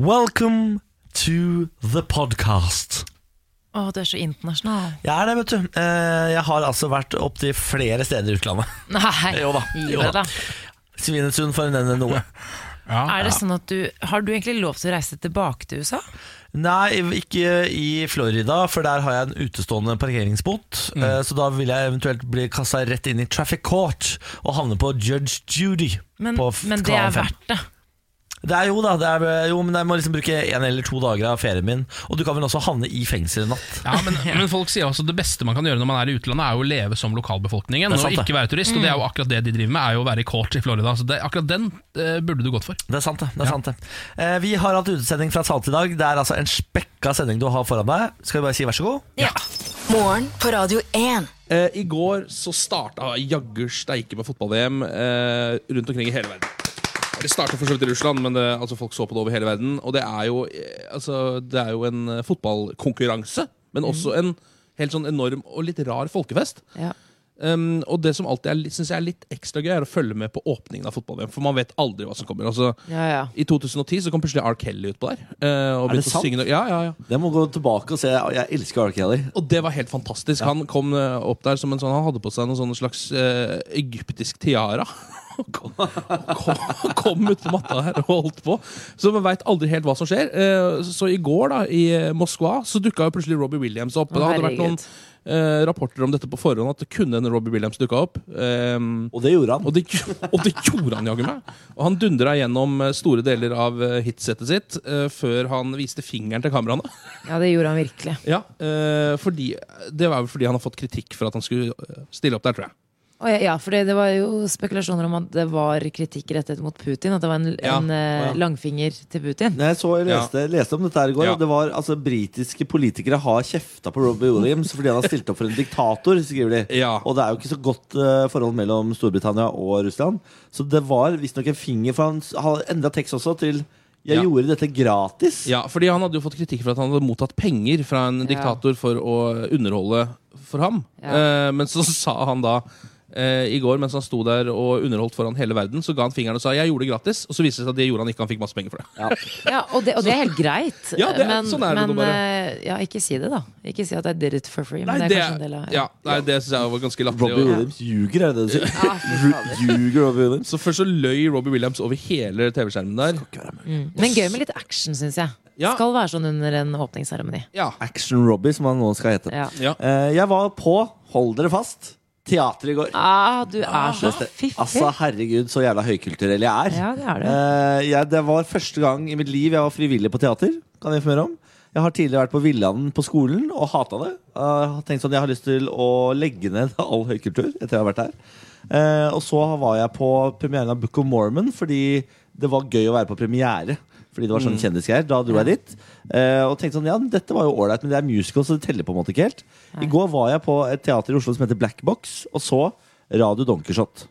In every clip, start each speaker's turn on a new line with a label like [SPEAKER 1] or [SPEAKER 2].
[SPEAKER 1] Welcome to the podcast.
[SPEAKER 2] Å, du er så internasjonal.
[SPEAKER 1] Jeg er det, vet du. Eh, Jeg har altså vært opptil flere steder i utlandet.
[SPEAKER 2] Nei,
[SPEAKER 1] Jo da,
[SPEAKER 2] gi
[SPEAKER 1] jo
[SPEAKER 2] deg,
[SPEAKER 1] da.
[SPEAKER 2] da.
[SPEAKER 1] Svinesund, for å nevne noe.
[SPEAKER 2] Er det sånn at du, Har du egentlig lov til å reise tilbake til USA?
[SPEAKER 1] Nei, ikke i Florida, for der har jeg en utestående parkeringsbot. Eh, Så da vil jeg eventuelt bli kasta rett inn i traffic court og havne på Judge Judy.
[SPEAKER 2] Men,
[SPEAKER 1] på f-
[SPEAKER 2] men det
[SPEAKER 1] kanal
[SPEAKER 2] er
[SPEAKER 1] fem.
[SPEAKER 2] verdt det.
[SPEAKER 1] Det er jo da, det er, jo, men jeg må liksom bruke en eller to dager av ferien min. Og du kan vel også havne i fengsel en natt.
[SPEAKER 3] Ja, men, men folk sier også at det beste man kan gjøre når man er i utlandet, er jo å leve som lokalbefolkningen
[SPEAKER 1] Det er
[SPEAKER 3] og
[SPEAKER 1] sant, det.
[SPEAKER 3] ikke være turist. Og det er
[SPEAKER 4] Mm.
[SPEAKER 3] jo akkurat det de driver med, er jo å være i court i Florida. Så det, akkurat den eh, burde du gått for.
[SPEAKER 1] Det er sant, det. det, er sant det. Eh, vi har hatt utesending fra Salt i dag. Det er altså en spekka sending du har foran deg. Skal vi bare si vær så god?
[SPEAKER 5] Morgen på Radio 1.
[SPEAKER 4] Eh, I går så starta jaggu steike med fotball-VM eh, rundt omkring i hele verden. Det starta for så vidt i Russland, men det, altså, folk så på det over hele verden. Og det er jo, eh, altså, det er jo en eh, fotballkonkurranse, men
[SPEAKER 3] Mm.
[SPEAKER 4] også en helt sånn enorm og litt rar folkefest.
[SPEAKER 2] Ja.
[SPEAKER 4] Um, og det som alltid syns jeg er litt ekstra gøy, er å følge med på åpningen av fotball-VM. For man vet aldri hva som kommer. Altså,
[SPEAKER 2] Ja, ja.
[SPEAKER 4] I 2010 så kom plutselig R. Kelly utpå der. eh, og
[SPEAKER 6] Er det
[SPEAKER 4] begynte å
[SPEAKER 6] sant?
[SPEAKER 4] synge noe- Ja, ja, ja.
[SPEAKER 6] Jeg må gå tilbake og se. Jeg elsker R. Kelly.
[SPEAKER 4] Og det var helt fantastisk. Han kom eh, opp der som en sånn Han hadde på seg noen sånn slags eh, egyptisk tiara. Og kom, og kom, og kom ut på matta her og holdt på. Så man veit aldri helt hva som skjer. Eh, så i går, da, i eh, Moskva, så dukka jo plutselig Robbie Williams
[SPEAKER 2] Å,
[SPEAKER 4] opp. Det hadde vært noen
[SPEAKER 2] herregud.
[SPEAKER 4] eh, rapporter om dette på forhånd, at det kunne en Robbie Williams dukka opp. Eh,
[SPEAKER 6] Og det gjorde han.
[SPEAKER 4] og det, og det gjorde han jaggu meg! Og han dundra gjennom eh, store deler av eh, hitsettet sitt eh, før han viste fingeren til kameraene.
[SPEAKER 2] ja, det gjorde han virkelig.
[SPEAKER 4] Ja, eh, fordi, det var vel fordi han har fått kritikk for at han skulle eh, stille opp der, tror jeg.
[SPEAKER 2] Å, ja, ja, for det, det var jo spekulasjoner om at det var kritikk rettet mot Putin. At det var en,
[SPEAKER 4] Ja,
[SPEAKER 2] en eh, langfinger til Putin.
[SPEAKER 6] Nei, jeg, så, jeg leste, leste om dette her i går.
[SPEAKER 4] Ja.
[SPEAKER 6] og Det var altså Britiske politikere har kjefta på Robbie Williams fordi han har stilt opp for en diktator. skriver de
[SPEAKER 4] Ja.
[SPEAKER 6] Og det er jo ikke så godt eh, forhold mellom Storbritannia og Russland. Så det var visstnok en finger For han s- har endra tekst også til 'Jeg
[SPEAKER 4] Ja.
[SPEAKER 6] gjorde dette gratis'.
[SPEAKER 4] Ja, fordi han hadde jo fått kritikk for at han hadde mottatt penger fra en diktator for å underholde for ham.
[SPEAKER 2] Ja.
[SPEAKER 4] Eh, men så sa han da eh, i går, mens han sto der og underholdt foran hele verden, så ga han fingeren og sa 'jeg gjorde det gratis', og så viste det seg at det gjorde han ikke, han fikk masse penger for det.
[SPEAKER 2] Ja, og det, og det er helt greit.
[SPEAKER 4] Ja, det er-
[SPEAKER 2] men
[SPEAKER 4] sånn er det nå
[SPEAKER 2] men
[SPEAKER 4] bare.
[SPEAKER 2] eh, ja, ikke si det, da. Ikke si at I did it for free. Men
[SPEAKER 4] Nei,
[SPEAKER 2] det er kanskje en del av
[SPEAKER 4] ja, nei, det syns jeg var ganske latterlig.
[SPEAKER 6] Robbie
[SPEAKER 4] og-
[SPEAKER 6] Williams ljuger, er det det du sier?
[SPEAKER 2] Ja, fy fader.
[SPEAKER 6] Ljuger Robbie Williams?
[SPEAKER 4] Så først så løy Robbie Williams over hele TV-skjermen der.
[SPEAKER 2] Men gøy med litt action, syns jeg.
[SPEAKER 4] Ja.
[SPEAKER 2] Skal være sånn under en åpningsseremoni.
[SPEAKER 4] Ja,
[SPEAKER 6] Action Robbie, som han nå skal hete.
[SPEAKER 2] Ja.
[SPEAKER 4] ja.
[SPEAKER 6] Eh, jeg var på, hold dere fast, teater i går.
[SPEAKER 2] Ah, du er så
[SPEAKER 6] Neste.
[SPEAKER 2] fiffig.
[SPEAKER 6] Altså, herregud, så jævla høykulturell jeg er.
[SPEAKER 2] Ja, det er du.
[SPEAKER 6] Eh, jeg, det var første gang i mitt liv jeg var frivillig på teater. Kan jeg informere om Jeg har tidligere vært på Villanden på skolen og hata det. Jeg har tenkt sånn, jeg har lyst til å legge ned all høykultur etter jeg har vært her. Eh, og så var jeg på premieren av Book of Mormon fordi det var gøy å være på premiere. Fordi det var
[SPEAKER 2] Mm.
[SPEAKER 6] sånn kjendisgreier. Da dro jeg dit. eh, og tenkte sånn, ja, dette var jo ålreit, men det er musical, så det teller på en måte ikke helt. I går var jeg på et teater i Oslo som heter Black Box, og så Radio Donkershot.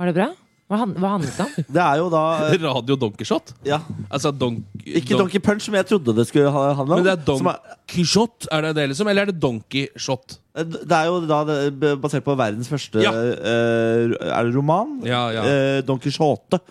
[SPEAKER 2] Var det bra? Hva, han, hva handlet det om?
[SPEAKER 6] Det er jo da eh,
[SPEAKER 4] Radio Donkershot?
[SPEAKER 6] ja,
[SPEAKER 4] Altså donk...
[SPEAKER 6] Ikke
[SPEAKER 4] donk-
[SPEAKER 6] Donkey Punch, som jeg trodde det skulle ha- handle om.
[SPEAKER 4] Men det er
[SPEAKER 6] som er,
[SPEAKER 4] Donkey Shot, er det det liksom? Eller er det Donkey Shot?
[SPEAKER 6] eh, det er jo da det- b- basert på verdens første
[SPEAKER 4] Ja.
[SPEAKER 6] eh, Er det roman?
[SPEAKER 4] Ja, ja. Mm.
[SPEAKER 6] Eh, Don Quijote.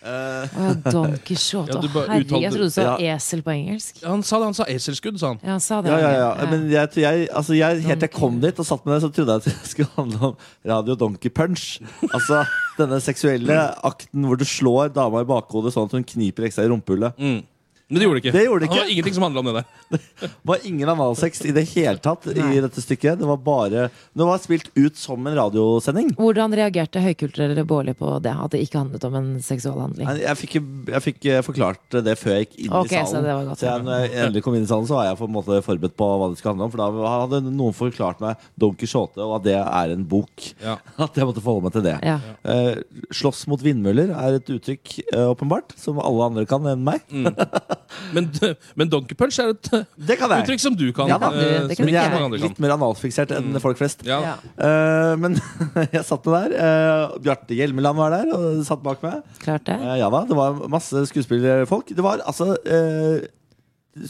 [SPEAKER 2] Å, ja, Don Quijote.
[SPEAKER 4] Ja, du
[SPEAKER 2] Å,
[SPEAKER 4] bare
[SPEAKER 2] herregud,
[SPEAKER 4] uttalte-
[SPEAKER 2] jeg trodde du sa
[SPEAKER 6] Ja.
[SPEAKER 2] esel på engelsk.
[SPEAKER 4] Han sa det, han sa eselskudd, sa han.
[SPEAKER 2] Ja, han sa det.
[SPEAKER 6] Ja, ja, ja. Men jeg, jeg, altså jeg, helt til jeg kom dit og satt med det, så trodde jeg at det skulle handle om Radio Donkey Punch. Altså denne seksuelle akten hvor du slår dama i bakhodet sånn at hun kniper ekstra i rumpehullet.
[SPEAKER 4] Mm. Men det gjorde det ikke.
[SPEAKER 6] Det gjorde det
[SPEAKER 4] Han
[SPEAKER 6] ikke.
[SPEAKER 4] var ingenting som handla om det der.
[SPEAKER 6] Det var ingen analsex i det hele tatt i dette stykket. Det var bare Det var spilt ut som en radiosending.
[SPEAKER 2] Hvordan reagerte høykulturelle Bårli på det? At det ikke handlet om en seksualhandling?
[SPEAKER 6] Nei, Jeg fikk, jeg fikk eh, forklart det før jeg gikk inn
[SPEAKER 2] Ok,
[SPEAKER 6] i salen.
[SPEAKER 2] så det var godt.
[SPEAKER 6] jeg, når jeg endelig kom inn i salen, så var jeg på en måte forberedt på hva det skulle handle om. For da hadde noen forklart meg Don Quijote, og at det er en bok.
[SPEAKER 4] Ja.
[SPEAKER 6] At jeg måtte forholde meg til det.
[SPEAKER 2] Ja.
[SPEAKER 6] Eh, slåss mot vindmøller er et uttrykk, eh, åpenbart, som alle andre kan enn meg.
[SPEAKER 4] Mm. Men, men Donkey Punch er et eh,
[SPEAKER 6] Det kan jeg!
[SPEAKER 4] uttrykk som du kan.
[SPEAKER 6] Ja da,
[SPEAKER 4] eh,
[SPEAKER 2] det kan
[SPEAKER 4] som
[SPEAKER 2] vi
[SPEAKER 4] ikke
[SPEAKER 2] gjøre.
[SPEAKER 4] mange andre
[SPEAKER 6] Litt
[SPEAKER 4] kan. Mm.
[SPEAKER 6] mer analfiksert enn folk flest.
[SPEAKER 4] Ja.
[SPEAKER 2] Ja.
[SPEAKER 6] Eh, men jeg satt nå der. eh, Bjarte Hjelmeland var der og satt bak meg.
[SPEAKER 2] Klart det.
[SPEAKER 6] Eh, Ja da, det var masse skuespillerfolk. Det var altså eh,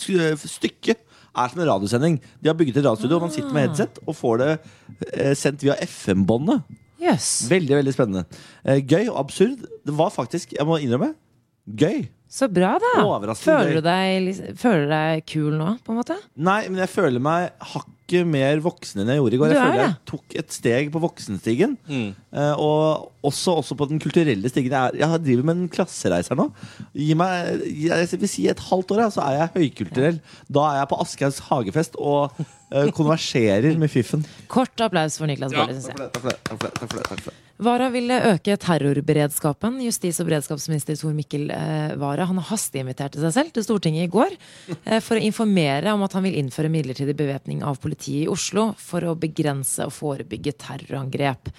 [SPEAKER 6] sku, eh, Stykket er som en radiosending. De har bygget et radiostudio, og man sitter med headset og får det eh, sendt via FM-båndet.
[SPEAKER 2] Jøss.
[SPEAKER 6] Veldig veldig spennende. Eh, gøy og absurd. Det var faktisk, jeg må innrømme, gøy.
[SPEAKER 2] Så bra, da!
[SPEAKER 6] Overraskende
[SPEAKER 2] Føler du deg, liksom- føler du deg kul nå, på en måte?
[SPEAKER 6] Nei, men jeg føler meg hakket mer voksen enn jeg gjorde i går.
[SPEAKER 2] Du
[SPEAKER 6] Jeg
[SPEAKER 2] er
[SPEAKER 6] føler jeg
[SPEAKER 2] det.
[SPEAKER 6] tok et steg på voksenstigen. eh, Og også, også på den kulturelle stigen. Jeg, er, jeg driver med en klassereiser nå. Gi meg, jeg vil si et halvt år, ja, så er jeg høykulturell. Da er jeg på Aschehougs hagefest og eh, konverserer med fiffen.
[SPEAKER 2] Kort applaus for Niklas
[SPEAKER 4] Ja,
[SPEAKER 2] Baarli, syns jeg.
[SPEAKER 6] Takk for det, takk for det, takk for det, takk for det.
[SPEAKER 2] Vara ville øke terrorberedskapen. Justis- og beredskapsminister Tor Mikkel eh, Wara han hasteinviterte seg selv til Stortinget i går eh, for å informere om at han vil innføre midlertidig bevæpning av politiet i Oslo for å begrense og forebygge terrorangrep.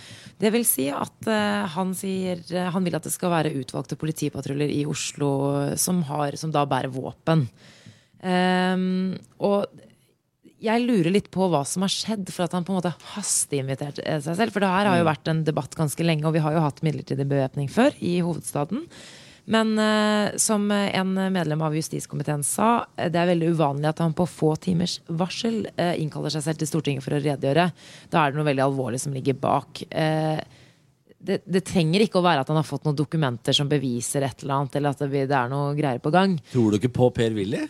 [SPEAKER 2] Det vil si at eh, han sier eh, han vil at det skal være utvalgte politipatruljer i Oslo eh, som, har, som da bærer våpen. Ehm, og jeg lurer litt på hva som har skjedd for at han på en måte hasteinviterte eh, seg selv. For det her har jo vært en debatt ganske lenge, og vi har jo hatt midlertidig bevæpning før i hovedstaden. Men eh, som eh, en medlem av justiskomiteen sa, eh, det er veldig uvanlig at han på få timers varsel eh, innkaller seg selv til Stortinget for å redegjøre. Da er det noe veldig alvorlig som ligger bak. Eh, det, det trenger ikke å være at han har fått noen dokumenter som beviser et eller annet, eller at det, det er noe greier på gang.
[SPEAKER 6] Tror du ikke på Per Willy?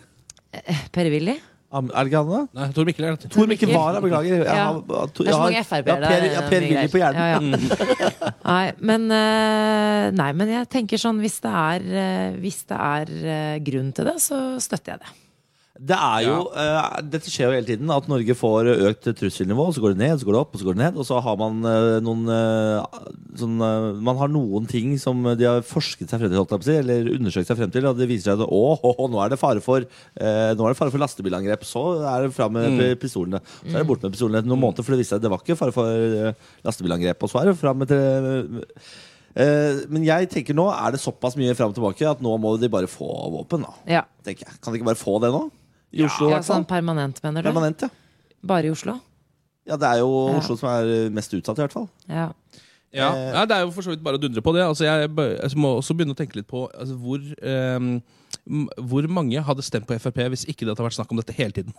[SPEAKER 2] Per-Willy?
[SPEAKER 6] Am- Er det ikke han da?
[SPEAKER 4] Nei, Tor Mikkel er det.
[SPEAKER 6] Tor Mikkel Wara, beklager. Jeg
[SPEAKER 2] Ja.
[SPEAKER 6] har-
[SPEAKER 2] Det er
[SPEAKER 6] jeg
[SPEAKER 2] så
[SPEAKER 6] har-
[SPEAKER 2] mange Frp-ere.
[SPEAKER 6] Ja, Per,
[SPEAKER 2] det er
[SPEAKER 6] ja,
[SPEAKER 2] eh,
[SPEAKER 6] per
[SPEAKER 2] mye
[SPEAKER 6] Willy
[SPEAKER 2] greier.
[SPEAKER 6] på hjernen.
[SPEAKER 2] Ja, ja. Nei, men, eh, nei, men jeg tenker sånn Hvis det er, eh, hvis det er eh, grunn til det, så støtter jeg det.
[SPEAKER 6] Det er jo, eh, dette skjer jo hele tiden, at Norge får økt trusselnivå, og så går det ned, og så går det opp, og så går det ned, og så har man eh, noen eh, sånn, eh, Man har noen ting som de har forsket seg frem til, holdt jeg på å si, eller undersøkt seg frem til, og det viser seg at å, å, å, nå er det fare for eh, Nå er det fare for lastebilangrep, så er det fram med pi- pistolene. Så er det bort med pistolene etter noen måneder, for det viste seg at det var ikke fare for eh, lastebilangrep, og så er det fram med tre- eh, men jeg tenker nå er det såpass mye fram og tilbake at nå må de bare få våpen. da
[SPEAKER 2] Ja,
[SPEAKER 6] tenker jeg. Kan de ikke bare få det nå? I Oslo, i
[SPEAKER 2] ja
[SPEAKER 6] hvert fall.
[SPEAKER 2] Sånn permanent, mener du?
[SPEAKER 6] Permanent, ja.
[SPEAKER 2] Bare i Oslo?
[SPEAKER 6] Ja, Det er jo
[SPEAKER 2] Ja.
[SPEAKER 6] Oslo som er eh, mest utsatt, i hvert fall.
[SPEAKER 2] Ja.
[SPEAKER 4] Ja.
[SPEAKER 6] Eh.
[SPEAKER 4] Nei, det er jo for så vidt bare å dundre på det. Altså, jeg, bø- altså, må også begynne å tenke litt på altså, hvor, ehm, m- hvor mange hadde stemt på Frp hvis ikke det hadde vært snakk om dette hele tiden?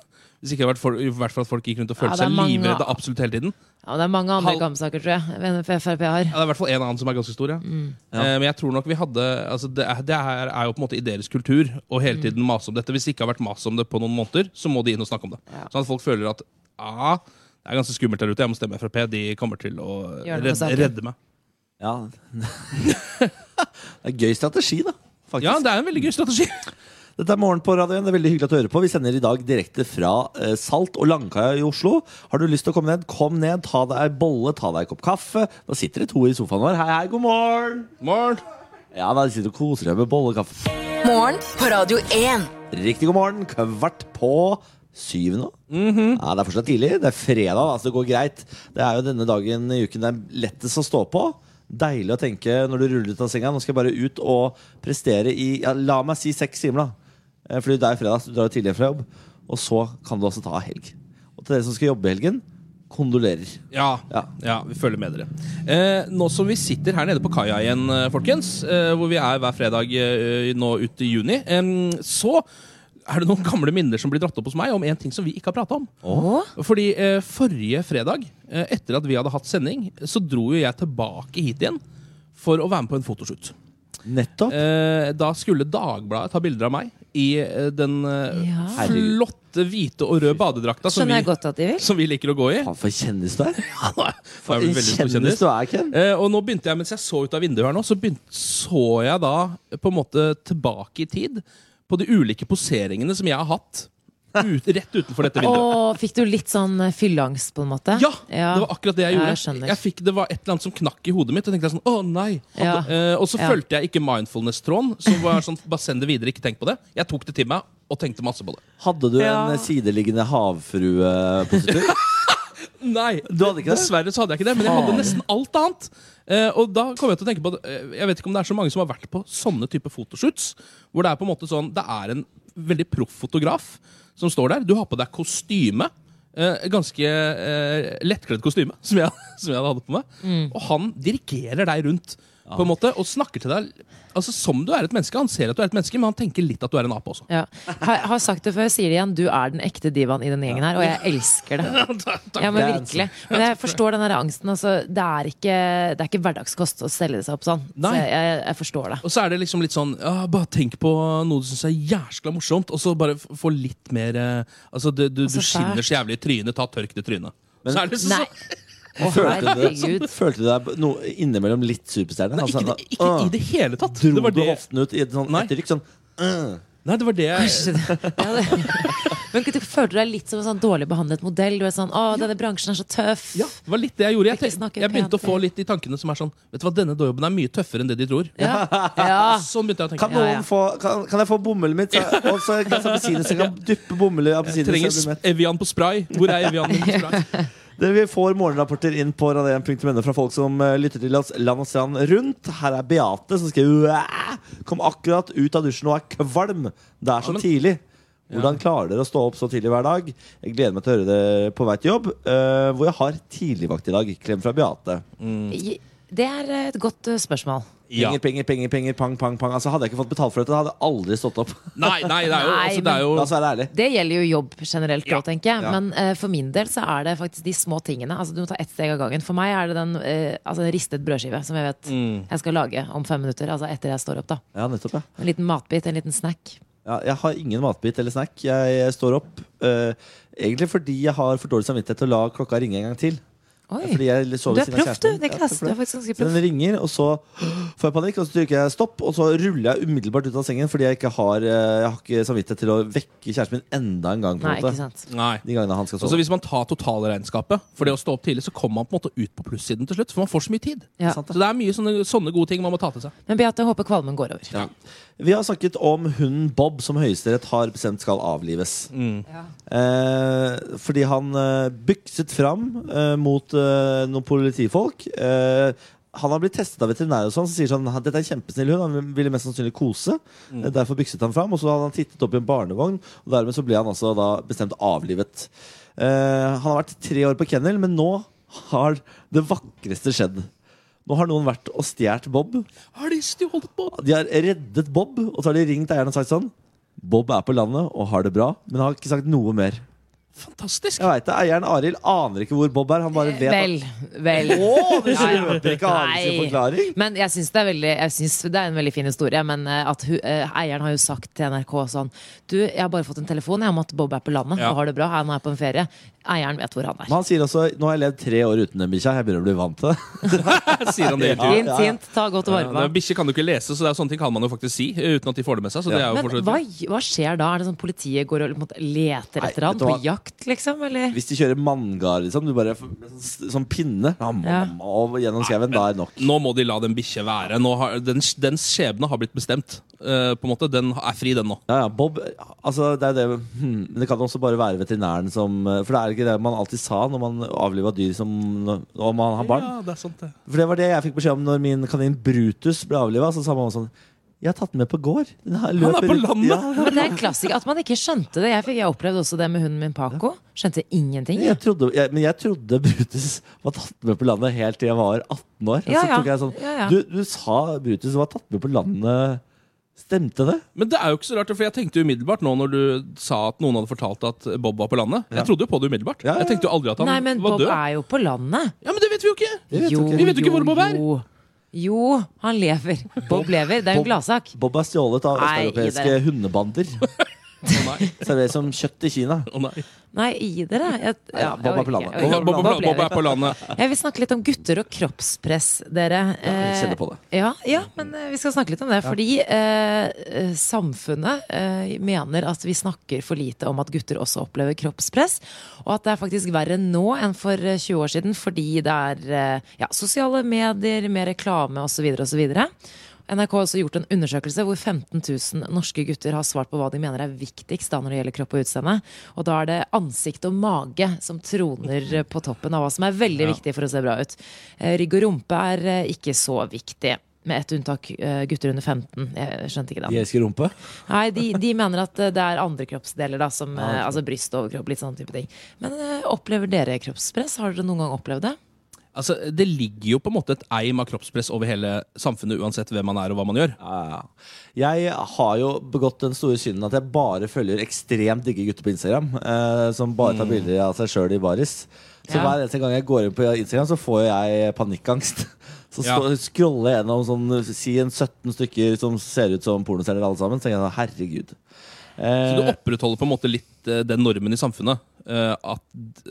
[SPEAKER 4] Hvis ikke det hadde vært, for, vært for at folk gikk rundt
[SPEAKER 2] Ja,
[SPEAKER 4] og følte
[SPEAKER 2] det er
[SPEAKER 4] seg
[SPEAKER 2] mange,
[SPEAKER 4] livredde
[SPEAKER 2] ja.
[SPEAKER 4] absolutt hele tiden?
[SPEAKER 2] ja det er mange andre
[SPEAKER 4] Halv-
[SPEAKER 2] kampsaker, tror jeg, venner for Frp har.
[SPEAKER 4] Ja, det er i hvert fall en annen som er ganske stor, ja.
[SPEAKER 2] Mm.
[SPEAKER 4] Eh, men jeg tror nok vi hadde altså, det, er- det her er jo på en måte i deres kultur å hele
[SPEAKER 2] Mm.
[SPEAKER 4] tiden mase om dette. Hvis det ikke har vært mas om det på noen måneder, så må de inn og snakke om det.
[SPEAKER 2] Ja.
[SPEAKER 4] Sånn at folk føler at ah, det er ganske skummelt der ute, jeg må stemme Frp. De kommer til å
[SPEAKER 2] Gjør noe med
[SPEAKER 4] redde,
[SPEAKER 2] saken.
[SPEAKER 4] redde meg.
[SPEAKER 6] Ja. det er gøy strategi, da. Faktisk.
[SPEAKER 4] Ja, det er en veldig gøy strategi.
[SPEAKER 6] Dette er Morgen på radioen. Det er veldig hyggelig at du hører på. Vi sender i dag direkte fra eh, Salt og Langkaia i Oslo. Har du lyst til å komme ned, kom ned. Ta deg ei bolle, ta deg en kopp kaffe. Da sitter det to i sofaen vår. Hei, hei, god morgen!
[SPEAKER 4] Morn.
[SPEAKER 6] Ja, da sitter du og koser deg med bolle og kaffe.
[SPEAKER 5] Morgen på Radio 1.
[SPEAKER 6] Riktig god morgen. Kvart på syv nå.
[SPEAKER 4] Mhm.
[SPEAKER 6] ja, det er fortsatt tidlig. Det er fredag, da, så det går greit. Det er jo denne dagen i uken det er lettest å stå på. Deilig å tenke når du ruller ut av senga. Nå skal jeg bare ut og prestere i ja, La meg si seks timer, da. Eh, Fordi det er fredag, så du drar jo tidligere fra jobb. Og så kan du også ta helg. Og til dere som skal jobbe i helgen, kondolerer.
[SPEAKER 4] Ja,
[SPEAKER 6] Ja.
[SPEAKER 4] ja. vi følger med dere. Eh, nå som vi sitter her nede på kaia igjen, eh, folkens, eh, hvor vi er hver fredag eh, nå ut i juni, eh, så er det noen gamle minner som blir dratt opp hos meg om en ting som vi ikke har prata om. Fordi eh, forrige fredag, eh, etter at vi hadde hatt sending, så dro jo jeg tilbake hit igjen for å være med på en fotoshoot.
[SPEAKER 6] Nettopp.
[SPEAKER 4] Eh, da skulle Dagbladet ta bilder av meg i eh, den eh,
[SPEAKER 2] Ja.
[SPEAKER 6] Herregud.
[SPEAKER 4] flotte hvite og røde badedrakta som
[SPEAKER 2] Skjønner jeg
[SPEAKER 4] vi,
[SPEAKER 2] godt at de vil.
[SPEAKER 4] som vi liker å gå i.
[SPEAKER 6] Faen, for en kjendis du er.
[SPEAKER 4] Ja, nå er- nå
[SPEAKER 6] For
[SPEAKER 4] er jeg
[SPEAKER 6] en
[SPEAKER 4] vel veldig stor
[SPEAKER 6] kjendis du er, Ken.
[SPEAKER 4] Eh, og nå begynte jeg, mens jeg så ut av vinduet her nå, så begynte, så jeg da eh, på en måte tilbake i tid på de ulike poseringene som jeg har hatt ut, rett utenfor dette vinduet.
[SPEAKER 2] Og fikk du litt sånn eh, fylleangst, på en måte?
[SPEAKER 4] Ja, det var akkurat det jeg
[SPEAKER 2] Ja,
[SPEAKER 4] gjorde.
[SPEAKER 2] jeg skjønner.
[SPEAKER 4] jeg fikk, det var et eller annet som knakk i hodet mitt. Og tenkte jeg sånn, å nei
[SPEAKER 2] Ja.
[SPEAKER 4] Eh, Og så
[SPEAKER 2] Ja.
[SPEAKER 4] fulgte jeg ikke mindfulness-tråden. Som var sånn, bare send det videre, ikke tenk på det. Jeg tok det til meg og tenkte masse på det.
[SPEAKER 6] Hadde du
[SPEAKER 2] Ja.
[SPEAKER 6] en sideliggende havfruepositur?
[SPEAKER 4] Nei,
[SPEAKER 6] Du hadde ikke det?
[SPEAKER 4] Dessverre så hadde jeg ikke det, men jeg hadde
[SPEAKER 6] Faen.
[SPEAKER 4] nesten alt annet. Eh, og da kom Jeg til å tenke på at, eh, Jeg vet ikke om det er så mange som har vært på sånne type fotoshoots. Hvor det er på en måte sånn Det er en veldig proff fotograf som står der. Du har på deg kostyme. Eh, ganske
[SPEAKER 2] Mm.
[SPEAKER 4] eh, lettkledd kostyme, som jeg, som jeg hadde på meg. Og han dirigerer deg rundt. på en måte, og snakker til deg altså, som du er et menneske. Han ser at du er et menneske, men han tenker litt at du er en ape også.
[SPEAKER 2] Ja. Har, har sagt det før, sier det igjen. Du er den ekte divaen i denne gjengen her, og jeg elsker det. Ja, men
[SPEAKER 6] Det er
[SPEAKER 2] virkelig.
[SPEAKER 4] sånn-
[SPEAKER 2] Men jeg forstår den der angsten. Altså, det, er ikke, det er ikke hverdagskost å selge det seg opp sånn. Så
[SPEAKER 4] Nei.
[SPEAKER 2] jeg, jeg, jeg forstår det.
[SPEAKER 4] Og så er det liksom litt sånn ja, Bare tenk på noe du syns er jæskla morsomt, og så bare f- få litt mer eh, Altså, du, du,
[SPEAKER 2] Så
[SPEAKER 4] du
[SPEAKER 2] sært.
[SPEAKER 4] skinner så jævlig i trynet, ta tørk det trynet. så er det så,
[SPEAKER 2] Nei.
[SPEAKER 4] så,
[SPEAKER 2] Å,
[SPEAKER 6] Følte
[SPEAKER 2] herregud.
[SPEAKER 6] du, følte du deg no, innimellom litt superstjerne?
[SPEAKER 4] Nei,
[SPEAKER 6] Altså,
[SPEAKER 4] ikke, det- ikke
[SPEAKER 6] «Åh»,
[SPEAKER 4] i det hele tatt.
[SPEAKER 6] Dro
[SPEAKER 4] Det var
[SPEAKER 6] du
[SPEAKER 4] det,
[SPEAKER 6] hoften ut i et sånn
[SPEAKER 4] Nei.
[SPEAKER 6] etterrykk? Sånn, «Åh».
[SPEAKER 4] nei, det var det jeg
[SPEAKER 2] Kanskje det- Ja, det- Men du følte deg litt som en sånn dårlig behandlet modell? Du er sånn, å, denne bransjen er så tøff.
[SPEAKER 4] Ja, det var litt det jeg gjorde. Jeg,
[SPEAKER 2] Ikke
[SPEAKER 4] tenkte,
[SPEAKER 2] snakke
[SPEAKER 4] jeg begynte å
[SPEAKER 2] pent,
[SPEAKER 4] få litt de tankene som er sånn Vet du hva, denne dørjobben er mye tøffere enn det de tror.
[SPEAKER 2] Ja. Ja.
[SPEAKER 4] Sånn begynte jeg å
[SPEAKER 6] Kan,
[SPEAKER 2] Ja,
[SPEAKER 4] tenke.
[SPEAKER 2] ja.
[SPEAKER 6] noen Få, kan, kan jeg få bomullet mitt? Så, og så et glass appelsiner, så jeg kan dyppe bomull i
[SPEAKER 4] Jeg trenger
[SPEAKER 6] appelsinjuice.
[SPEAKER 4] sp- Evian på spray. Hvor er Evian på spray?
[SPEAKER 6] Dere, Vi får morgenrapporter inn på radien.no fra folk som eh, lytter til oss land og strand rundt. Her er Beate som skriver «Uæ! Kom akkurat ut av dusjen og er kvalm. Det er så
[SPEAKER 4] men-
[SPEAKER 6] tidlig. Hvordan klarer dere å stå opp så tidlig hver dag? Jeg gleder meg til å høre det på vei til jobb, eh, hvor jeg har tidligvakt i dag. Klem fra Beate.
[SPEAKER 2] I- Det er eh, et godt eh, spørsmål.
[SPEAKER 4] Ja.
[SPEAKER 6] Penger, penger, penger, penger, pang, pang, pang. Altså, hadde jeg ikke fått betalt for dette, hadde jeg aldri stått opp.
[SPEAKER 4] Nei, nei, det er jo,
[SPEAKER 2] Nei,
[SPEAKER 4] altså, det er jo
[SPEAKER 6] La oss være ærlig.
[SPEAKER 2] Det gjelder jo jobb generelt,
[SPEAKER 4] Ja.
[SPEAKER 2] da, tenker jeg.
[SPEAKER 6] Ja.
[SPEAKER 2] Men eh, for min del så er det faktisk de små tingene. Altså Du må ta ett steg av gangen. For meg er det den eh, altså, en ristet brødskive som jeg vet
[SPEAKER 4] Mm.
[SPEAKER 2] jeg skal lage om fem minutter. Altså etter jeg står opp, da.
[SPEAKER 6] Ja, nettopp, ja.
[SPEAKER 2] En liten matbit, en liten snack.
[SPEAKER 6] Ja, jeg har ingen matbit eller snack. Jeg, jeg står opp eh, egentlig fordi jeg har for dårlig samvittighet til å la klokka ringe en gang til.
[SPEAKER 2] Oi.
[SPEAKER 6] Fordi jeg sover
[SPEAKER 2] Du er
[SPEAKER 6] ved siden av
[SPEAKER 2] proff, du.
[SPEAKER 6] kjæresten.
[SPEAKER 2] Det er
[SPEAKER 6] Ja,
[SPEAKER 2] klasse.
[SPEAKER 6] takk for
[SPEAKER 2] Du
[SPEAKER 6] det.
[SPEAKER 2] er faktisk ganske
[SPEAKER 6] Så
[SPEAKER 2] proff.
[SPEAKER 6] den ringer, og så får jeg panikk, og så trykker jeg stopp, og så ruller jeg umiddelbart ut av sengen fordi jeg ikke har, eh, jeg har ikke samvittighet til å vekke kjæresten min enda en gang. På
[SPEAKER 2] Nei,
[SPEAKER 6] en
[SPEAKER 2] ikke
[SPEAKER 6] måte.
[SPEAKER 2] sant.
[SPEAKER 4] Nei.
[SPEAKER 6] De gangene han skal
[SPEAKER 4] Altså
[SPEAKER 6] sove.
[SPEAKER 4] Hvis man tar totalregnskapet for det å stå opp tidlig, så kommer man på en måte ut på plussiden til slutt. For man får så mye tid.
[SPEAKER 2] Ja.
[SPEAKER 4] Så det er mye sånne, sånne gode ting man må ta til seg.
[SPEAKER 2] Men Beate, jeg håper kvalmen går over.
[SPEAKER 6] Vi har snakket om hunden Bob, som Høyesterett har bestemt skal avlives. Eh, fordi han eh, bykset fram eh, mot eh, noen politifolk. Eh, han har blitt testet av veterinærer og sånn, som sier sånn «Ha, dette er en kjempesnill hund. Han ville mest sannsynlig kose. Eh, Derfor bykset han fram. Og så hadde han tittet opp i en barnevogn, og dermed så ble han altså da bestemt avlivet. Eh, han har vært tre år på kennel, men nå har det vakreste skjedd. Nå har noen vært og stjålet Bob.
[SPEAKER 4] Har de stjålet på?
[SPEAKER 6] De har reddet Bob, og så har de ringt eieren og sagt sånn Bob er på landet og har det bra, men har ikke sagt noe mer.
[SPEAKER 4] Fantastisk!
[SPEAKER 6] Jeg vet det, Eieren Arild aner ikke hvor Bob er. Han bare vet
[SPEAKER 2] Vel, vel.
[SPEAKER 6] at Å, du
[SPEAKER 2] Ja, ja.
[SPEAKER 6] kjøper ikke Arild sin
[SPEAKER 2] Nei.
[SPEAKER 6] forklaring!
[SPEAKER 2] Men jeg syns det, er veldig- jeg synes det er en veldig fin historie. Men eh, at hu, eh, eieren har jo sagt til NRK sånn Du, jeg har bare fått en telefon jeg om at Bob er på landet
[SPEAKER 4] Ja.
[SPEAKER 2] og har det bra. Han er på en ferie. Eieren vet hvor han er.
[SPEAKER 6] Men han sier også nå har jeg levd tre år uten den bikkja. Jeg begynner å bli vant til det.
[SPEAKER 4] Sier han det i
[SPEAKER 6] Ja.
[SPEAKER 4] intervjuet.
[SPEAKER 2] Fint, fint. Ta godt vare på
[SPEAKER 4] Ja,
[SPEAKER 2] ham.
[SPEAKER 4] Bikkjer kan du ikke lese, så det er sånne ting kan man jo faktisk si eh, uten at de får det med seg. Så
[SPEAKER 6] Ja.
[SPEAKER 4] det er jo for så
[SPEAKER 2] Men
[SPEAKER 4] vidt-
[SPEAKER 2] hva, hva skjer da? Er det sånn politiet går og på en måte leter
[SPEAKER 6] Nei,
[SPEAKER 2] etter han
[SPEAKER 6] vet du
[SPEAKER 2] på
[SPEAKER 6] hva?
[SPEAKER 2] jakt, liksom? Eller?
[SPEAKER 6] Hvis de kjører manngard, liksom, du bare med sånn, sånn pinne ja,
[SPEAKER 2] Ja.
[SPEAKER 6] mamma, og gjennom skauen, da er det nok.
[SPEAKER 4] Nå må de la den bikkja være. Nå har, den, den skjebne har blitt bestemt. eh, på en måte, Den er fri, den nå.
[SPEAKER 6] Ja, ja, Bob, altså det er det hmm, Men det kan også bare være veterinæren som eh, For det er ikke det man alltid sa når man avliva dyr som Om man har barn.
[SPEAKER 4] det er sant det.
[SPEAKER 6] For det var det jeg fikk beskjed om når min kanin Brutus ble avliva. Så sa mamma sånn Jeg har tatt den med på gård. Den her
[SPEAKER 4] er
[SPEAKER 6] løper
[SPEAKER 4] på
[SPEAKER 6] rundt-
[SPEAKER 4] landet!»
[SPEAKER 6] Ja,
[SPEAKER 2] Men det er en klassiker at man ikke skjønte det. Jeg, fikk, jeg opplevde også det med hunden min Paco. Skjønte ingenting.
[SPEAKER 6] jeg trodde, jeg, men jeg trodde Brutus var tatt med på landet helt til jeg var 18 år.
[SPEAKER 2] Ja,
[SPEAKER 6] så
[SPEAKER 2] ja.
[SPEAKER 6] tok jeg sånn
[SPEAKER 2] Ja, ja.
[SPEAKER 6] Du, du sa Brutus var tatt med på landet. Stemte det?
[SPEAKER 4] Men det er jo ikke så rart, for jeg tenkte umiddelbart nå når du sa at noen hadde fortalt at Bob var på landet. Jeg trodde jo på det umiddelbart.
[SPEAKER 6] Ja, ja, ja.
[SPEAKER 4] Jeg tenkte jo aldri at han
[SPEAKER 2] Nei, men
[SPEAKER 4] var
[SPEAKER 2] Bob
[SPEAKER 4] død.
[SPEAKER 2] er jo på landet.
[SPEAKER 4] Ja, Men det vet vi jo ikke!
[SPEAKER 6] vet
[SPEAKER 2] Jo,
[SPEAKER 6] ikke.
[SPEAKER 4] Vi vet jo ikke hvor Bob er.
[SPEAKER 2] jo. Jo, han lever. Bob lever. Det er jo en
[SPEAKER 6] Bob-
[SPEAKER 2] gladsak.
[SPEAKER 6] Bob er stjålet av
[SPEAKER 2] Nei, gi
[SPEAKER 6] østeuropeiske
[SPEAKER 2] dere.
[SPEAKER 6] hundebander.
[SPEAKER 4] Å nei.
[SPEAKER 6] Serveres som kjøtt i Kina.
[SPEAKER 4] Å nei.
[SPEAKER 2] Nei, gi dere. Jeg,
[SPEAKER 6] Ja, Bob er på
[SPEAKER 2] jeg
[SPEAKER 6] landet.
[SPEAKER 2] orker ikke. Jeg orker
[SPEAKER 4] Bob,
[SPEAKER 2] ikke.
[SPEAKER 4] Bob, Bob er på landet.
[SPEAKER 2] Jeg vil snakke litt om gutter og kroppspress, dere.
[SPEAKER 6] jeg kjenner på det.
[SPEAKER 2] Eh, Ja, ja men eh, vi skal snakke litt om det. Fordi eh, eh, samfunnet eh, mener at vi snakker for lite om at gutter også opplever kroppspress. Og at det er faktisk verre nå enn for eh, 20 år siden fordi det er eh, ja, sosiale medier, mer reklame osv. osv. NRK har også gjort en undersøkelse hvor 15 000 norske gutter har svart på hva de mener er viktigst da når det gjelder kropp og utseende. Og da er det ansikt og mage som troner eh, på toppen av hva som er veldig viktig for å se bra ut. Eh, Rygg og rumpe er eh, ikke så viktig. Med ett unntak eh, gutter under 15. Jeg skjønte ikke det.
[SPEAKER 6] elsker rumpe.
[SPEAKER 2] Nei, de, de mener at eh, det er andre kroppsdeler, da, som
[SPEAKER 6] Ah,
[SPEAKER 2] eh, altså bryst og overkropp. Litt sånn type ting. Men eh, opplever dere kroppspress? Har dere noen gang opplevd det?
[SPEAKER 4] Altså, Det ligger jo på en måte et eim av kroppspress over hele samfunnet, uansett hvem man er og hva man gjør.
[SPEAKER 6] Ja, ja. Jeg har jo begått den store synden at jeg bare følger ekstremt digge gutter på Instagram. Eh, som bare
[SPEAKER 4] Mm.
[SPEAKER 6] tar bilder av seg sjøl i baris. Så
[SPEAKER 2] Ja.
[SPEAKER 6] hver eneste gang jeg går inn på Instagram, så får jeg panikkangst. Så
[SPEAKER 4] Ja.
[SPEAKER 6] stå, scroller jeg gjennom sånn, si en 17 stykker som ser ut som pornostjerner alle sammen. Så tenker jeg sånn, herregud.
[SPEAKER 4] Så du
[SPEAKER 6] Eh,
[SPEAKER 4] opprettholder på en måte litt eh, den normen i samfunnet. eh, at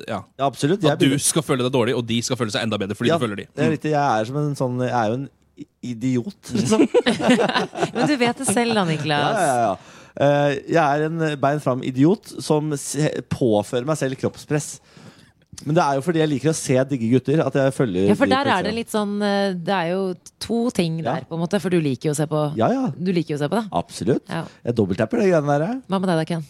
[SPEAKER 4] ja,
[SPEAKER 6] ja, absolutt.
[SPEAKER 4] at du
[SPEAKER 6] begynner-
[SPEAKER 4] skal føle deg dårlig, og de skal føle seg enda bedre fordi
[SPEAKER 6] ja,
[SPEAKER 4] du føler de.
[SPEAKER 6] det er riktig. Jeg er som en sånn Jeg er jo en i- idiot, liksom.
[SPEAKER 2] Men du vet det selv da, Niklas.
[SPEAKER 6] Ja, ja, ja. Eh, jeg er en bein fram-idiot som se påfører meg selv kroppspress. Men det er jo fordi jeg liker å se digge gutter. At jeg følger
[SPEAKER 2] Ja, for
[SPEAKER 6] de
[SPEAKER 2] der
[SPEAKER 6] på
[SPEAKER 2] er det
[SPEAKER 6] Instagram.
[SPEAKER 2] litt sånn eh, Det er jo to ting
[SPEAKER 6] Ja.
[SPEAKER 2] der, på en måte. For du liker jo å se på
[SPEAKER 6] Ja, ja.
[SPEAKER 2] Du liker jo å se på det.
[SPEAKER 6] Absolutt.
[SPEAKER 2] Ja.
[SPEAKER 6] Jeg dobbelttapper det greiene der. jeg.
[SPEAKER 2] Hva med deg da, Ken?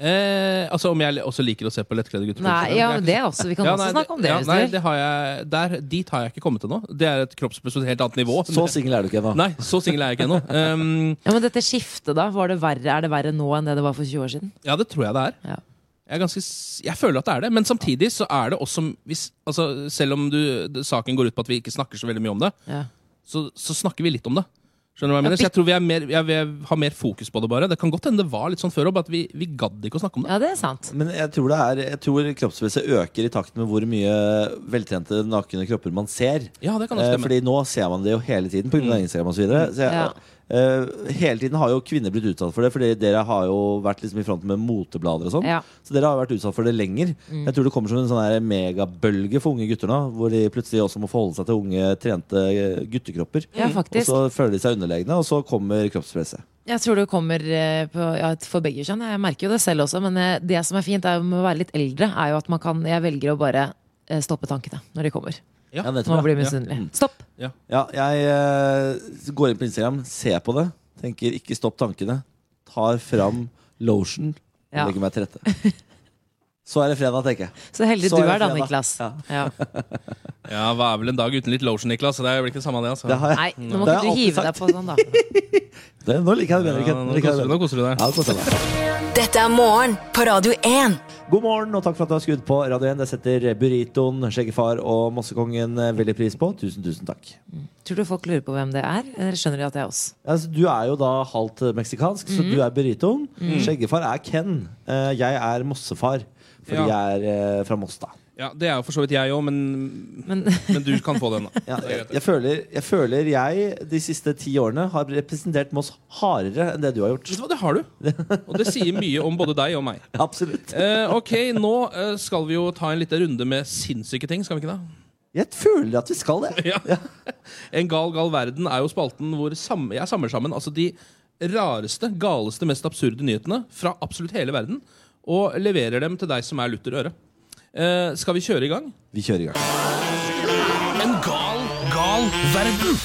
[SPEAKER 4] Eh, altså Om jeg også liker å se på lettkledde gutter? på
[SPEAKER 2] Nei, ja,
[SPEAKER 4] Instagram, jeg er
[SPEAKER 2] men
[SPEAKER 4] ikke
[SPEAKER 2] det også. Vi kan
[SPEAKER 4] Ja,
[SPEAKER 2] også
[SPEAKER 4] nei,
[SPEAKER 2] snakke om det.
[SPEAKER 4] ja,
[SPEAKER 2] hvis du
[SPEAKER 4] nei,
[SPEAKER 2] vil.
[SPEAKER 4] det har jeg, der, dit har jeg ikke kommet ennå. Det er et kroppspress på et helt annet nivå.
[SPEAKER 6] Så singel er du ikke ennå.
[SPEAKER 4] Nei, så singel er jeg ikke ennå. Um,
[SPEAKER 2] Ja, men dette skiftet, da? Var det verre, er det verre nå enn det det var for 20 år siden?
[SPEAKER 4] ja, det tror jeg det er.
[SPEAKER 2] Ja.
[SPEAKER 4] Jeg, er ganske, s- jeg føler at det er det, men samtidig så er det også hvis, altså, Selv om du, d- saken går ut på at vi ikke snakker så veldig mye om det,
[SPEAKER 2] Ja.
[SPEAKER 4] så, så snakker vi litt om det. Skjønner du hva Jeg
[SPEAKER 2] Ja,
[SPEAKER 4] mener? Så jeg tror vi, er mer, jeg, vi har mer fokus på det, bare. Det kan godt hende det var litt sånn før òg, bare at vi, vi gadd ikke å snakke om det.
[SPEAKER 2] ja, det er sant.
[SPEAKER 6] Men jeg tror, det er, jeg tror kroppspresset øker i takt med hvor mye veltrente, nakne kropper man ser.
[SPEAKER 4] Ja, det kan
[SPEAKER 6] Eh,
[SPEAKER 4] også stemme.
[SPEAKER 6] Fordi nå ser man det jo hele tiden pga. av Instagram osv. Så
[SPEAKER 2] Mm.
[SPEAKER 6] jeg,
[SPEAKER 2] Ja.
[SPEAKER 6] eh, hele tiden har jo kvinner blitt utsatt for det, Fordi dere har jo vært liksom i front med moteblader og sånn.
[SPEAKER 2] Ja. Mm.
[SPEAKER 6] Så dere har vært utsatt for det lenger. Jeg tror det kommer som en sånn her megabølge for unge gutter nå, hvor de plutselig også må forholde seg til unge, trente eh, guttekropper.
[SPEAKER 2] Ja,
[SPEAKER 6] Og
[SPEAKER 2] faktisk.
[SPEAKER 6] så føler de seg underlegne, og så kommer kroppspresset.
[SPEAKER 2] Jeg tror det kommer eh, på, ja, for begge kjønn. Jeg merker jo det selv også. Men eh, det som er fint er jo med å være litt eldre, er jo at man kan Jeg velger å bare eh, stoppe tankene når de kommer.
[SPEAKER 4] Ja.
[SPEAKER 6] Ja, nettopp,
[SPEAKER 2] Man
[SPEAKER 6] ja.
[SPEAKER 2] blir misunnelig. Stopp!
[SPEAKER 6] Ja, jeg eh, går inn på Instagram, ser på det, tenker ikke stopp tankene. Tar fram lotion og
[SPEAKER 2] Ja.
[SPEAKER 6] legger meg til rette. Så er det fredag, tenker jeg.
[SPEAKER 2] Så heldig
[SPEAKER 6] Så
[SPEAKER 2] du
[SPEAKER 6] er det
[SPEAKER 2] er da,
[SPEAKER 6] fredag.
[SPEAKER 2] Niklas.
[SPEAKER 6] Ja.
[SPEAKER 2] Ja.
[SPEAKER 4] Ja, Hva er vel en dag uten litt lotion, Niklas? Det blir ikke det samme, det. altså
[SPEAKER 6] Det har jeg.
[SPEAKER 2] Nei, nå må
[SPEAKER 6] Det har
[SPEAKER 2] ikke
[SPEAKER 6] jeg
[SPEAKER 2] du hive
[SPEAKER 6] alltid
[SPEAKER 2] deg på sånn, da.
[SPEAKER 6] Det, nå liker jeg det bedre.
[SPEAKER 4] Ja,
[SPEAKER 6] Ken. Nå
[SPEAKER 4] nå,
[SPEAKER 6] liker jeg
[SPEAKER 4] koser,
[SPEAKER 6] det
[SPEAKER 4] nå
[SPEAKER 6] bedre.
[SPEAKER 4] koser du deg.
[SPEAKER 6] Ja, det koser meg.
[SPEAKER 5] Dette er morgen på Radio 1.
[SPEAKER 6] God morgen og takk for at du har skrudd på Radio 1. Det setter Burritoen, Skjeggefar og Mossekongen eh, veldig pris på. Tusen, tusen takk.
[SPEAKER 2] Tror du folk lurer på hvem det er? Eller skjønner de at det er oss?
[SPEAKER 6] Altså, du er jo da halvt eh, meksikansk, så
[SPEAKER 4] Mhm.
[SPEAKER 6] du er Burritoen. Skjeggefar er Ken. Eh, Jeg er Mossefar, fordi
[SPEAKER 4] Ja.
[SPEAKER 6] jeg er eh, fra Moss, da.
[SPEAKER 4] Ja, Det er jo for så vidt jeg òg, men,
[SPEAKER 2] Men
[SPEAKER 4] men du kan få den. da
[SPEAKER 6] Ja, jeg, jeg, føler, jeg føler jeg de siste ti årene har representert Moss hardere enn det du har gjort.
[SPEAKER 4] Vet du hva, det har du. Og det sier mye om både deg og meg.
[SPEAKER 6] Absolutt.
[SPEAKER 4] Eh, ok, nå eh, skal vi jo ta en liten runde med sinnssyke ting, skal vi ikke det?
[SPEAKER 6] Jeg føler at vi skal det.
[SPEAKER 4] Ja. En gal, gal verden er jo spalten hvor sam jeg samler sammen altså de rareste, galeste, mest absurde nyhetene fra absolutt hele verden, og leverer dem til deg som er lutter øre. Eh, skal vi kjøre i gang?
[SPEAKER 6] Vi kjører i gang.
[SPEAKER 4] En gal, gal verden.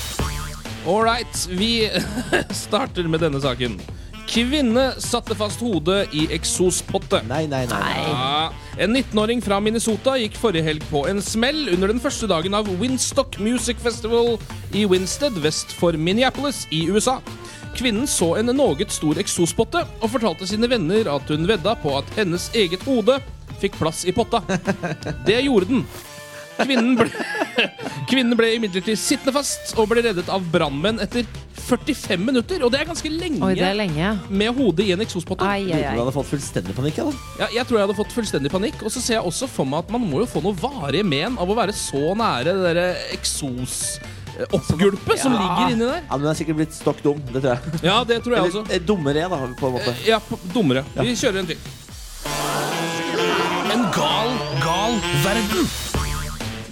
[SPEAKER 4] All right, vi starter med denne saken. Kvinne satte fast hodet i eksospotte.
[SPEAKER 6] Nei, nei, nei. nei.
[SPEAKER 4] Ja, en 19-åring fra Minnesota gikk forrige helg på en smell under den første dagen av Winstock Music Festival i Winstead vest for Minneapolis i USA. Kvinnen så en noget stor eksospotte og fortalte sine venner at hun vedda på at hennes eget hode fikk plass i potta. Det gjorde den. Kvinnen ble, kvinnen ble imidlertid sittende fast og ble reddet av brannmenn etter 45 minutter. Og det er ganske lenge
[SPEAKER 2] oi, det er lenge.
[SPEAKER 4] med hodet i en eksospotte.
[SPEAKER 2] Ai, ai,
[SPEAKER 6] Jeg
[SPEAKER 2] ai.
[SPEAKER 6] hadde fått fullstendig panikk. jeg, da.
[SPEAKER 4] Ja, jeg tror jeg hadde fått fullstendig panikk. Og så ser jeg også for meg at man må jo få noe varige men av å være så nære det derre eksos-oppgulpet som ligger inni der.
[SPEAKER 6] Ja, men Hun er sikkert blitt stokk dum. Det tror jeg.
[SPEAKER 4] Ja, det tror jeg
[SPEAKER 6] Eller
[SPEAKER 4] også.
[SPEAKER 6] eh, dummere, da, på en måte.
[SPEAKER 4] Ja, p- dummere. Vi kjører en til. En gal, gal verden.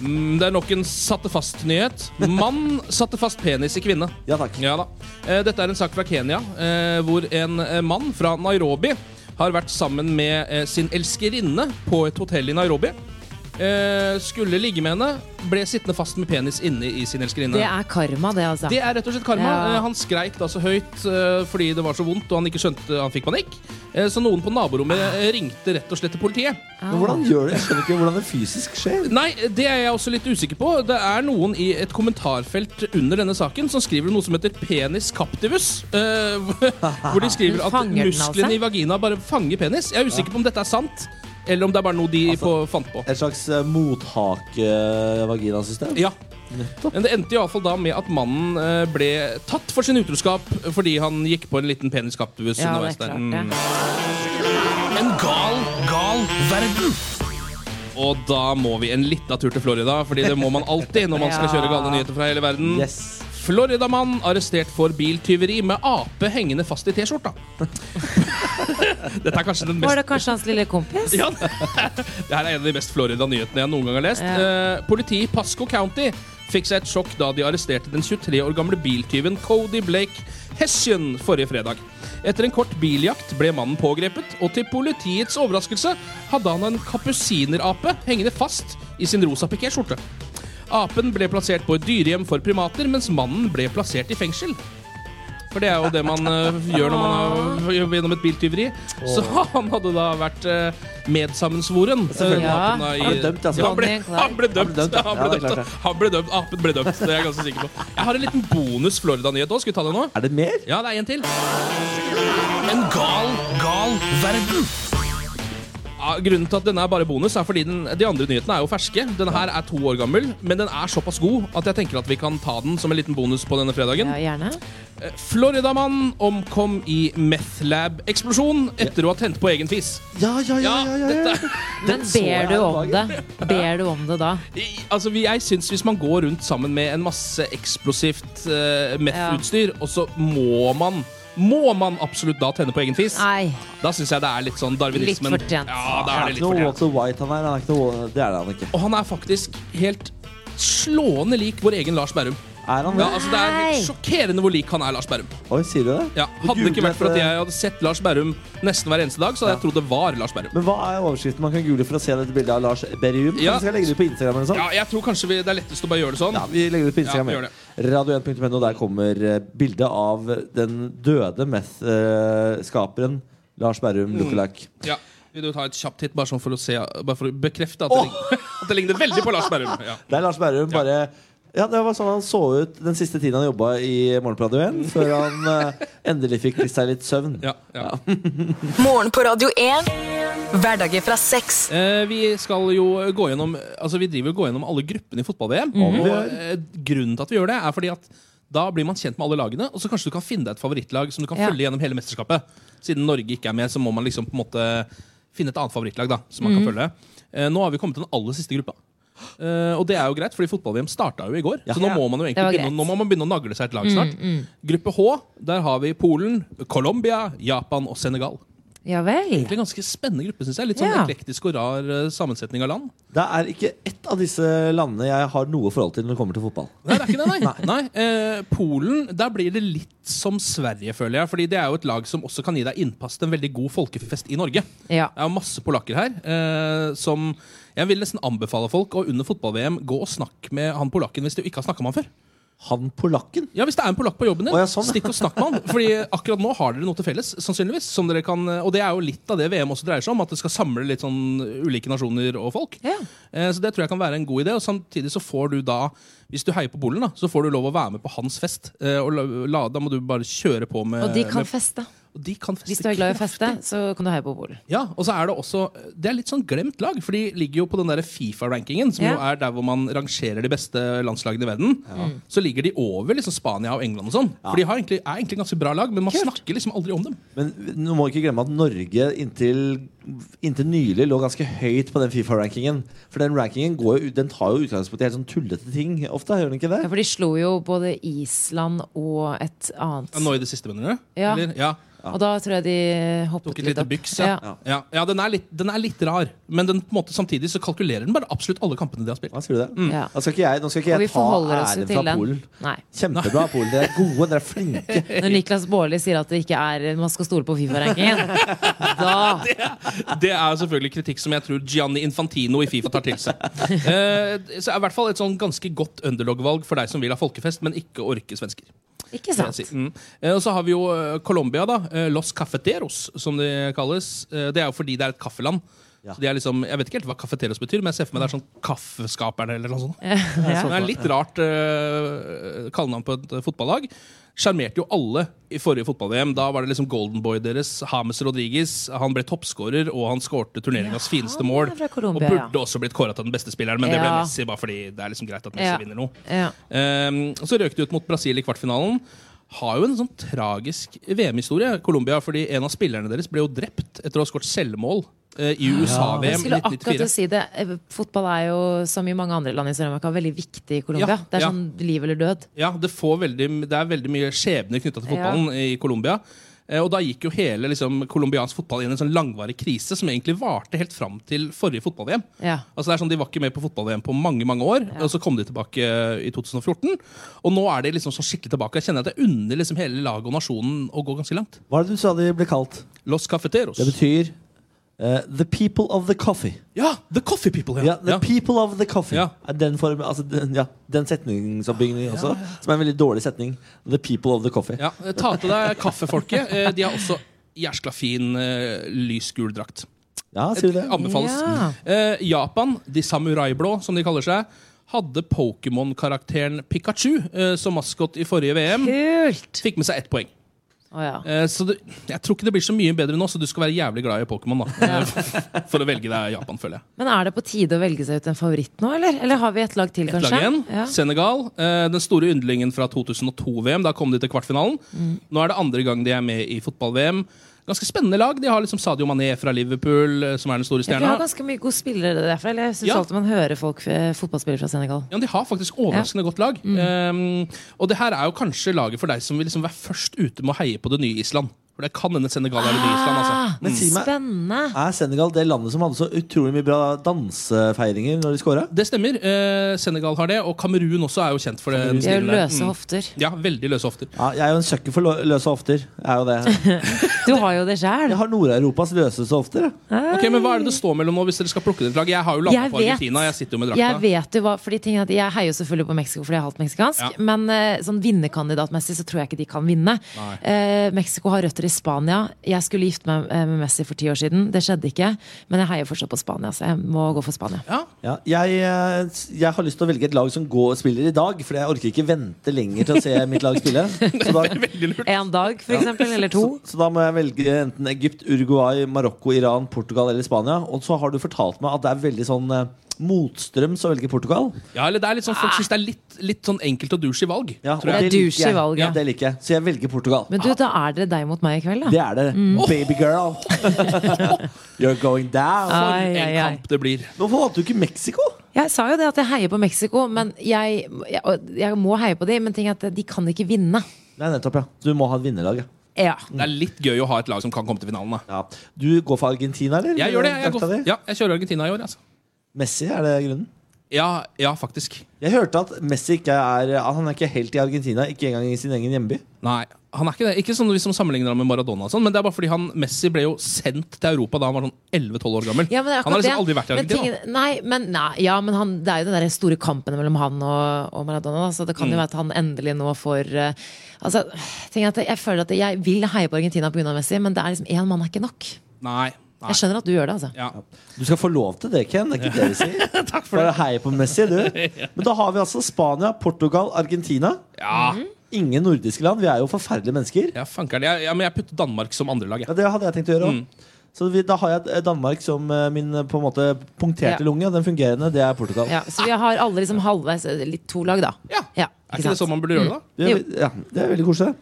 [SPEAKER 4] Mm, Det er nok en satte fast-nyhet. Mann satte fast penis i kvinne.
[SPEAKER 6] Ja takk.
[SPEAKER 4] Ja da. Eh, Dette er en sak fra Kenya, eh, hvor en eh, mann fra Nairobi har vært sammen med eh, sin elskerinne på et hotell i Nairobi. Eh, Skulle ligge med henne, ble sittende fast med penis inne i sin elskerinne.
[SPEAKER 2] Det er karma, det, altså.
[SPEAKER 4] Det er rett og slett karma.
[SPEAKER 2] Ja.
[SPEAKER 4] Eh, Han skreik da så høyt eh, fordi det var så vondt, og han ikke skjønte han fikk panikk. Eh, Så noen på naborommet
[SPEAKER 2] Ah.
[SPEAKER 4] eh, ringte rett og slett til politiet.
[SPEAKER 6] Men hvordan gjør det? Jeg skjønner ikke hvordan det fysisk skjer.
[SPEAKER 4] Nei, det er jeg også litt usikker på. Det er noen i et kommentarfelt under denne saken som skriver noe som heter penis captivus. eh, hvor de skriver
[SPEAKER 2] Den
[SPEAKER 4] at
[SPEAKER 2] fanger den, altså.
[SPEAKER 4] musklene i vagina bare fanger penis. Jeg er usikker på om dette er sant. Eller om det er bare noe de på, fant på.
[SPEAKER 6] Et slags eh, mothake-vaginasystem?
[SPEAKER 4] Ja. Men det endte iallfall da med at mannen eh, ble tatt for sin utroskap fordi han gikk på en liten peniskaptus
[SPEAKER 2] Ja, det
[SPEAKER 4] underveis
[SPEAKER 2] er
[SPEAKER 4] der. Mm.
[SPEAKER 2] klart det.
[SPEAKER 4] En gal, gal verden! Og da må vi en liten tur til Florida, Fordi det må man alltid når man skal kjøre gale nyheter fra hele verden.
[SPEAKER 6] Yes.
[SPEAKER 4] Floridamann arrestert for biltyveri med ape hengende fast i T-skjorta. Dette er kanskje den
[SPEAKER 2] Var
[SPEAKER 4] mest
[SPEAKER 2] det kanskje hans lille kompis?
[SPEAKER 4] ja, det her er en av de mest Florida nyhetene jeg noen gang har lest.
[SPEAKER 2] Ja.
[SPEAKER 4] Eh, politiet i Pasco County fikk seg et sjokk da de arresterte den 23 år gamle biltyven Cody Blake Hessian forrige fredag. Etter en kort biljakt ble mannen pågrepet, og til politiets overraskelse hadde han en kapusinerape hengende fast i sin rosa pikéskjorte. Apen ble plassert på et dyrehjem for primater, mens mannen ble plassert i fengsel. For det er jo det man eh, gjør når man har gjennom et biltyveri. Så han hadde da vært eh, medsammensvoren.
[SPEAKER 2] Selvfølgelig.
[SPEAKER 4] eh, apen da
[SPEAKER 2] Ja.
[SPEAKER 4] i-
[SPEAKER 6] Han ble dømt, altså.
[SPEAKER 4] Ja, Han ble,
[SPEAKER 2] Bonnie and Clyde.
[SPEAKER 4] han ble dømt.
[SPEAKER 6] Han ble dømt, ja.
[SPEAKER 4] Han ble
[SPEAKER 6] Ja, det er
[SPEAKER 4] dømt.
[SPEAKER 6] klart det.
[SPEAKER 4] Han ble dømt. Apen ble dømt. Det er jeg ganske sikker på. Jeg har en liten bonus Florida-nyhet òg. Skal vi ta det nå?
[SPEAKER 6] Er det mer?
[SPEAKER 4] Ja, det er en til. En gal, gal verden. Ja, grunnen til at denne er bare bonus, er fordi den, de andre nyhetene er jo ferske. Denne her er to år gammel, men den er såpass god at jeg tenker at vi kan ta den som en liten bonus på denne fredagen.
[SPEAKER 2] Ja, gjerne.
[SPEAKER 4] Floridamann omkom i methlab-eksplosjon etter å ha tent på egen fis.
[SPEAKER 6] Ja, ja, ja. ja, ja, ja.
[SPEAKER 2] Men
[SPEAKER 6] så jeg
[SPEAKER 2] ber du
[SPEAKER 6] her om
[SPEAKER 2] om det? Ber du om det da?
[SPEAKER 4] I- Altså, vi- jeg syns hvis man går rundt sammen med en masse eksplosivt uh, meth-utstyr, og så må man må man absolutt da tenne på egen fis?
[SPEAKER 2] Nei.
[SPEAKER 4] Da syns jeg det er litt sånn darwinismen.
[SPEAKER 2] Litt fortjent.
[SPEAKER 4] Ja, da
[SPEAKER 6] Han
[SPEAKER 4] er
[SPEAKER 6] er
[SPEAKER 4] det
[SPEAKER 6] ikke
[SPEAKER 4] litt
[SPEAKER 6] noe
[SPEAKER 4] fortjent.
[SPEAKER 6] Walter White, han her. Han er ikke noe, det er det han ikke.
[SPEAKER 4] Og han er faktisk helt slående lik vår egen Lars Berrum.
[SPEAKER 6] Er han
[SPEAKER 4] Ja,
[SPEAKER 6] det?
[SPEAKER 4] altså, det er helt
[SPEAKER 2] Nei.
[SPEAKER 4] sjokkerende hvor lik han er Lars Berrum.
[SPEAKER 6] Oi, sier du det?
[SPEAKER 4] Ja, hadde det ikke vært for at jeg hadde sett Lars Berrum nesten hver eneste dag, så hadde jeg trodd det var Lars Berrum.
[SPEAKER 6] Men hva er overskriften man kan google for å se dette bildet av Lars Berrum?
[SPEAKER 4] Ja.
[SPEAKER 6] Ja. Skal jeg legge det ut på Instagram eller noe sånt?
[SPEAKER 4] Ja, jeg tror kanskje vi, det er lettest å bare gjøre det sånn.
[SPEAKER 6] Ja, vi legger det ut på Instagram.
[SPEAKER 4] Ja,
[SPEAKER 6] Ja,
[SPEAKER 4] gjør det.
[SPEAKER 6] Radio1.no, der kommer eh, bildet av den døde meth-skaperen Lars
[SPEAKER 4] Mm.
[SPEAKER 6] Berrum Lookalike.
[SPEAKER 4] Ja. Vil du ta et kjapt titt, bare, sånn for, å se, bare for å bekrefte at det, ligner, at det ligner veldig på Lars Berrum? Ja.
[SPEAKER 6] Det er Lars Berrum, bare ja, Det var sånn han så ut den siste tiden han jobba i Morgenbladet igjen, før han eh, endelig fikk seg litt søvn.
[SPEAKER 4] Ja, ja.
[SPEAKER 5] Morgen på Radio 1. Hverdager fra seks.
[SPEAKER 4] Eh, vi skal jo gå gjennom Altså vi driver og går gjennom alle gruppene i fotball-VM.
[SPEAKER 2] Mhm.
[SPEAKER 4] Og eh, grunnen til at vi gjør det, er fordi at da blir man kjent med alle lagene. Og så kanskje du kan finne deg et favorittlag som du kan
[SPEAKER 2] Ja.
[SPEAKER 4] følge gjennom hele mesterskapet. Siden Norge ikke er med, så må man liksom på en måte finne et annet favorittlag da som man
[SPEAKER 2] Mhm.
[SPEAKER 4] kan følge. Eh, nå har vi kommet til den aller siste gruppa. Eh, og det er jo greit, fordi fotball-VM starta jo i går. Så nå må man jo
[SPEAKER 2] Det var
[SPEAKER 4] egentlig begynne,
[SPEAKER 2] greit. Mhm,
[SPEAKER 4] nå må man begynne å nagle seg et lag snart. Gruppe H, der har vi Polen, Colombia, Japan og Senegal.
[SPEAKER 2] Ja vel.
[SPEAKER 4] Egentlig ganske spennende gruppe, synes jeg. Litt sånn
[SPEAKER 2] Ja.
[SPEAKER 4] eklektisk og rar eh, sammensetning av land.
[SPEAKER 6] Det er ikke ett av disse landene jeg har noe forhold til når det kommer til fotball.
[SPEAKER 4] Nei, det er ikke det, nei. nei. eh, Polen, der blir det litt som Sverige, føler jeg. Fordi det er jo et lag som også kan gi deg innpass til en veldig god folkefest i Norge.
[SPEAKER 2] Ja.
[SPEAKER 4] Det er jo masse polakker her eh, som Jeg vil nesten anbefale folk å under fotball-VM gå og snakke med han polakken hvis du ikke har snakka med han før.
[SPEAKER 6] Han polakken
[SPEAKER 4] Ja, Hvis det er en polakk på jobben din,
[SPEAKER 6] Å, ja, sånn.
[SPEAKER 4] stikk og snakk med han. Fordi akkurat nå har dere noe til felles, sannsynligvis. Som dere kan, og det er jo litt av det VM også dreier seg om, at det skal samle litt sånn ulike nasjoner og folk.
[SPEAKER 2] Ja.
[SPEAKER 4] Eh, Så det tror jeg kan være en god idé. Og samtidig så får du da, hvis du heier på Polen, da, så får du lov å være med på hans fest. Eh, Og la- la, da må du bare kjøre på med
[SPEAKER 2] Og de kan
[SPEAKER 4] Eh, med,
[SPEAKER 2] feste.
[SPEAKER 4] og de kan feste.
[SPEAKER 2] Hvis du er glad i å feste, så kan du heie på Polen.
[SPEAKER 4] Ja, og så er det også Det er litt sånn glemt lag, for de ligger jo på den der Fifa-rankingen, som jo
[SPEAKER 2] Ja.
[SPEAKER 4] er der hvor man rangerer de beste landslagene i verden. Så ligger de over liksom Spania og England og sånn. For de har egentlig, er egentlig ganske bra lag, men man snakker liksom aldri om dem.
[SPEAKER 6] Men nå må vi ikke glemme at Norge inntil, inntil nylig lå ganske høyt på den Fifa-rankingen. For den rankingen går jo, ut- den tar jo utgangspunkt i helt sånn tullete ting ofte. gjør den ikke det?
[SPEAKER 2] Ja, for de slo jo både Island og et annet.
[SPEAKER 4] Ja, nå i det siste, mener du?
[SPEAKER 2] Ja.
[SPEAKER 4] Eller? ja.
[SPEAKER 2] Og da tror jeg de hoppet
[SPEAKER 4] Tok et
[SPEAKER 2] litt
[SPEAKER 4] lite
[SPEAKER 2] opp.
[SPEAKER 4] byks, ja. Ja. ja. den, er litt, den er litt rar, men den, på en måte, samtidig så kalkulerer den bare absolutt alle kampene de har spilt.
[SPEAKER 6] Hva sier du det?
[SPEAKER 2] Ja.
[SPEAKER 6] Da skal ikke jeg, nå skal ikke
[SPEAKER 2] Mm. Og vi
[SPEAKER 6] jeg ta
[SPEAKER 2] forholder oss jo
[SPEAKER 6] æren
[SPEAKER 2] til
[SPEAKER 6] fra
[SPEAKER 2] den.
[SPEAKER 6] Polen.
[SPEAKER 2] Nei.
[SPEAKER 6] Kjempebra, Polen. Dere er gode, dere er flinke.
[SPEAKER 2] Når Niklas Baarli sier at det ikke er man skal stole på Fifa-rankingen, da
[SPEAKER 4] Det er selvfølgelig kritikk som jeg tror Gianni Infantino i Fifa tar til seg. Eh, så er i hvert fall et sånn ganske godt underdog-valg for deg som vil ha folkefest, men ikke orker svensker.
[SPEAKER 2] Ikke
[SPEAKER 4] vil jeg
[SPEAKER 2] sant?
[SPEAKER 4] si. Mm. Eh, Og så har vi jo eh, Colombia, da. Eh, Los Cafeteros, som det kalles. Eh, Det er jo fordi det er et kaffeland. Så de er liksom, Jeg vet ikke helt hva Cafeterias betyr, men jeg ser for meg det er sånn Kaffeskaperne eller noe sånt.
[SPEAKER 2] Ja.
[SPEAKER 4] Det er litt rart uh, kallenavn på et eh, fotballag. Sjarmerte jo alle i forrige fotball-VM. Da var det liksom Golden Boy deres, James Rodriguez. Han ble toppskårer, og han skårte turneringas
[SPEAKER 2] Ja,
[SPEAKER 4] fineste
[SPEAKER 2] han
[SPEAKER 4] mål.
[SPEAKER 2] er fra Colombia,
[SPEAKER 4] og
[SPEAKER 2] ja.
[SPEAKER 4] burde også blitt kåra til den beste spilleren, men det ble
[SPEAKER 2] Ja.
[SPEAKER 4] Messi bare fordi det er liksom greit at Messi
[SPEAKER 2] Ja.
[SPEAKER 4] vinner noe.
[SPEAKER 2] Ja.
[SPEAKER 4] Ehm, og så røk de ut mot Brasil i kvartfinalen. Har jo en sånn tragisk VM-historie, Colombia, fordi en av spillerne deres ble jo drept etter å ha skåret selvmål eh, i
[SPEAKER 2] Jeg
[SPEAKER 4] USA-VM i
[SPEAKER 2] skulle akkurat til å
[SPEAKER 4] 1994.
[SPEAKER 2] si det. Eh, Fotball er jo, som i mange andre land i Sør-Amerika, veldig viktig i Colombia.
[SPEAKER 4] Ja,
[SPEAKER 2] det er
[SPEAKER 4] ja.
[SPEAKER 2] sånn liv eller død.
[SPEAKER 4] Ja, det, får veldig, det er veldig mye skjebner knytta til fotballen i Colombia. Eh, Og da gikk jo hele liksom, colombiansk fotball inn i en sånn langvarig krise som egentlig varte helt fram til forrige fotball-VM.
[SPEAKER 2] Ja.
[SPEAKER 4] Altså det er sånn De var ikke med på fotball-VM på mange mange år, og så kom de tilbake eh, i 2014. Og nå er de liksom så skikkelig tilbake. Jeg kjenner at jeg unner liksom hele laget og nasjonen å gå ganske langt.
[SPEAKER 6] Hva er det du sa de ble kalt?
[SPEAKER 4] Los Cafeteros.
[SPEAKER 6] Det betyr eh, The people of the coffee.
[SPEAKER 4] Ja, The Coffee People!
[SPEAKER 6] Ja,
[SPEAKER 4] Ja,
[SPEAKER 6] the people of the coffee
[SPEAKER 4] Ja.
[SPEAKER 6] er den, form, altså, den, ja, den setningsoppbyggingen også, som er en veldig dårlig setning. The people of the coffee.
[SPEAKER 4] Ja, eh, Ta til deg kaffefolket. Eh, De har også jæskla fin eh, lysgul drakt.
[SPEAKER 6] Ja, sier du det?
[SPEAKER 4] Anbefales.
[SPEAKER 2] Ja.
[SPEAKER 4] Eh, Japan, de samuraiblå, som de kaller seg, hadde Pokémon-karakteren Pikachu eh, som maskot i forrige VM.
[SPEAKER 2] Kult!
[SPEAKER 4] Fikk med seg ett poeng.
[SPEAKER 2] Å ja.
[SPEAKER 4] Eh, så det, jeg tror ikke det blir så mye bedre nå, så du skal være jævlig glad i Pokémon. da Eh, For å velge deg Japan, føler jeg.
[SPEAKER 2] Men er det på tide å velge seg ut en favoritt nå, eller? Eller har vi et lag til,
[SPEAKER 4] Et
[SPEAKER 2] kanskje?
[SPEAKER 4] lag igjen.
[SPEAKER 2] Ja.
[SPEAKER 4] Senegal. Eh, den store yndlingen fra 2002-VM. Da kom de til kvartfinalen.
[SPEAKER 2] Mm.
[SPEAKER 4] Nå er det andre gang de er med i fotball-VM. Ganske spennende lag. De har liksom Sadio Mané fra Liverpool, eh, som er den store
[SPEAKER 2] Ja, for Vi
[SPEAKER 4] stjerna.
[SPEAKER 2] har ganske mye gode spillere derfra. Eller jeg syns
[SPEAKER 4] Ja.
[SPEAKER 2] alltid man hører folk eh, fotballspillere fra Senegal.
[SPEAKER 4] Ja, De har faktisk overraskende godt lag.
[SPEAKER 2] Mm.
[SPEAKER 4] Ehm, og det her er jo kanskje laget for deg som vil liksom være først ute med å heie på det nye Island. For det kan hende Senegal er det nye Island.
[SPEAKER 2] Ah!
[SPEAKER 4] altså
[SPEAKER 6] Men si meg,
[SPEAKER 2] Spennende!
[SPEAKER 6] er Senegal det landet som hadde så utrolig mye bra dansefeiringer når de scora?
[SPEAKER 4] Det stemmer. Eh, Senegal har det, og Kamerun også er jo kjent for det. den
[SPEAKER 2] De har jo
[SPEAKER 4] stilen der. Mm.
[SPEAKER 2] løse hofter.
[SPEAKER 4] Ja, veldig løse hofter.
[SPEAKER 6] Ja, jeg er jo en søkker for lø- løse hofter. Jeg, er jo det.
[SPEAKER 2] Du har jo det sjæl.
[SPEAKER 6] jeg har Nord-Europas løseste hofter. jeg.
[SPEAKER 4] Ok, men Hva er det det står mellom nå, hvis dere skal plukke dere et lag? Jeg har jo
[SPEAKER 2] Jeg
[SPEAKER 4] landet på
[SPEAKER 2] vet.
[SPEAKER 4] Argentina. Jeg sitter jo med
[SPEAKER 2] Jeg
[SPEAKER 4] drakta.
[SPEAKER 2] vet jo hva, fordi ting er at jeg heier jo selvfølgelig på Mexico fordi jeg er halvt meksikansk.
[SPEAKER 4] Ja.
[SPEAKER 2] Men eh, sånn vinnerkandidatmessig så tror jeg ikke de kan vinne.
[SPEAKER 4] Nei.
[SPEAKER 2] Eh, Mexico har røtter i Spania. Jeg skulle gifte meg eh, med Messi for ti år siden. Det skjedde ikke. Men jeg heier fortsatt på Spania, så jeg må gå for Spania.
[SPEAKER 4] Ja,
[SPEAKER 6] Ja, jeg, eh, s- jeg har lyst til å velge et lag som går og spiller i dag, for jeg orker ikke vente lenger til å se mitt lag spille. Så da,
[SPEAKER 4] veldig lurt.
[SPEAKER 2] En dag, for eksempel. Eller to.
[SPEAKER 6] så, så da må jeg velge enten Egypt, Uruguay, Marokko, Iran, Portugal eller Spania. Og så har du fortalt meg at det er veldig sånn eh, motstrøms å velge Portugal.
[SPEAKER 4] Ja, eller det er litt sånn, Folk syns det er litt, litt sånn enkelt og douche i valg.
[SPEAKER 6] Ja,
[SPEAKER 4] tror jeg.
[SPEAKER 6] og
[SPEAKER 2] Det er
[SPEAKER 6] liker jeg.
[SPEAKER 2] douche i valget.
[SPEAKER 6] Ja, det liker jeg. Så jeg velger Portugal.
[SPEAKER 2] Men Mm. du, da er dere deg mot meg i kveld, da.
[SPEAKER 6] Det er det. Baby girl. You're going down.
[SPEAKER 2] Ah. Ai,
[SPEAKER 4] En
[SPEAKER 2] ai, ai.
[SPEAKER 4] kamp det blir.
[SPEAKER 6] Hvorfor valgte du ikke Mexico?
[SPEAKER 2] Jeg sa jo det at jeg heier på Mexico, men jeg, jeg, og jeg må heie på de, men ting er at de kan ikke vinne.
[SPEAKER 6] Nei, nettopp, ja. Du må ha et vinnerlag. Ja.
[SPEAKER 2] Ja.
[SPEAKER 4] Det er litt gøy å ha et lag som kan komme til finalen. da
[SPEAKER 6] Ja. Du går for Argentina, eller?
[SPEAKER 4] Jeg gjør det, jeg,
[SPEAKER 6] Drakta
[SPEAKER 4] går,
[SPEAKER 6] di?
[SPEAKER 4] ja, jeg kjører Argentina i år. altså
[SPEAKER 6] Messi, er det grunnen?
[SPEAKER 4] Ja, ja faktisk.
[SPEAKER 6] Jeg hørte at Messi ikke er at Han er ikke helt i Argentina, ikke engang i sin egen hjemby.
[SPEAKER 4] Nei, han er ikke det. Ikke sånn hvis man sammenligner ham med Maradona, og sånn, men det er bare fordi han, Messi ble jo sendt til Europa da han var sånn 11-12 år gammel.
[SPEAKER 2] Ja, men det er
[SPEAKER 4] han har
[SPEAKER 2] akkurat
[SPEAKER 4] liksom aldri vært i
[SPEAKER 2] Men
[SPEAKER 4] Argentina.
[SPEAKER 2] tingen- nei, men, nei, ja, men han, det er jo den der store kampen mellom han og, og Maradona, da, så det kan
[SPEAKER 4] Mm.
[SPEAKER 2] jo være at han endelig nå får eh, Altså, ting er at Jeg føler at jeg vil heie på Argentina pga. Messi, men det er liksom én mann er ikke nok.
[SPEAKER 4] Nei, nei.
[SPEAKER 2] Jeg skjønner at du gjør det, altså.
[SPEAKER 4] Ja.
[SPEAKER 6] Du skal få lov til det, Ken. Det er ikke det vi sier. Takk for Bare hei på Messi, du. Men da har vi altså Spania, Portugal, Argentina.
[SPEAKER 4] Ja.
[SPEAKER 6] Ingen nordiske land. Vi er jo forferdelige mennesker.
[SPEAKER 4] ja, fanker'n. Jeg, ja, men jeg putter Danmark som andrelag.
[SPEAKER 6] Ja, Det hadde jeg tenkt å gjøre òg. Så vi, da har jeg eh, Danmark som eh, min eh, på en måte punkterte
[SPEAKER 2] Ja.
[SPEAKER 6] lunge. og Den fungerende, det er Portugal.
[SPEAKER 2] Ja, så vi har alle liksom halvveis eh, litt to lag, da.
[SPEAKER 4] Ja.
[SPEAKER 2] Ja, Mm.
[SPEAKER 4] Er ikke det sånn man burde gjøre det, da?
[SPEAKER 6] Det er, ja, det er veldig koselig.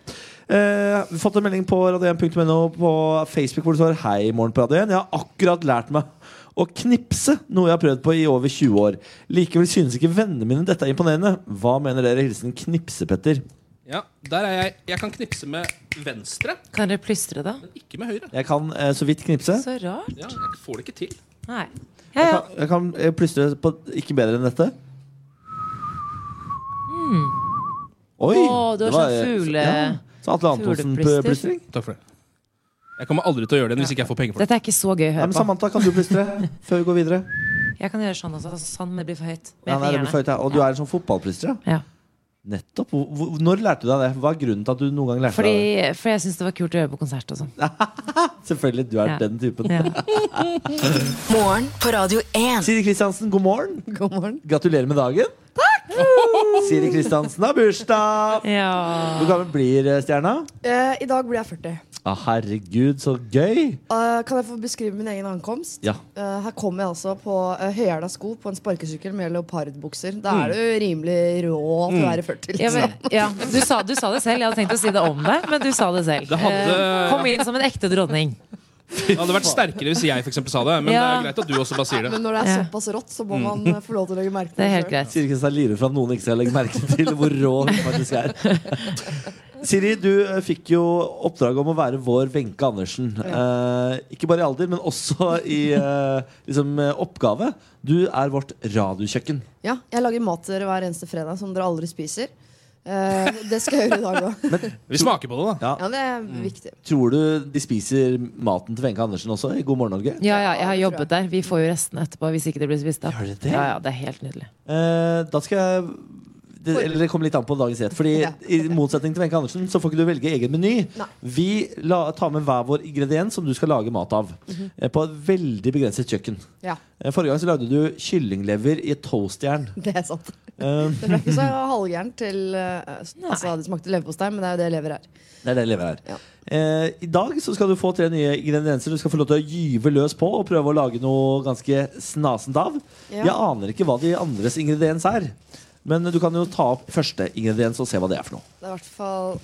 [SPEAKER 6] Eh, vi har fått en melding på radio1.no på Facebook hvor det står 'Hei, morgen på Radio 1'. Jeg har akkurat lært meg å knipse, noe jeg har prøvd på i over 20 år. Likevel synes ikke vennene mine dette er imponerende. Hva mener dere? Hilsen Knipse-Petter.
[SPEAKER 4] Ja, der er jeg. Jeg kan knipse med venstre,
[SPEAKER 2] Kan dere plystre det?
[SPEAKER 4] men ikke med høyre.
[SPEAKER 6] Jeg kan eh, så vidt knipse.
[SPEAKER 2] Så rart.
[SPEAKER 4] Ja, jeg får det ikke til.
[SPEAKER 2] Nei. Ja, ja.
[SPEAKER 6] Jeg kan, jeg kan eh, plystre på ikke bedre enn dette. Oi!
[SPEAKER 2] Å, Hmm. du har
[SPEAKER 6] det var,
[SPEAKER 2] sånn
[SPEAKER 6] eh,
[SPEAKER 2] fugle-
[SPEAKER 6] ja, Så Atle
[SPEAKER 2] fugleplyster.
[SPEAKER 6] Antonsen-plystring.
[SPEAKER 4] Takk for det. Jeg kommer aldri til å gjøre det hvis ikke jeg får penger for det.
[SPEAKER 2] Dette er ikke så gøy å
[SPEAKER 6] Ja,
[SPEAKER 2] høre
[SPEAKER 6] men
[SPEAKER 2] på.
[SPEAKER 6] Samantha, kan du plystre før vi går videre?
[SPEAKER 2] Jeg kan gjøre sånn også. Sånn, men det blir for høyt. Med
[SPEAKER 6] Ja, nei, det blir
[SPEAKER 2] fingrene.
[SPEAKER 6] for høyt, ja. Og du er en sånn fotballplystrer?
[SPEAKER 2] Ja.
[SPEAKER 6] ja. Nettopp. Hvor- hvor- Når lærte du deg det? Hva er grunnen til at du noen gang lærte
[SPEAKER 2] Fordi,
[SPEAKER 6] deg det?
[SPEAKER 2] for jeg syns det var kult å gjøre på konsert og sånn.
[SPEAKER 6] Selvfølgelig, du er
[SPEAKER 2] Ja.
[SPEAKER 6] den typen.
[SPEAKER 2] Ja.
[SPEAKER 5] Morgen på Radio 1.
[SPEAKER 6] Siri Kristiansen, god morgen.
[SPEAKER 7] God morgen.
[SPEAKER 6] Gratulerer med dagen. Takk! Siri Kristiansen har bursdag!
[SPEAKER 2] Ja.
[SPEAKER 6] Hvor gammel blir eh, stjerna?
[SPEAKER 7] Eh, I dag blir jeg 40.
[SPEAKER 6] Ah, herregud, så gøy!
[SPEAKER 7] Eh, kan jeg få beskrive min egen ankomst?
[SPEAKER 6] Ja.
[SPEAKER 7] Eh, her kom jeg altså på uh, høyhæla sko på en sparkesykkel med leopardbukser. Da er du rimelig rå til å være 40.
[SPEAKER 2] Ja,
[SPEAKER 7] Liksom.
[SPEAKER 2] men, ja. Du, sa, du sa det selv. Jeg hadde tenkt å si det om deg, men du sa det selv.
[SPEAKER 4] Det hadde-
[SPEAKER 2] Eh, Kom inn som en ekte dronning.
[SPEAKER 4] Det hadde vært sterkere hvis jeg for eksempel, sa det, men det
[SPEAKER 2] Ja.
[SPEAKER 4] er greit at du også bare sier det.
[SPEAKER 7] Men når det er
[SPEAKER 2] Ja.
[SPEAKER 7] såpass rått, så må man eh, få lov til å legge merke til
[SPEAKER 2] Det er helt
[SPEAKER 7] selv.
[SPEAKER 2] greit.
[SPEAKER 6] Siri Kristiansen lirer for at noen ikke skal legge merke til hvor rå hun faktisk er. Siri, du eh, fikk jo oppdrag om å være vår Wenche Andersen. Eh, ikke bare i alder, men også i eh, liksom, eh, oppgave. Du er vårt radiokjøkken.
[SPEAKER 7] Ja, jeg lager mat til dere hver eneste fredag som dere aldri spiser. Eh, det skal jeg gjøre i dag òg.
[SPEAKER 4] Vi smaker på det, da.
[SPEAKER 7] Ja, det er viktig.
[SPEAKER 6] Tror du de spiser maten til Wenche Andersen også i God morgen, Norge?
[SPEAKER 2] Ja, ja, jeg har jobbet der. Vi får jo restene etterpå hvis ikke det blir spist opp.
[SPEAKER 6] Gjør det det?
[SPEAKER 2] Ja, ja, det er helt nydelig.
[SPEAKER 6] Eh, da skal jeg det, eller det kommer litt an på dagens rett. Fordi
[SPEAKER 7] Ja.
[SPEAKER 6] I motsetning til Wenche Andersen Så får ikke du velge egen meny.
[SPEAKER 7] Nei.
[SPEAKER 6] Vi la, tar med hver vår ingrediens som du skal lage mat av.
[SPEAKER 7] Mhm.
[SPEAKER 6] eh, På et veldig begrenset kjøkken.
[SPEAKER 7] Ja,
[SPEAKER 6] Eh, Forrige gang så lagde du kyllinglever i et toastjern.
[SPEAKER 7] det er sant.
[SPEAKER 6] Eh,
[SPEAKER 7] Det ble ikke så halvgærent til eh, Altså, det smakte leverpostei, men det er jo det jeg lever her.
[SPEAKER 6] det er det lever her.
[SPEAKER 7] Ja.
[SPEAKER 6] Eh, I dag så skal du få tre nye ingredienser du skal få lov til å gyve løs på og prøve å lage noe ganske snasent av.
[SPEAKER 7] Ja.
[SPEAKER 6] Jeg aner ikke hva de andres ingrediens er. Men du kan jo ta opp første ingrediens og se hva det er for noe.
[SPEAKER 7] Det er i hvert fall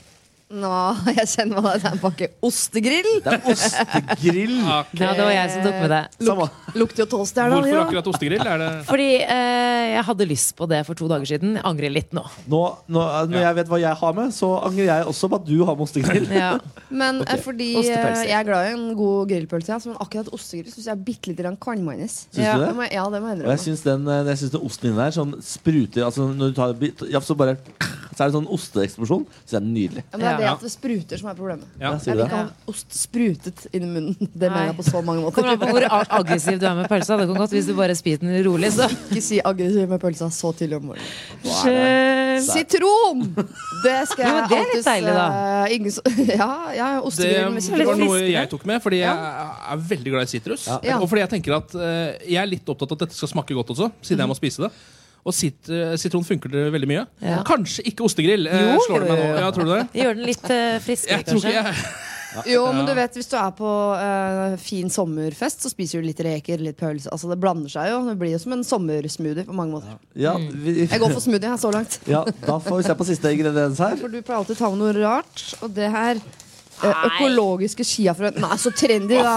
[SPEAKER 7] Nå, jeg kjenner hva det er. Det er en pakke ostegrill.
[SPEAKER 6] Det er ostegrill.
[SPEAKER 2] Ja, det var jeg som tok med det.
[SPEAKER 6] Samme.
[SPEAKER 7] Lukter jo toast der, da.
[SPEAKER 4] Hvorfor
[SPEAKER 7] ja.
[SPEAKER 4] akkurat ostegrill? Er det
[SPEAKER 2] Fordi eh, jeg hadde lyst på det for to dager siden. Jeg angrer litt nå.
[SPEAKER 6] Nå, nå, når jeg vet hva jeg har med, så angrer jeg også på at du har med ostegrill.
[SPEAKER 2] Ja.
[SPEAKER 7] Men eh, fordi eh,
[SPEAKER 6] Ostepølser.
[SPEAKER 7] jeg er glad i en god grillpølse, ja, så- men akkurat ostegrill syns jeg er bitte lite kannmannes.
[SPEAKER 6] Syns
[SPEAKER 7] ja.
[SPEAKER 6] du det?
[SPEAKER 7] må jeg- Ja, det må jeg
[SPEAKER 6] Og jeg
[SPEAKER 7] innrømme.
[SPEAKER 6] syns den, eh, jeg syns den osten din der som spruter altså Når du tar en bit, ja, så bare Så er det sånn osteeksplosjon. Så er den nydelig.
[SPEAKER 7] Ja, men det er det
[SPEAKER 4] Ja.
[SPEAKER 7] at det spruter som er problemet.
[SPEAKER 4] Ja.
[SPEAKER 6] Ja,
[SPEAKER 7] Jeg
[SPEAKER 6] sier
[SPEAKER 7] vil
[SPEAKER 6] du
[SPEAKER 7] ikke
[SPEAKER 6] det?
[SPEAKER 7] ha ost sprutet inn i munnen. Det mener
[SPEAKER 2] Nei.
[SPEAKER 7] jeg på så mange måter.
[SPEAKER 2] Kommer an på hvor ag- aggressiv du er med pølsa. Det kan godt hvis du bare spyr den rolig, så
[SPEAKER 7] Ikke si aggressiv med pølsa så tidlig om morgenen.
[SPEAKER 2] Unnskyld.
[SPEAKER 7] Sitron! Det skal
[SPEAKER 2] Jo,
[SPEAKER 7] jeg
[SPEAKER 2] men det er litt deilig, da.
[SPEAKER 7] eh, ingen som- ja, ja ostegrill med
[SPEAKER 4] Det
[SPEAKER 7] sitron.
[SPEAKER 4] var noe
[SPEAKER 2] friskere.
[SPEAKER 4] jeg tok med, fordi jeg er veldig glad i sitrus.
[SPEAKER 7] Ja.
[SPEAKER 4] Og fordi jeg tenker at eh, jeg er litt opptatt av at dette skal smake godt også, siden jeg må spise det. Og sit, eh, sitron funker det veldig mye.
[SPEAKER 2] Ja.
[SPEAKER 4] Kanskje ikke ostegrill. eh,
[SPEAKER 2] Jo.
[SPEAKER 4] slår det meg nå. Ja, tror du det?
[SPEAKER 2] Gjør den litt eh, friskere,
[SPEAKER 4] Jeg tror ikke
[SPEAKER 2] kanskje.
[SPEAKER 4] jeg
[SPEAKER 7] Jo, men du vet, hvis du er på eh, fin sommerfest, så spiser du litt reker, litt pølse. Altså, det blander seg jo. Det blir jo som en sommersmoothie på mange måter.
[SPEAKER 6] Ja, vi,
[SPEAKER 7] mm. Jeg går for smoothie jeg, så langt.
[SPEAKER 6] ja, da får vi se på siste ingrediens her.
[SPEAKER 7] For du pleier alltid å ta med noe rart, og det her eh, Økologiske skiafrø Nei, så trendy, da.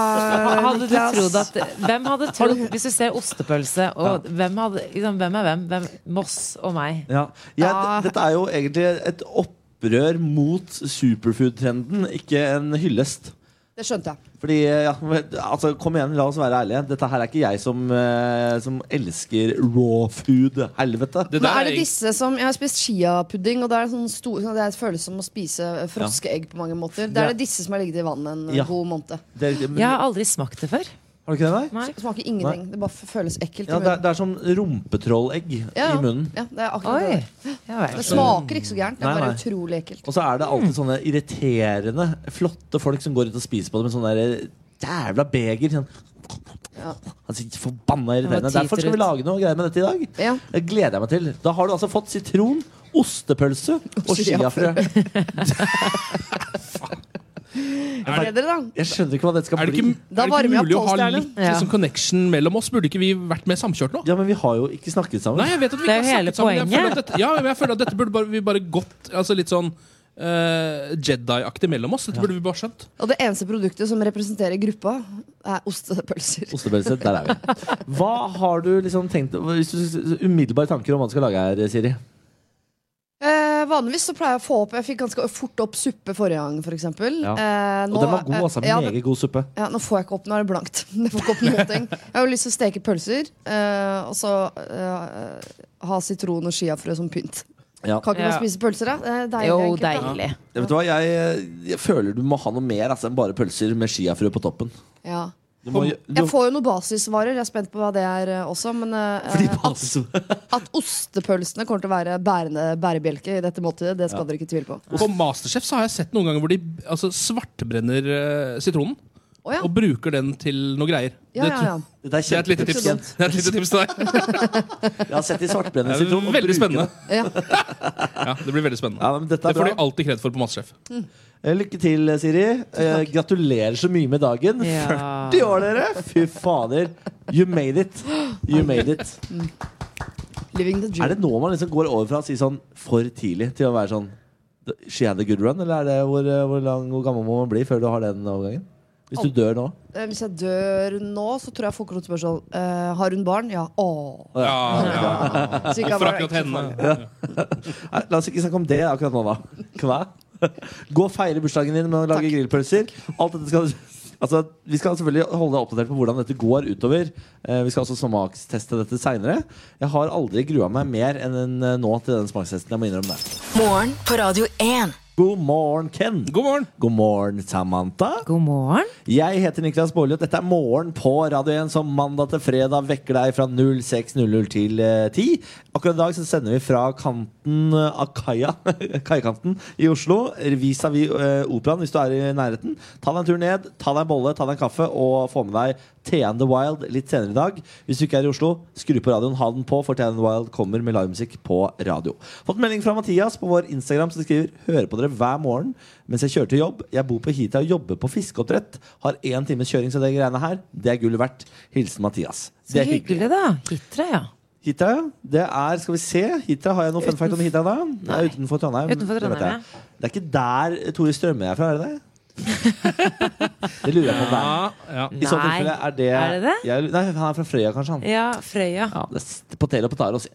[SPEAKER 2] Hadde du
[SPEAKER 7] Niklas.
[SPEAKER 2] trodd at hvem hadde trodd, Hvis du ser ostepølse, og hvem, hadde, liksom, hvem er hvem? hvem? Moss og meg.
[SPEAKER 6] Ja. Jeg,
[SPEAKER 7] Ah.
[SPEAKER 6] d- dette er jo egentlig et opprør mot superfood-trenden, ikke en hyllest.
[SPEAKER 7] Det skjønte jeg.
[SPEAKER 6] Fordi, ja, altså, Kom igjen, la oss være ærlige. Dette her er ikke jeg som, eh, som elsker raw food-helvete.
[SPEAKER 4] Det
[SPEAKER 7] Men
[SPEAKER 4] der
[SPEAKER 7] er det
[SPEAKER 4] er
[SPEAKER 7] disse som Jeg har spist chiapudding, og det er sånn stor, sånn, det føles som å spise eh, froskeegg på mange måter. Det
[SPEAKER 6] Ja.
[SPEAKER 7] er det disse som har ligget i vannet en
[SPEAKER 6] Ja.
[SPEAKER 7] god måned.
[SPEAKER 6] Det, men,
[SPEAKER 2] Jeg har aldri smakt det før.
[SPEAKER 6] Har du ikke det der?
[SPEAKER 2] Nei.
[SPEAKER 7] Smaker ingenting. Det bare føles ekkelt
[SPEAKER 6] Ja,
[SPEAKER 7] i
[SPEAKER 6] det, er-
[SPEAKER 7] munnen.
[SPEAKER 6] det er som rumpetrollegg
[SPEAKER 7] Ja, ja.
[SPEAKER 6] i munnen.
[SPEAKER 7] Ja, det er akkurat
[SPEAKER 2] Oi.
[SPEAKER 7] det.
[SPEAKER 2] Ja vel.
[SPEAKER 7] Det smaker ikke så gærent. Det
[SPEAKER 6] Nei,
[SPEAKER 7] er bare
[SPEAKER 6] nei.
[SPEAKER 7] utrolig ekkelt.
[SPEAKER 6] Og så er det alltid
[SPEAKER 7] Mm.
[SPEAKER 6] sånne irriterende, flotte folk som går ut og spiser på det med sånne der eh, jævla beger. Sånn.
[SPEAKER 7] Ja.
[SPEAKER 6] Altså, forbanna irriterende.
[SPEAKER 2] Det var
[SPEAKER 6] Derfor skal
[SPEAKER 2] titrut.
[SPEAKER 6] vi lage noe greier med dette i dag.
[SPEAKER 7] Ja.
[SPEAKER 6] Det gleder jeg meg til. Da har du altså fått sitron, ostepølse og chiafrø.
[SPEAKER 7] Er det dere, da?
[SPEAKER 6] Jeg skjønner ikke hva dette skal
[SPEAKER 4] Er det
[SPEAKER 6] bli.
[SPEAKER 4] ikke,
[SPEAKER 7] Da
[SPEAKER 4] er det
[SPEAKER 7] varmer
[SPEAKER 4] ikke
[SPEAKER 7] jeg
[SPEAKER 4] mulig å
[SPEAKER 7] opp
[SPEAKER 4] ha
[SPEAKER 7] toasterne.
[SPEAKER 4] litt liksom, connection mellom oss? Burde ikke vi vært mer samkjørt nå?
[SPEAKER 6] Ja, men vi har jo ikke snakket sammen.
[SPEAKER 4] Nei, jeg vet at vi
[SPEAKER 2] Det er
[SPEAKER 4] ikke
[SPEAKER 2] jo
[SPEAKER 4] har
[SPEAKER 2] hele
[SPEAKER 4] snakket sammen. Jeg
[SPEAKER 2] poenget.
[SPEAKER 4] føler at dette, ja, men jeg føler at dette burde bare, vi bare gått altså, litt sånn eh, Jedi-aktig mellom oss. Dette burde vi bare skjønt.
[SPEAKER 7] Og det eneste produktet som representerer gruppa, er ostepølser.
[SPEAKER 6] Ostepølse, der er vi. Hva har du liksom tenkt Hvis du umiddelbare tanker om hva du skal lage her, Siri?
[SPEAKER 7] Eh, vanligvis så pleier jeg å få opp Jeg fikk ganske fort opp suppe forrige gang, for eksempel.
[SPEAKER 6] Ja.
[SPEAKER 7] Eh,
[SPEAKER 6] Og den var god, altså.
[SPEAKER 7] eh, ja,
[SPEAKER 6] Meget god suppe.
[SPEAKER 7] ja, nå får jeg ikke opp, nå er det blankt. Jeg får ikke opp noen ting Jeg har jo lyst til å steke pølser, eh, og så eh, ha sitron og chiafrø som pynt.
[SPEAKER 6] Ja.
[SPEAKER 7] Kan ikke
[SPEAKER 2] Ja.
[SPEAKER 7] man spise pølser, da? Det er deilig,
[SPEAKER 2] Jo,
[SPEAKER 7] enkelt, da.
[SPEAKER 2] deilig.
[SPEAKER 6] Ja, Vet du hva, jeg, jeg føler du må ha noe mer altså, enn bare pølser med chiafrø på toppen.
[SPEAKER 7] Ja.
[SPEAKER 6] Du må,
[SPEAKER 7] Jeg
[SPEAKER 6] du,
[SPEAKER 7] får jo noen basisvarer. Jeg er spent på hva det er eh, også. Men eh,
[SPEAKER 6] fordi
[SPEAKER 7] eh, at, at ostepølsene kommer til å være bærende bærebjelke i dette måltidet, det skal dere ikke tvile på.
[SPEAKER 4] På Masterchef så har jeg sett noen ganger hvor de altså, svartbrenner eh, sitronen.
[SPEAKER 7] Å ja.
[SPEAKER 4] Og bruker den til noe greier.
[SPEAKER 7] Ja, ja, ja.
[SPEAKER 4] Det,
[SPEAKER 6] det er
[SPEAKER 4] det er et lite tips.
[SPEAKER 6] kjempetips. Jens.
[SPEAKER 4] Det er et lite tips til deg.
[SPEAKER 6] Jeg har sett de
[SPEAKER 4] Det
[SPEAKER 6] svartbrennende
[SPEAKER 4] er
[SPEAKER 6] sitron. og bruker
[SPEAKER 4] veldig spennende.
[SPEAKER 6] det.
[SPEAKER 7] Ja.
[SPEAKER 4] Ja, det blir veldig spennende.
[SPEAKER 6] Ja, men dette
[SPEAKER 4] Det
[SPEAKER 6] er
[SPEAKER 4] får de
[SPEAKER 6] bra.
[SPEAKER 4] alltid kred for på Masterchef.
[SPEAKER 6] Eh, Lykke til, Siri. Eh, gratulerer så mye med dagen.
[SPEAKER 2] Ja.
[SPEAKER 6] 40 år, dere! Fy fader. You made it. You made it.
[SPEAKER 7] Living the dream.
[SPEAKER 6] Er det nå man liksom går over fra å si sånn for tidlig til å være sånn She had a good run, eller er det hvor, eh, hvor lang og gammel må man bli før du har den overgangen? Hvis du dør nå?
[SPEAKER 7] Eh, Hvis jeg dør nå, så tror jeg folk kommer til å spørre sånn eh, Har hun barn? Ja. Åh.
[SPEAKER 4] Ja, ja.
[SPEAKER 7] Så ikke jeg
[SPEAKER 4] Hvorfor
[SPEAKER 7] bare-
[SPEAKER 4] akkurat
[SPEAKER 7] ikke så
[SPEAKER 4] henne?
[SPEAKER 7] farlig.
[SPEAKER 6] Nei, Eh, la oss ikke snakke om det akkurat nå, da. Hva? Gå og feire bursdagen din med å lage grillpølser. Alt dette skal Altså, vi skal selvfølgelig holde deg oppdatert på hvordan dette går utover. Eh, vi skal også smaksteste dette seinere. Jeg har aldri grua meg mer enn eh, nå til den smakstesten. Jeg må innrømme det.
[SPEAKER 5] Morgen på Radio 1.
[SPEAKER 6] God morgen, Ken.
[SPEAKER 4] God morgen!
[SPEAKER 6] God morgen, Samantha.
[SPEAKER 2] God morgen.
[SPEAKER 6] Jeg heter Niklas Baarli, og dette er Morgen på Radio 1, som mandag til fredag vekker deg fra 06.00 til eh, 10. Akkurat i dag så sender vi fra kanten eh, av kaia, kaikanten i Oslo, vis-à-vis eh, Operaen, hvis du er i nærheten. Ta deg en tur ned, ta deg en bolle, ta deg en kaffe, og få med deg TN The Wild litt senere i dag. Hvis du ikke er i Oslo, skru på radioen, ha den på, for TN The Wild kommer med livemusikk på radio. Fått en melding fra Mathias på vår Instagram som skriver Hører på dere hver morgen mens jeg kjører til jobb. Jeg bor på Hita og jobber på fiskeoppdrett. Har én times kjøring, så det greiene her, det er gullet verdt. Hilsen Mathias.
[SPEAKER 2] Så hyggelig, da. Hitra, ja.
[SPEAKER 6] Hitra, ja. Det er, skal vi se Hitra, Har jeg noe fun fact om Hitra da? Det er utenfor Trondheim.
[SPEAKER 2] Utenfor
[SPEAKER 6] det vet
[SPEAKER 2] Trondheim,
[SPEAKER 6] jeg. Det er ikke der Tore Strømme er fra, er det det? det lurer jeg på. om det er.
[SPEAKER 4] Ja, ja.
[SPEAKER 6] I så
[SPEAKER 2] Nei.
[SPEAKER 6] tilfelle er det,
[SPEAKER 2] Er det det?
[SPEAKER 6] Jeg, nei, han er fra Frøya, kanskje. han
[SPEAKER 2] Ja, Frøya.
[SPEAKER 6] ja, det er på tele og på tare å si.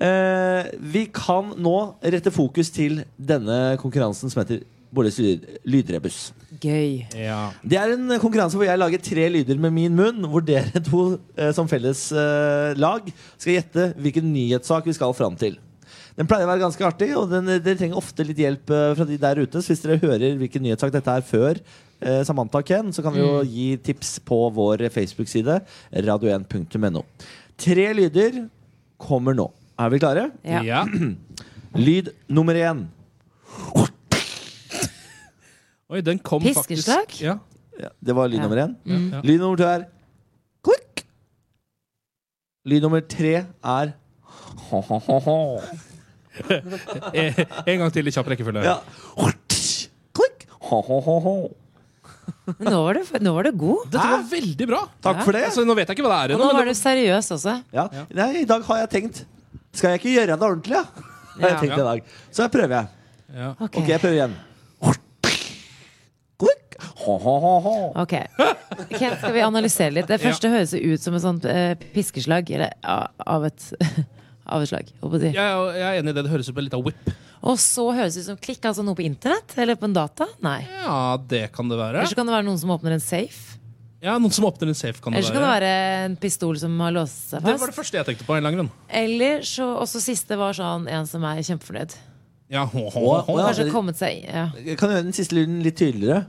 [SPEAKER 6] Eh, vi kan nå rette fokus til denne konkurransen som heter Bolles lyd- lydrebus.
[SPEAKER 2] Gøy.
[SPEAKER 6] Det er en konkurranse hvor jeg lager tre lyder med min munn, hvor dere to eh, som felles eh, lag skal gjette hvilken nyhetssak vi skal fram til. Den pleier å være ganske artig, og den, eh, dere trenger ofte litt hjelp eh, fra de der ute. Så hvis dere hører hvilken nyhetssak dette er før eh, Samantha og Ken, så kan vi jo gi tips på vår Facebook-side, radio1.no. Tre lyder kommer nå. Er vi klare?
[SPEAKER 2] Ja.
[SPEAKER 4] Ja.
[SPEAKER 6] Lyd nummer én.
[SPEAKER 4] Oi, den kom
[SPEAKER 2] Piskeslag?
[SPEAKER 4] faktisk ja.
[SPEAKER 6] Ja, det var lyd
[SPEAKER 2] Ja. Mm.
[SPEAKER 6] nummer én.
[SPEAKER 4] Ja.
[SPEAKER 6] Lyd nummer to er klikk. Lyd nummer tre er
[SPEAKER 4] Eh, En gang til i kjapp rekkefølge.
[SPEAKER 6] ja. Klikk.
[SPEAKER 2] Men nå var du, nå var du god.
[SPEAKER 4] Dette var veldig bra!
[SPEAKER 6] Takk for det.
[SPEAKER 4] Altså, nå vet jeg ikke hva det er
[SPEAKER 2] Og nå
[SPEAKER 4] ennå. men
[SPEAKER 2] var du seriøs også.
[SPEAKER 6] Ja. Nei, I dag har jeg tenkt Skal jeg ikke gjøre det ordentlig, ja? Har jeg
[SPEAKER 2] Ja.
[SPEAKER 6] tenkt i dag. Så jeg prøver jeg.
[SPEAKER 2] Ok.
[SPEAKER 6] Ok, jeg prøver igjen. Klikk.
[SPEAKER 2] Ok. Ken, skal vi analysere litt? Det første høres jo ut som et sånt eh, piskeslag. Eller ja, av et av et slag. holdt på å si.
[SPEAKER 4] Jeg er- jeg er enig i det. Det høres ut som en liten whip.
[SPEAKER 2] Og så høres det ut som klikk, altså noe på internett? Eller på en data? Nei.
[SPEAKER 4] Ja, det kan det være.
[SPEAKER 2] Eller så kan det være noen som åpner en safe.
[SPEAKER 4] Ja, Noen som åpner en safe, kan det
[SPEAKER 2] Eller så kan det
[SPEAKER 4] være.
[SPEAKER 2] være en pistol som har låst seg
[SPEAKER 4] Det var det
[SPEAKER 2] fast.
[SPEAKER 4] første jeg tenkte på. en lang grunn.
[SPEAKER 2] Eller så også siste var sånn en som er kjempefornøyd.
[SPEAKER 4] Ja, hå, hå, hå.
[SPEAKER 6] Ja,
[SPEAKER 2] Kanskje
[SPEAKER 6] det-
[SPEAKER 2] kommet seg ja.
[SPEAKER 6] Kan du gjøre den siste lyden litt tydeligere?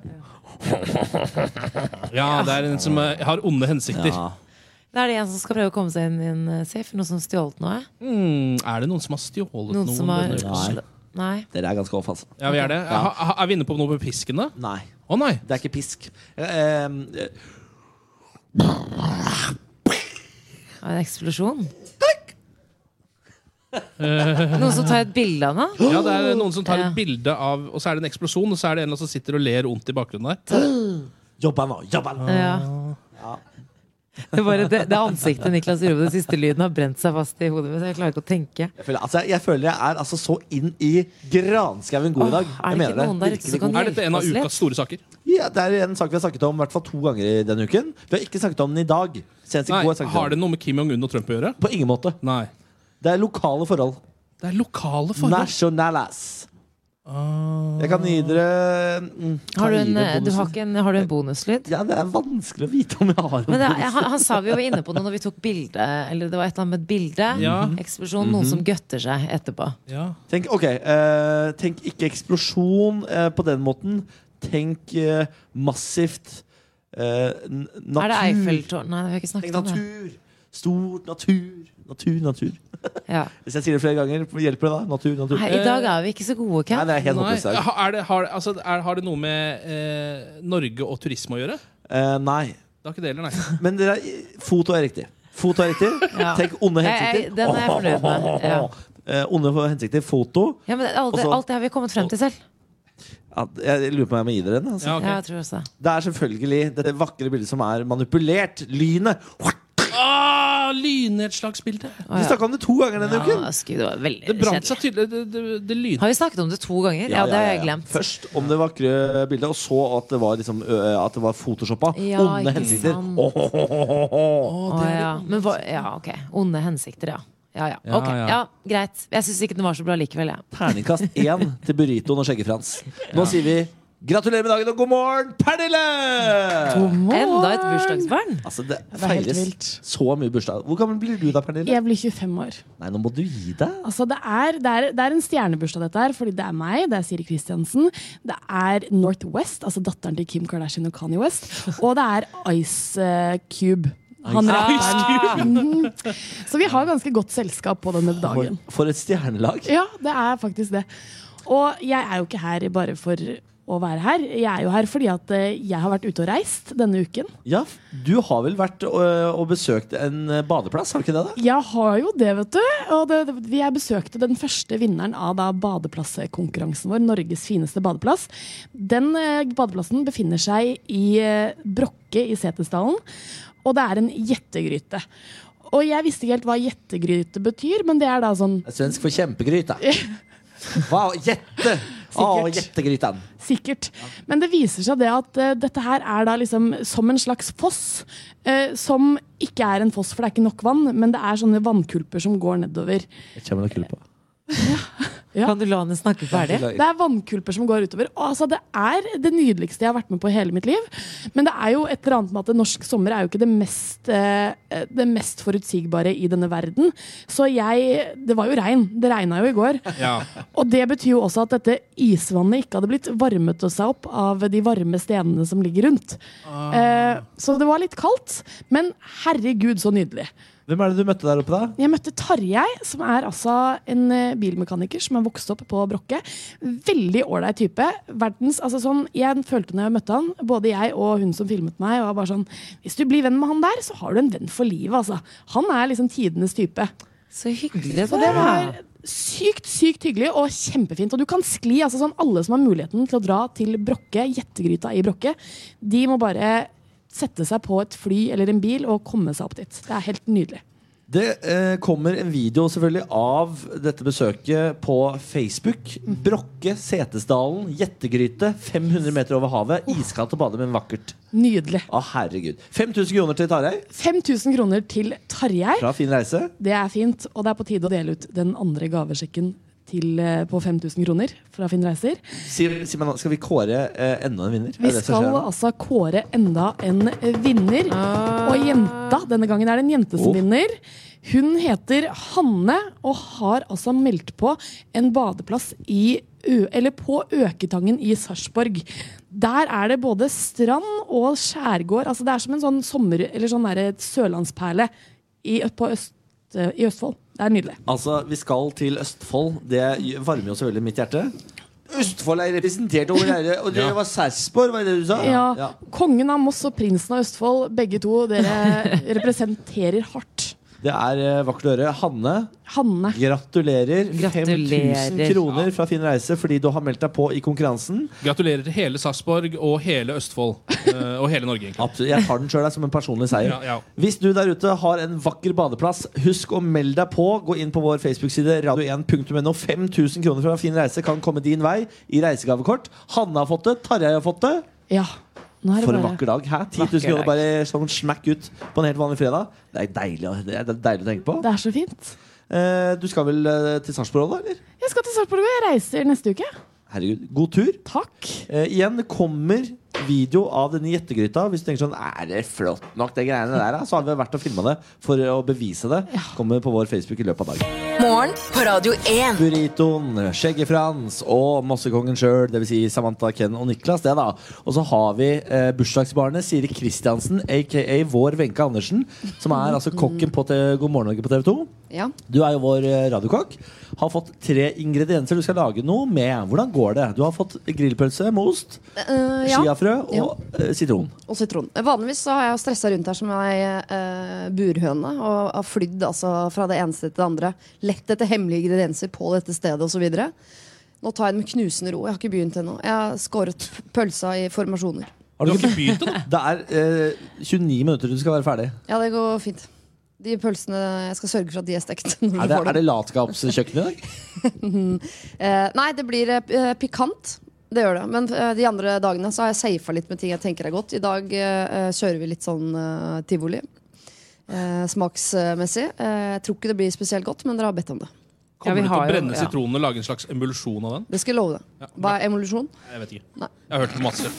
[SPEAKER 4] ja det er en som eh, har onde hensikter.
[SPEAKER 6] Ja.
[SPEAKER 2] Da er det en som skal prøve å komme seg inn i en eh, safe. Noen som har stjålet noe.
[SPEAKER 4] Mm, er det noen som har stjålet
[SPEAKER 2] Noen som har
[SPEAKER 6] Nei.
[SPEAKER 2] Nei.
[SPEAKER 6] Dere er ganske off, altså.
[SPEAKER 4] Ja, vi Er det ha, ha, Er vi inne på noe med pisken, da?
[SPEAKER 6] Nei.
[SPEAKER 4] Å nei!
[SPEAKER 6] Det er ikke pisk. Eh, eh,
[SPEAKER 2] Ja, En eksplosjon. Noen som tar et bilde av henne.
[SPEAKER 4] Ja, Det er noen som tar
[SPEAKER 2] Ja.
[SPEAKER 4] et bilde av Og så er det en eksplosjon, og så er det en eller annen som sitter og ler ondt i bakgrunnen der.
[SPEAKER 6] Jobba nå, jobba nå!
[SPEAKER 2] Ja. Det, er bare det, det ansiktet Niklas gjorde på den siste lyden, har brent seg fast i hodet mitt. Jeg klarer ikke å tenke.
[SPEAKER 6] Jeg føler, altså, jeg føler jeg er altså så inn i granskauen god i dag.
[SPEAKER 2] Åh, er
[SPEAKER 6] Jeg
[SPEAKER 2] det
[SPEAKER 6] mener
[SPEAKER 2] ikke noen der ute
[SPEAKER 6] Virkelig
[SPEAKER 2] som kan
[SPEAKER 6] god.
[SPEAKER 4] Er dette en
[SPEAKER 2] Hjelp oss
[SPEAKER 4] av
[SPEAKER 2] litt.
[SPEAKER 4] ukas store saker?
[SPEAKER 6] Ja, det er en sak vi har snakket om i hvert fall to ganger i denne uken. Vi har ikke snakket om den i dag. Senest i
[SPEAKER 4] Nei,
[SPEAKER 6] går snakket vi om
[SPEAKER 4] Har det noe med Kim Jong-un og Trump å gjøre?
[SPEAKER 6] den. På ingen måte.
[SPEAKER 4] Nei.
[SPEAKER 6] Det er lokale forhold.
[SPEAKER 4] Det er lokale forhold. Ah,
[SPEAKER 6] Nationalas. Jeg kan gi dere mm, kan
[SPEAKER 2] Har du en, eh, du
[SPEAKER 6] gi dere bonusen.
[SPEAKER 2] har ikke en, har du en bonuslyd?
[SPEAKER 6] Ja, Det er vanskelig å vite om jeg har en
[SPEAKER 2] Men det,
[SPEAKER 6] bonus.
[SPEAKER 2] han, han sa vi var inne på det når vi tok bilde. Eller det var et eller annet med et bilde.
[SPEAKER 4] Ja.
[SPEAKER 2] Eksplosjon.
[SPEAKER 6] Mhm.
[SPEAKER 2] Noen som gøtter seg etterpå.
[SPEAKER 4] Ja.
[SPEAKER 6] Tenk, ok, eh, tenk ikke eksplosjon eh, på den måten. Tenk eh, massivt eh, n- natur.
[SPEAKER 2] Er det Eiffeltårnet? Nei, vi har ikke
[SPEAKER 6] Tenk
[SPEAKER 2] snakket om det.
[SPEAKER 6] natur! Stort natur. Natur, natur.
[SPEAKER 2] Ja.
[SPEAKER 6] Hvis jeg sier det flere ganger, hjelper det da? Natur, natur.
[SPEAKER 2] Nei, I dag er vi ikke så gode,
[SPEAKER 6] Nei,
[SPEAKER 2] Ken.
[SPEAKER 6] det er helt
[SPEAKER 4] Nei,
[SPEAKER 6] håpløst. i dag.
[SPEAKER 4] ha- er det, har, altså, er, har det noe med eh, Norge og turisme å gjøre?
[SPEAKER 6] Eh, nei.
[SPEAKER 4] Det har ikke det heller, nei.
[SPEAKER 6] Men dere, er- foto er riktig. Foto er riktig.
[SPEAKER 2] Ja.
[SPEAKER 6] Tenk onde
[SPEAKER 2] Jeg- jeg-
[SPEAKER 6] hensikter.
[SPEAKER 2] den er jeg fornøyd med, ja.
[SPEAKER 6] Eh, onde hensikter. Foto.
[SPEAKER 2] Ja, men alt, det-
[SPEAKER 6] Også-
[SPEAKER 2] alt det har vi kommet frem til selv.
[SPEAKER 6] Ja, jeg lurer på om jeg må gi dere den. Altså.
[SPEAKER 4] Ja, ok.
[SPEAKER 2] Ja, jeg tror også det.
[SPEAKER 6] Det er selvfølgelig dette vakre bildet som er manipulert. Lynet!
[SPEAKER 4] Ah, Lynnedslagsbilde!
[SPEAKER 2] Å,
[SPEAKER 6] Vi
[SPEAKER 2] ja.
[SPEAKER 6] snakka om det to ganger denne uken.
[SPEAKER 2] Ja, sku, det var veldig
[SPEAKER 4] Det brant
[SPEAKER 2] kjedelig.
[SPEAKER 4] seg tydelig. Det, det, det lyn...
[SPEAKER 2] Har vi snakket om det to ganger? Ja, det har jeg glemt.
[SPEAKER 6] Først om det vakre bildet, og så at det var, liksom, ø, at det var photoshoppa.
[SPEAKER 2] Ja,
[SPEAKER 6] Onde
[SPEAKER 2] ikke
[SPEAKER 6] hensikter.
[SPEAKER 2] sant.
[SPEAKER 6] Åh, åh, åh, åh, åh.
[SPEAKER 2] Å, ja. Men hva, ja, ok. Onde hensikter, ja. Ja, ja.
[SPEAKER 4] Ja,
[SPEAKER 2] Ok,
[SPEAKER 4] ja.
[SPEAKER 2] ja, greit. Jeg syns ikke den var så bra likevel, jeg.
[SPEAKER 6] Terningkast én til burritoen og Skjegge-Frans. Nå sier vi gratulerer med dagen og god morgen, Pernille!
[SPEAKER 2] Enda et bursdagsbarn.
[SPEAKER 6] Altså, det
[SPEAKER 8] er helt
[SPEAKER 6] feires
[SPEAKER 8] vilt.
[SPEAKER 6] så mye bursdag. Hvor gammel blir du da, Pernille?
[SPEAKER 8] Jeg blir 25 år.
[SPEAKER 6] Nei, nå må du gi deg.
[SPEAKER 8] Altså, det, er, det, er, det er en stjernebursdag, dette her. Fordi det er meg, det er Siri Kristiansen. Det er Northwest, altså datteren til Kim Kardashian og Kanye West. Og det er Ice eh, Cube. Han rapperen. Mhm. Så vi har ganske godt selskap på denne
[SPEAKER 6] For,
[SPEAKER 8] dagen.
[SPEAKER 6] for et stjernelag.
[SPEAKER 8] Ja, det er faktisk det. Og jeg er jo ikke her bare for å være her. Jeg er jo her fordi at eh, jeg har vært ute og reist denne uken.
[SPEAKER 6] Ja, du har vel vært ø, og besøkt en ø, badeplass, har du ikke det? da?
[SPEAKER 8] Jeg har jo det, vet du. Og det, det, jeg besøkte den første vinneren av da badeplasskonkurransen vår, Norges fineste badeplass. Den eh, badeplassen befinner seg i eh, Brokke i Setesdalen, og det er en gjettegryte. Og jeg visste ikke helt hva gjettegryte betyr, men det er da sånn
[SPEAKER 6] Svensk for kjempegryta. Hva? Gjette! Å,
[SPEAKER 8] Sikkert.
[SPEAKER 6] gjettegryta.
[SPEAKER 8] Sikkert. Men det viser seg det at eh, dette her er da liksom som en slags foss. eh, som ikke er en foss, for det er ikke nok vann, men det er sånne vannkulper som går nedover.
[SPEAKER 6] Jeg kommer til å kulle på.
[SPEAKER 8] Ja.
[SPEAKER 2] Kan du la henne snakke ferdig?
[SPEAKER 8] Det er vannkulper som går utover. Og altså, det er det nydeligste jeg har vært med på i hele mitt liv. Men det er jo et eller annet med at norsk sommer er jo ikke det mest, eh, det mest forutsigbare i denne verden. Så jeg Det var jo regn. Det regna jo i går. Og det betyr jo også at dette isvannet ikke hadde blitt varmet seg opp av de varme stenene som ligger rundt. Eh, så det var litt kaldt. Men herregud, så nydelig.
[SPEAKER 6] Hvem er det du møtte der oppe, da?
[SPEAKER 8] Jeg møtte Tarjei, som er altså en eh, bilmekaniker som har vokst opp på Brokke. Veldig ålreit type. Verdens, altså sånn, jeg følte når jeg møtte han, både jeg og hun som filmet meg, var bare sånn Hvis du blir venn med han der, så har du en venn for livet, altså. Han er liksom tidenes type.
[SPEAKER 2] Så hyggelig.
[SPEAKER 8] Så det var sykt, sykt hyggelig og kjempefint. Og du kan skli. altså sånn Alle som har muligheten til å dra til Brokke, Gjettegryta i Brokke, de må bare sette seg på et fly eller en bil og komme seg opp dit. Det er helt nydelig.
[SPEAKER 6] Det eh, kommer en video selvfølgelig av dette besøket på Facebook. Brokke, Setesdalen, gjettegryte. 500 meter over havet. Iskaldt å bade, men vakkert.
[SPEAKER 8] Nydelig.
[SPEAKER 6] Å, herregud. 5000 kroner til Tarjei
[SPEAKER 8] 5000 kroner til Tarjei.
[SPEAKER 6] fra Fin reise.
[SPEAKER 8] Det er fint, og det er på tide å dele ut den andre gavesjekken til, eh, på 5000 kroner fra Finn Reiser.
[SPEAKER 6] Sier, sier man, da, skal vi kåre eh, enda en vinner? Er
[SPEAKER 8] Vi
[SPEAKER 6] det det som
[SPEAKER 8] skal
[SPEAKER 6] skjer nå?
[SPEAKER 8] altså kåre enda en vinner. Og jenta, denne gangen er det en jente som
[SPEAKER 6] Oh.
[SPEAKER 8] vinner. Hun heter Hanne og har altså meldt på en badeplass i Ø eller på Øketangen i Sarpsborg. Der er det både strand og skjærgård. Altså det er som en sånn sommer, eller sånn derre sørlandsperle i, på øst, i Østfold. Det er nydelig.
[SPEAKER 6] Altså, vi skal til Østfold. Det varmer jo selvfølgelig mitt hjerte. Østfold er representert over dere, og det var Sarpsborg, var det det du sa?
[SPEAKER 8] Ja.
[SPEAKER 6] Ja.
[SPEAKER 8] Kongen av Moss og prinsen av Østfold, begge to, dere representerer hardt.
[SPEAKER 6] Det er eh, vakkert å høre. Hanne,
[SPEAKER 8] Hanne.
[SPEAKER 6] gratulerer.
[SPEAKER 2] Gratulerer.
[SPEAKER 6] 5000 kroner fra Finn Reise fordi du har meldt deg på i konkurransen.
[SPEAKER 4] Gratulerer til hele Sarpsborg og hele Østfold. eh, og hele Norge, egentlig.
[SPEAKER 6] Absolutt, Jeg tar den sjøl som en personlig seier.
[SPEAKER 4] Ja, ja.
[SPEAKER 6] Hvis du der ute har en vakker badeplass, husk å melde deg på. Gå inn på vår Facebook-side radio1.no. 5000 kroner fra Finn Reise kan komme din vei i reisegavekort. Hanne har fått det, Tarjei har fått det.
[SPEAKER 8] Ja. Nå er det
[SPEAKER 6] For en
[SPEAKER 8] bare
[SPEAKER 6] vakker dag. Hæ? 10 000 kroner bare sånn smekk ut på en helt vanlig fredag. Det er deilig, å- det er det er deilig å tenke på.
[SPEAKER 8] Det er så fint.
[SPEAKER 6] Eh, du skal vel eh, til Sarpsborg òg, da? eller?
[SPEAKER 8] Jeg skal til Sarpsborg, og jeg reiser neste uke.
[SPEAKER 6] Herregud, god tur.
[SPEAKER 8] Takk.
[SPEAKER 6] Eh, igjen kommer video av denne gjettegryta. Hvis du tenker sånn Er det flott nok, det greiene der? da?" Så hadde vi vært og filma det for å bevise det. Kommer på vår Facebook i løpet av dagen.
[SPEAKER 5] Morgen på Radio 1.
[SPEAKER 6] Burritoen, Skjegge-Frans og Mossekongen sjøl, dvs. Si Samantha, Ken og Niklas. det da Og så har vi eh, bursdagsbarnet Siri Kristiansen, aka vår Wenche Andersen, som er altså kokken på te God morgen Norge på TV 2.
[SPEAKER 7] Ja.
[SPEAKER 6] Du er jo vår eh, radiokokk. Har fått tre ingredienser du skal lage noe med. Hvordan går det? Du har fått grillpølse med ost,
[SPEAKER 7] Eh, ja.
[SPEAKER 6] chiafrø og
[SPEAKER 7] Ja.
[SPEAKER 6] eh, sitron.
[SPEAKER 7] Og sitron. Eh, Vanligvis så har jeg stressa rundt her som ei eh, burhøne og har flydd altså, fra det ene stedet til det andre. Lett etter hemmelige ingredienser på dette stedet osv. Nå tar jeg det med knusende ro. Jeg har ikke begynt ennå. Jeg har skåret pølsa i formasjoner.
[SPEAKER 6] Har
[SPEAKER 3] Du har
[SPEAKER 6] du
[SPEAKER 3] ikke begynt ennå?
[SPEAKER 6] det er eh, 29 minutter til du skal være ferdig.
[SPEAKER 7] Ja, det går fint. De pølsene, Jeg skal sørge for at de er stekt. Når
[SPEAKER 6] Er
[SPEAKER 7] du
[SPEAKER 6] det,
[SPEAKER 7] får
[SPEAKER 6] er det
[SPEAKER 7] dem.
[SPEAKER 6] latskapskjøkken i dag?
[SPEAKER 7] Eh, nei, det blir eh, pikant. Det gjør det. Men eh, de andre dagene så har jeg safa litt med ting jeg tenker er godt. I dag eh, kjører vi litt sånn eh, tivoli. Eh, smaksmessig. Eh, jeg tror ikke det blir spesielt godt, men dere har bedt om det.
[SPEAKER 2] Ja, vi
[SPEAKER 4] Kommer du til
[SPEAKER 2] har
[SPEAKER 4] å
[SPEAKER 2] jo-
[SPEAKER 4] brenne
[SPEAKER 2] ja.
[SPEAKER 4] sitronen og lage en slags emulsjon av den?
[SPEAKER 7] Det skal jeg love deg. Hva er evolusjon?
[SPEAKER 4] Jeg vet ikke.
[SPEAKER 7] Nei.
[SPEAKER 4] Jeg har hørt på masse.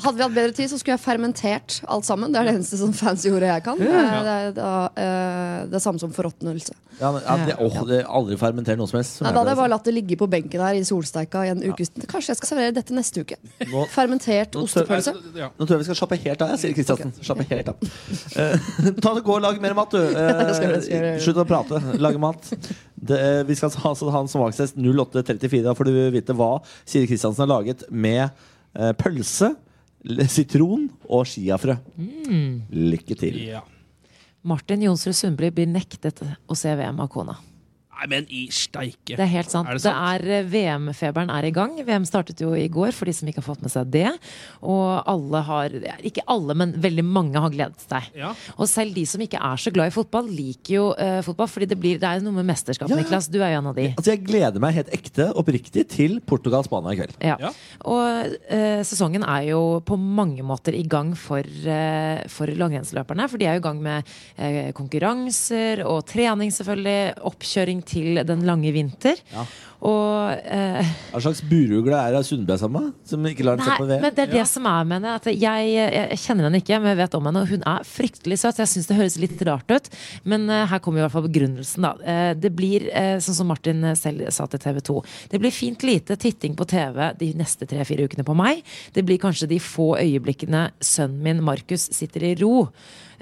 [SPEAKER 7] Hadde vi hatt bedre tid, så skulle jeg fermentert alt sammen. Det er det eneste sånn fancy ordet jeg kan. Eh, Det, er, da, eh, det er samme som forråtnelse. Nei,
[SPEAKER 6] Ja, men, ja, det, åh, det aldri fermenter noe som helst. som
[SPEAKER 7] Da
[SPEAKER 6] jeg
[SPEAKER 7] hadde jeg
[SPEAKER 6] pleier å si.
[SPEAKER 7] bare latt det ligge på benken her i solsteika i en ukes Kanskje jeg skal servere dette neste uke.
[SPEAKER 6] Nå-
[SPEAKER 7] Fermentert
[SPEAKER 6] Nå tør-
[SPEAKER 7] ostepølse.
[SPEAKER 4] Ja.
[SPEAKER 6] Nå tror jeg vi skal slappe helt av, jeg, sier Kristiansen. Slappe helt av. Eh, ta det, Gå og lag mer mat, du. Eh,
[SPEAKER 7] Det skal jeg- det skal jeg gjøre.
[SPEAKER 6] slutt å prate. Lage mat. Det, eh, vi skal ha, ha en smakstest 0834. Da får du vite hva Siri Kristiansen har laget med eh, pølse, l- sitron og chiafrø.
[SPEAKER 2] Mm.
[SPEAKER 6] Lykke til.
[SPEAKER 4] Ja.
[SPEAKER 2] Martin Jonsrud Sundby blir nektet å se VM av kona.
[SPEAKER 4] Nei, men i steike!
[SPEAKER 2] Det er helt sant.
[SPEAKER 4] Er det
[SPEAKER 2] Det er eh, VM-feberen er i gang. VM startet jo i går, for de som ikke har fått med seg det. Og alle har ja, Ikke alle, men veldig mange har gledet seg.
[SPEAKER 4] Ja.
[SPEAKER 2] Og selv de som ikke er så glad i fotball, liker jo eh, fotball. Fordi det, blir, det er jo noe med mesterskap,
[SPEAKER 6] Ja.
[SPEAKER 2] Niklas. Du er jo en av de.
[SPEAKER 6] Altså, jeg gleder meg helt ekte, oppriktig, til Portugal-Spania i kveld.
[SPEAKER 2] Ja.
[SPEAKER 4] Ja.
[SPEAKER 2] Og eh, sesongen er jo på mange måter i gang for, eh, for langrennsløperne. For de er jo i gang med eh, konkurranser og trening, selvfølgelig. Oppkjøring til den lange vinter. Og eh,
[SPEAKER 6] Hva slags burugle er det Sundby er sammen med? Som ikke lar den se
[SPEAKER 2] Nei,
[SPEAKER 6] på
[SPEAKER 2] men
[SPEAKER 6] VM?
[SPEAKER 2] det er det som er med henne. At jeg, jeg, jeg kjenner henne ikke, men jeg vet om henne. Og hun er fryktelig søt. så Jeg syns det høres litt rart ut, men eh, her kommer i hvert fall begrunnelsen, da. Eh, det blir, eh, sånn som Martin eh, selv sa til TV 2, det blir fint lite titting på TV de neste tre-fire ukene på meg. Det blir kanskje de få øyeblikkene sønnen min, Markus, sitter i ro.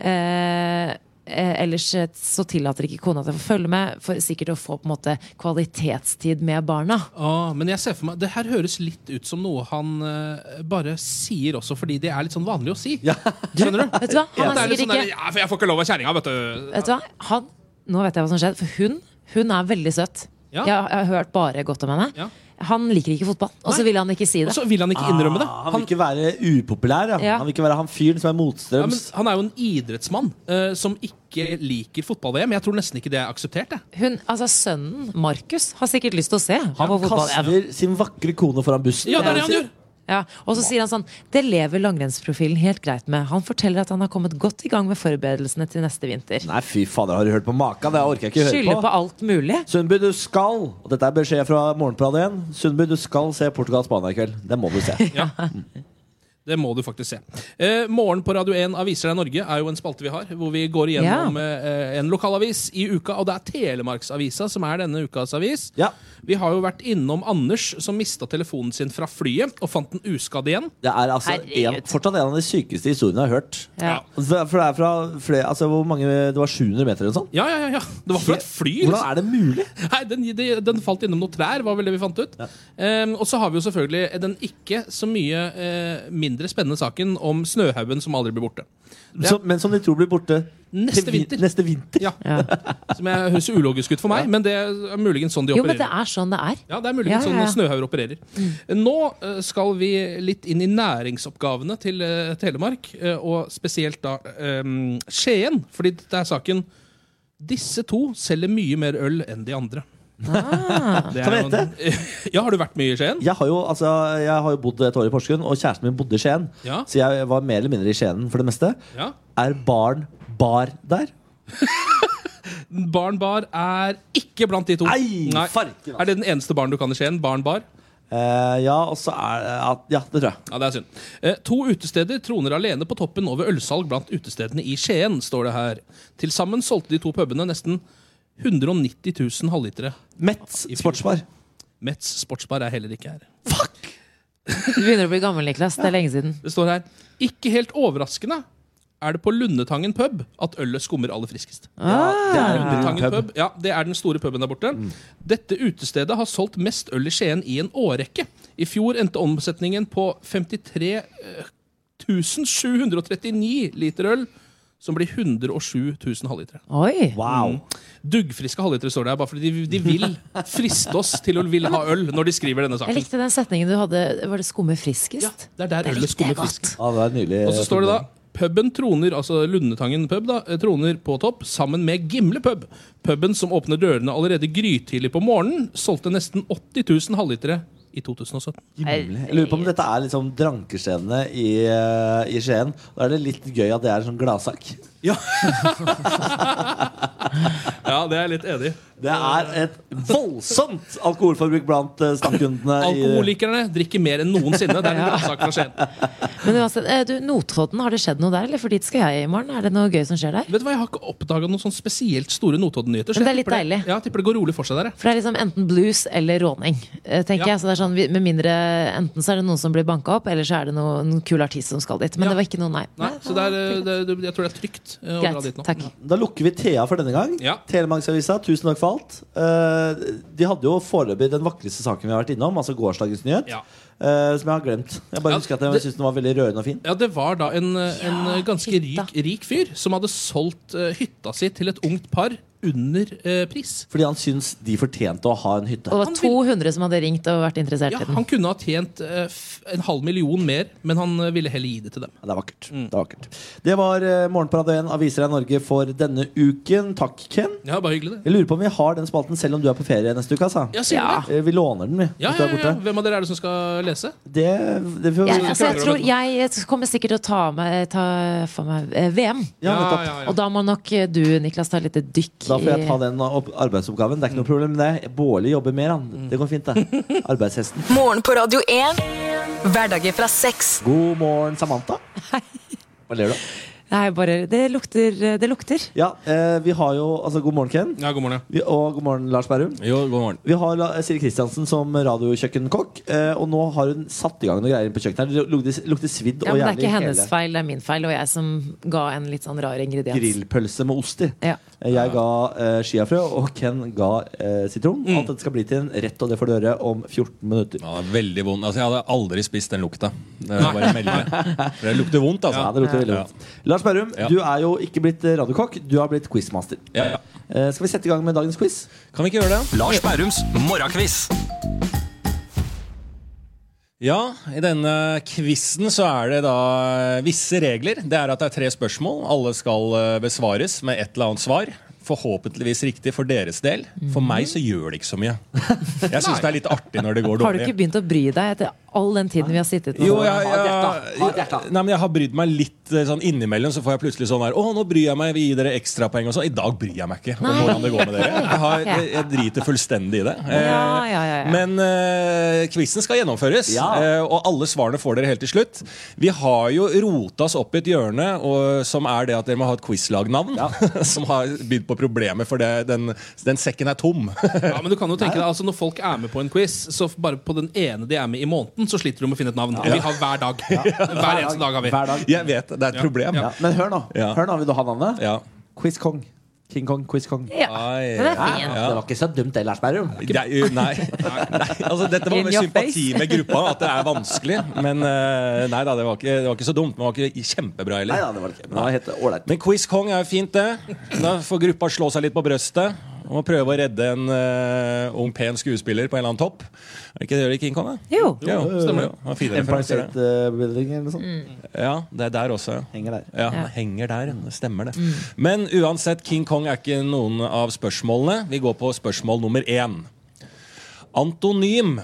[SPEAKER 2] Eh, Eh, ellers eh, så tillater ikke kona at jeg får følge med, for sikkert å få på en måte kvalitetstid med barna.
[SPEAKER 4] Ah, men jeg ser for meg, det her høres litt ut som noe han eh, bare sier også fordi det er litt sånn vanlig å si. Skjønner du?
[SPEAKER 2] Vet du hva? Han
[SPEAKER 4] Det
[SPEAKER 2] er
[SPEAKER 4] er litt
[SPEAKER 2] sikkert
[SPEAKER 4] sånn
[SPEAKER 2] ikke
[SPEAKER 4] der, ja, for jeg får ikke lov av kjerringa, vet du.
[SPEAKER 2] Vet du hva? Han, nå vet jeg hva som skjedde, for hun, hun er veldig søt.
[SPEAKER 4] Ja.
[SPEAKER 2] Jeg, har- jeg har hørt bare godt om henne.
[SPEAKER 4] Ja.
[SPEAKER 2] Han liker ikke fotball, og så
[SPEAKER 4] Nei.
[SPEAKER 2] vil han ikke si
[SPEAKER 4] Og
[SPEAKER 2] det.
[SPEAKER 4] så vil han ikke innrømme det.
[SPEAKER 6] Ah, han vil ikke være upopulær. Ja.
[SPEAKER 2] Ja.
[SPEAKER 6] Han vil ikke være han fyren som er
[SPEAKER 4] Ja, men
[SPEAKER 6] motstrøms.
[SPEAKER 4] han er jo en idrettsmann eh, som ikke liker fotball-VM. Jeg tror nesten ikke det er akseptert. Jeg.
[SPEAKER 2] Hun, altså Sønnen, Markus, har sikkert lyst til å se
[SPEAKER 6] Han
[SPEAKER 2] på fotball. Ja.
[SPEAKER 6] kaster sin vakre kone foran bussen.
[SPEAKER 4] Ja, det er det han gjør!
[SPEAKER 2] Ja. Og så sier han sånn Det lever langrennsprofilen helt greit med. Han forteller at han har kommet godt i gang med forberedelsene til neste vinter.
[SPEAKER 6] Nei, fy fader, har du hørt på maka? Det orker jeg ikke høre
[SPEAKER 2] Skylder
[SPEAKER 6] på.
[SPEAKER 2] på alt mulig.
[SPEAKER 6] Sundby, du skal og dette er beskjed fra Morgenpradet igjen Sundby, du skal se Portugal-Spania i kveld. Det må du se.
[SPEAKER 4] Det må du faktisk se. Eh, Morgen på Radio 1 Aviser deg Norge er jo en spalte vi har, hvor vi går igjennom eh, en lokalavis i uka. Og det er Telemarksavisa som er denne ukas avis.
[SPEAKER 6] Ja,
[SPEAKER 4] Vi har jo vært innom Anders som mista telefonen sin fra flyet og fant den uskadd igjen.
[SPEAKER 6] Det er altså en,
[SPEAKER 2] Herregud.
[SPEAKER 6] fortsatt en av de sykeste historiene jeg har hørt.
[SPEAKER 2] Ja.
[SPEAKER 6] For for det er fra flere, altså hvor mange, det var 700 meter eller noe sånt?
[SPEAKER 4] Ja, ja, ja, ja. Det var fra et fly.
[SPEAKER 6] Hvordan er det mulig?
[SPEAKER 4] Nei, den, de- den falt innom noen trær, var vel det vi fant ut. Ehm, og så har vi jo selvfølgelig den ikke så mye eh, mindre spennende saken om snøhaugen som aldri blir borte. Ja.
[SPEAKER 6] Som- men som de tror blir borte
[SPEAKER 4] Neste
[SPEAKER 6] til vin-
[SPEAKER 4] vinter.
[SPEAKER 6] Neste vinter.
[SPEAKER 4] Ja, Som jeg høres ulogisk ut for meg, men det er muligens sånn de
[SPEAKER 2] Jo, men
[SPEAKER 4] opererer.
[SPEAKER 2] det er sånn det er.
[SPEAKER 4] Ja, det er
[SPEAKER 2] Ja,
[SPEAKER 4] muligens
[SPEAKER 2] Mm. ja, ja.
[SPEAKER 4] sånn snøhauger opererer. Nå eh, skal vi litt inn i næringsoppgavene til eh, Telemark, eh, og spesielt da eh, Skien, fordi dette er saken Disse to selger mye mer øl enn de andre.
[SPEAKER 2] Ah.
[SPEAKER 4] Det
[SPEAKER 6] Kan
[SPEAKER 4] er
[SPEAKER 6] vi
[SPEAKER 4] jo en- Ja, har du vært mye i Skien?
[SPEAKER 6] Jeg har, jo, altså, jeg har jo bodd et år i Porsgrunn, og kjæresten min bodde i Skien.
[SPEAKER 4] Ja. Ah.
[SPEAKER 6] Så jeg var mer eller mindre i Skien for det meste.
[SPEAKER 4] Ja.
[SPEAKER 6] Er barn bar der?
[SPEAKER 4] Barn bar er ikke blant de to.
[SPEAKER 6] Nei, altså. farken, altså.
[SPEAKER 4] Er det den eneste baren du kan i Skien? Barn bar?
[SPEAKER 6] Eh, ja, og så er eh, at, Ja, det tror jeg.
[SPEAKER 4] Ja, det er synd. Eh, to utesteder troner alene på toppen over ølsalg blant utestedene i Skien, står det her. Til sammen solgte de to pubene nesten 190 000 halvlitere.
[SPEAKER 6] Metz sportsbar.
[SPEAKER 4] Metz sportsbar er heller ikke her.
[SPEAKER 2] Du begynner å bli gammel, Niklas. Det er lenge siden.
[SPEAKER 4] Det står her Ikke helt overraskende er det på Lundetangen pub at ølet skummer aller friskest.
[SPEAKER 6] Det er en brun
[SPEAKER 4] Lundetangen
[SPEAKER 6] pub.
[SPEAKER 4] pub, ja, Det er den store puben der borte. Dette utestedet har solgt mest øl i Skien i en årrekke. I fjor endte omsetningen på 53 eh, 1739 liter øl, som blir 107 000 halvlitere. Mm.
[SPEAKER 2] Oi!
[SPEAKER 6] Wow.
[SPEAKER 4] Duggfriske halvlitere står det her, bare fordi de, de vil friste oss til å ville ha øl når de skriver denne
[SPEAKER 2] Jeg
[SPEAKER 4] saken.
[SPEAKER 2] likte den setningen du hadde. Var det 'skumme friskest'?
[SPEAKER 4] Det er der ølet skummer frisk.
[SPEAKER 6] Ja, det er nydelig.
[SPEAKER 4] Og så står det da Puben troner, altså Lundetangen pub da, eh, troner på topp sammen med Gimle pub. Puben som åpner dørene allerede grytidlig på morgenen, solgte nesten 80 000 halvlitere i 2017.
[SPEAKER 6] Himle. Jeg lurer på om dette er liksom drankestedene i, eh, i Skien. Da er det litt gøy at det er en sånn gladsak.
[SPEAKER 4] Ja, det er jeg litt enig i.
[SPEAKER 6] Det er et voldsomt alkoholforbruk blant eh, stamkundene. i-
[SPEAKER 4] Alkoholikerne drikker mer enn noensinne. Det er en gladsak fra Skien.
[SPEAKER 2] Men uansett, eh, du, Notodden, har det skjedd noe der, eller? For dit skal jeg i morgen. Er det noe gøy som skjer der?
[SPEAKER 4] Vet du hva, Jeg har ikke oppdaga noen sånn spesielt store Notodden-nyheter. så
[SPEAKER 2] Men det er
[SPEAKER 4] jeg
[SPEAKER 2] litt
[SPEAKER 4] tipper
[SPEAKER 2] deilig.
[SPEAKER 4] Ja, jeg tipper det går rolig for seg der. jeg.
[SPEAKER 2] For det er liksom enten blues eller råning, eh, tenker
[SPEAKER 4] Ja.
[SPEAKER 2] jeg. Så det er sånn, vi- med mindre Enten så er det noen som blir banka opp, eller så er det noe, noen kul artist som skal dit. Men
[SPEAKER 4] Ja.
[SPEAKER 2] det var ikke noe, nei.
[SPEAKER 4] Nei, så det er, eh, det, det- jeg tror det er trygt eh, å dra dit
[SPEAKER 2] Greit.
[SPEAKER 4] nå.
[SPEAKER 2] Takk.
[SPEAKER 6] Da lukker vi Thea for denne gang.
[SPEAKER 4] Ja.
[SPEAKER 6] Telemarksavisa, tusen takk for alt. Eh, de hadde jo foreløpig den vakreste saken vi har vært innom, altså gårsdagens nyhet,
[SPEAKER 4] Ja.
[SPEAKER 6] eh, som jeg har glemt. Jeg bare
[SPEAKER 4] Ja,
[SPEAKER 6] husker at jeg
[SPEAKER 4] det-
[SPEAKER 6] synes den var veldig rørende og fin.
[SPEAKER 4] Ja, Det var da en, eh, en ganske
[SPEAKER 2] hytta.
[SPEAKER 4] rik, rik fyr som hadde solgt eh, hytta si til et ungt par under eh, pris.
[SPEAKER 6] Fordi han syns de fortjente å ha en hytte.
[SPEAKER 2] Og det
[SPEAKER 4] Han
[SPEAKER 2] var
[SPEAKER 4] vil-
[SPEAKER 2] 200 som hadde ringt og vært interessert
[SPEAKER 4] Ja,
[SPEAKER 2] i
[SPEAKER 4] Han
[SPEAKER 2] den.
[SPEAKER 4] kunne ha tjent eh, f- en halv million mer, men han eh, ville heller gi det til dem.
[SPEAKER 6] Ja, Det er vakkert.
[SPEAKER 4] Mm.
[SPEAKER 6] Det, er vakkert. det var uh, Morgenparade 1 Aviser av Norge for denne uken. Takk, Ken.
[SPEAKER 4] Ja, bare hyggelig det
[SPEAKER 6] Jeg lurer på om vi har den spalten selv om du er på ferie neste uke. Altså.
[SPEAKER 4] Ja, sier du det?
[SPEAKER 6] Eh, Vi låner den, vi.
[SPEAKER 4] Ja,
[SPEAKER 6] hvis
[SPEAKER 4] ja,
[SPEAKER 6] du er
[SPEAKER 4] ja, ja.
[SPEAKER 6] borte.
[SPEAKER 4] Hvem av dere er det som skal lese?
[SPEAKER 6] Det, det får vi
[SPEAKER 2] Jeg,
[SPEAKER 6] ja,
[SPEAKER 2] altså, jeg,
[SPEAKER 4] klarer
[SPEAKER 2] tror,
[SPEAKER 4] det.
[SPEAKER 2] jeg kommer sikkert til å ta, meg, ta for meg eh, VM.
[SPEAKER 6] nettopp.
[SPEAKER 2] Og da må nok eh, du, Niklas, ta et lite dykk
[SPEAKER 6] Da får jeg ta
[SPEAKER 2] i
[SPEAKER 6] den opp- arbeidsoppgaven. Det er ikke noe problem med det. Bårli jobber mer, han.
[SPEAKER 4] Mm.
[SPEAKER 6] Det går fint, det. Arbeidshesten.
[SPEAKER 5] Morgen på Radio 1. Hverdager fra seks.
[SPEAKER 6] God morgen, Samantha. Hva ler du av?
[SPEAKER 2] Nei, bare Det lukter. eh, Det lukter.
[SPEAKER 6] Ja, eh, vi har jo altså God morgen, Ken.
[SPEAKER 4] Ja, god morgen.
[SPEAKER 6] Vi, og god morgen, Lars Berrum.
[SPEAKER 4] Jo, god morgen.
[SPEAKER 6] Vi har la- Siri Kristiansen som radiokjøkkenkokk, eh, og nå har hun satt i gang noen greier inne på kjøkkenet. her. Det lukter, lukter svidd
[SPEAKER 2] Ja,
[SPEAKER 6] og
[SPEAKER 2] men det er
[SPEAKER 6] jævlig
[SPEAKER 2] ikke hennes
[SPEAKER 6] hele
[SPEAKER 2] feil, det er min feil, og jeg som ga en litt sånn rar ingrediens.
[SPEAKER 6] grillpølse med ost i.
[SPEAKER 2] Ja.
[SPEAKER 6] Eh, Jeg ga eh, skiafrø, og Ken ga eh, sitron.
[SPEAKER 4] Mm.
[SPEAKER 6] Alt dette skal bli til en rett, og det får du høre om 14 minutter.
[SPEAKER 9] Ja, det er veldig vond. Altså, jeg hadde aldri spist den lukta. Det, er bare å melde det. For det lukter vondt, altså.
[SPEAKER 6] Ja, det lukter veldig
[SPEAKER 9] Ja.
[SPEAKER 6] godt. Lars Berrum,
[SPEAKER 9] Ja.
[SPEAKER 6] du er jo ikke blitt eh, radiokokk, du har blitt quizmaster.
[SPEAKER 9] Ja, ja.
[SPEAKER 6] Eh, skal vi sette i gang med dagens quiz?
[SPEAKER 9] Kan vi ikke gjøre det?
[SPEAKER 10] Lars Bærums morgenkviss.
[SPEAKER 9] Ja, i denne quizen så er det da eh, visse regler. Det er at det er tre spørsmål. Alle skal eh, besvares med et eller annet svar. Forhåpentligvis riktig for deres del. For meg så gjør det ikke så mye. Jeg syns det er litt artig når det går
[SPEAKER 2] Har du ikke
[SPEAKER 9] dårlig.
[SPEAKER 2] begynt å bry deg etter all den tiden vi har sittet sånn?
[SPEAKER 9] Jo,
[SPEAKER 2] nå?
[SPEAKER 9] jeg, jeg, nei, men jeg har brydd meg litt eh, sånn innimellom. Så får jeg plutselig sånn her Å, nå bryr jeg meg, vi gir dere ekstrapoeng og sånn. I dag bryr jeg meg ikke om
[SPEAKER 2] Nei.
[SPEAKER 9] hvordan det går med dere. Jeg, har, jeg, jeg driter fullstendig i det. Eh,
[SPEAKER 2] Ja, ja, ja, ja.
[SPEAKER 9] Men uh, quizen skal gjennomføres,
[SPEAKER 6] Ja.
[SPEAKER 9] eh, og alle svarene får dere helt til slutt. Vi har jo rota oss opp i et hjørne, og, som er det at dere må ha et quizlagnavn. som har bydd på problemer, for det, den, den sekken er tom.
[SPEAKER 4] Ja, men du kan jo tenke deg, altså Når folk er med på en quiz, så f- bare på den ene de er med i måneden, så sliter du med å finne et navn. Og vi har hver dag. Hver eneste dag har vi.
[SPEAKER 6] Hver dag.
[SPEAKER 9] jeg vet det er et problem.
[SPEAKER 6] Ja, men hør nå.
[SPEAKER 9] Ja.
[SPEAKER 6] Hør nå, Vil du ha navnet?
[SPEAKER 9] Ja.
[SPEAKER 6] Quiz Kong. King Kong, Quiz Kong.
[SPEAKER 2] Ja,
[SPEAKER 9] Ai,
[SPEAKER 2] den er fin.
[SPEAKER 9] Ja.
[SPEAKER 6] Det var ikke så dumt, det, Lars Berrum.
[SPEAKER 9] Det er jo- nei. nei. Altså, dette var
[SPEAKER 2] In
[SPEAKER 9] med
[SPEAKER 2] your
[SPEAKER 9] sympati med gruppa, at det er vanskelig. Men eh, nei da, det var ikke, det var ikke så dumt. Men det var ikke
[SPEAKER 6] Nei
[SPEAKER 9] kjempebra
[SPEAKER 6] da,
[SPEAKER 9] heller.
[SPEAKER 6] det var det ikke. Men det var helt ålreit.
[SPEAKER 9] Men Quiz Kong er jo fint, det. Da får gruppa slå seg litt på brøstet. Og prøve å redde en eh, ung, pen skuespiller på en eller annen topp. Er ikke det det gjør i King Kong? da?
[SPEAKER 2] Jo.
[SPEAKER 9] Jo, stemmer det. Ja, fine
[SPEAKER 6] Empire
[SPEAKER 9] referanser,
[SPEAKER 6] State
[SPEAKER 9] det.
[SPEAKER 6] eh, Building eller noe sånt.
[SPEAKER 9] Ja, det er der også. ja.
[SPEAKER 6] Henger der.
[SPEAKER 9] Ja, henger der, ja. stemmer det. Men uansett, King Kong er ikke noen av spørsmålene. Vi går på spørsmål nummer én. Antonym.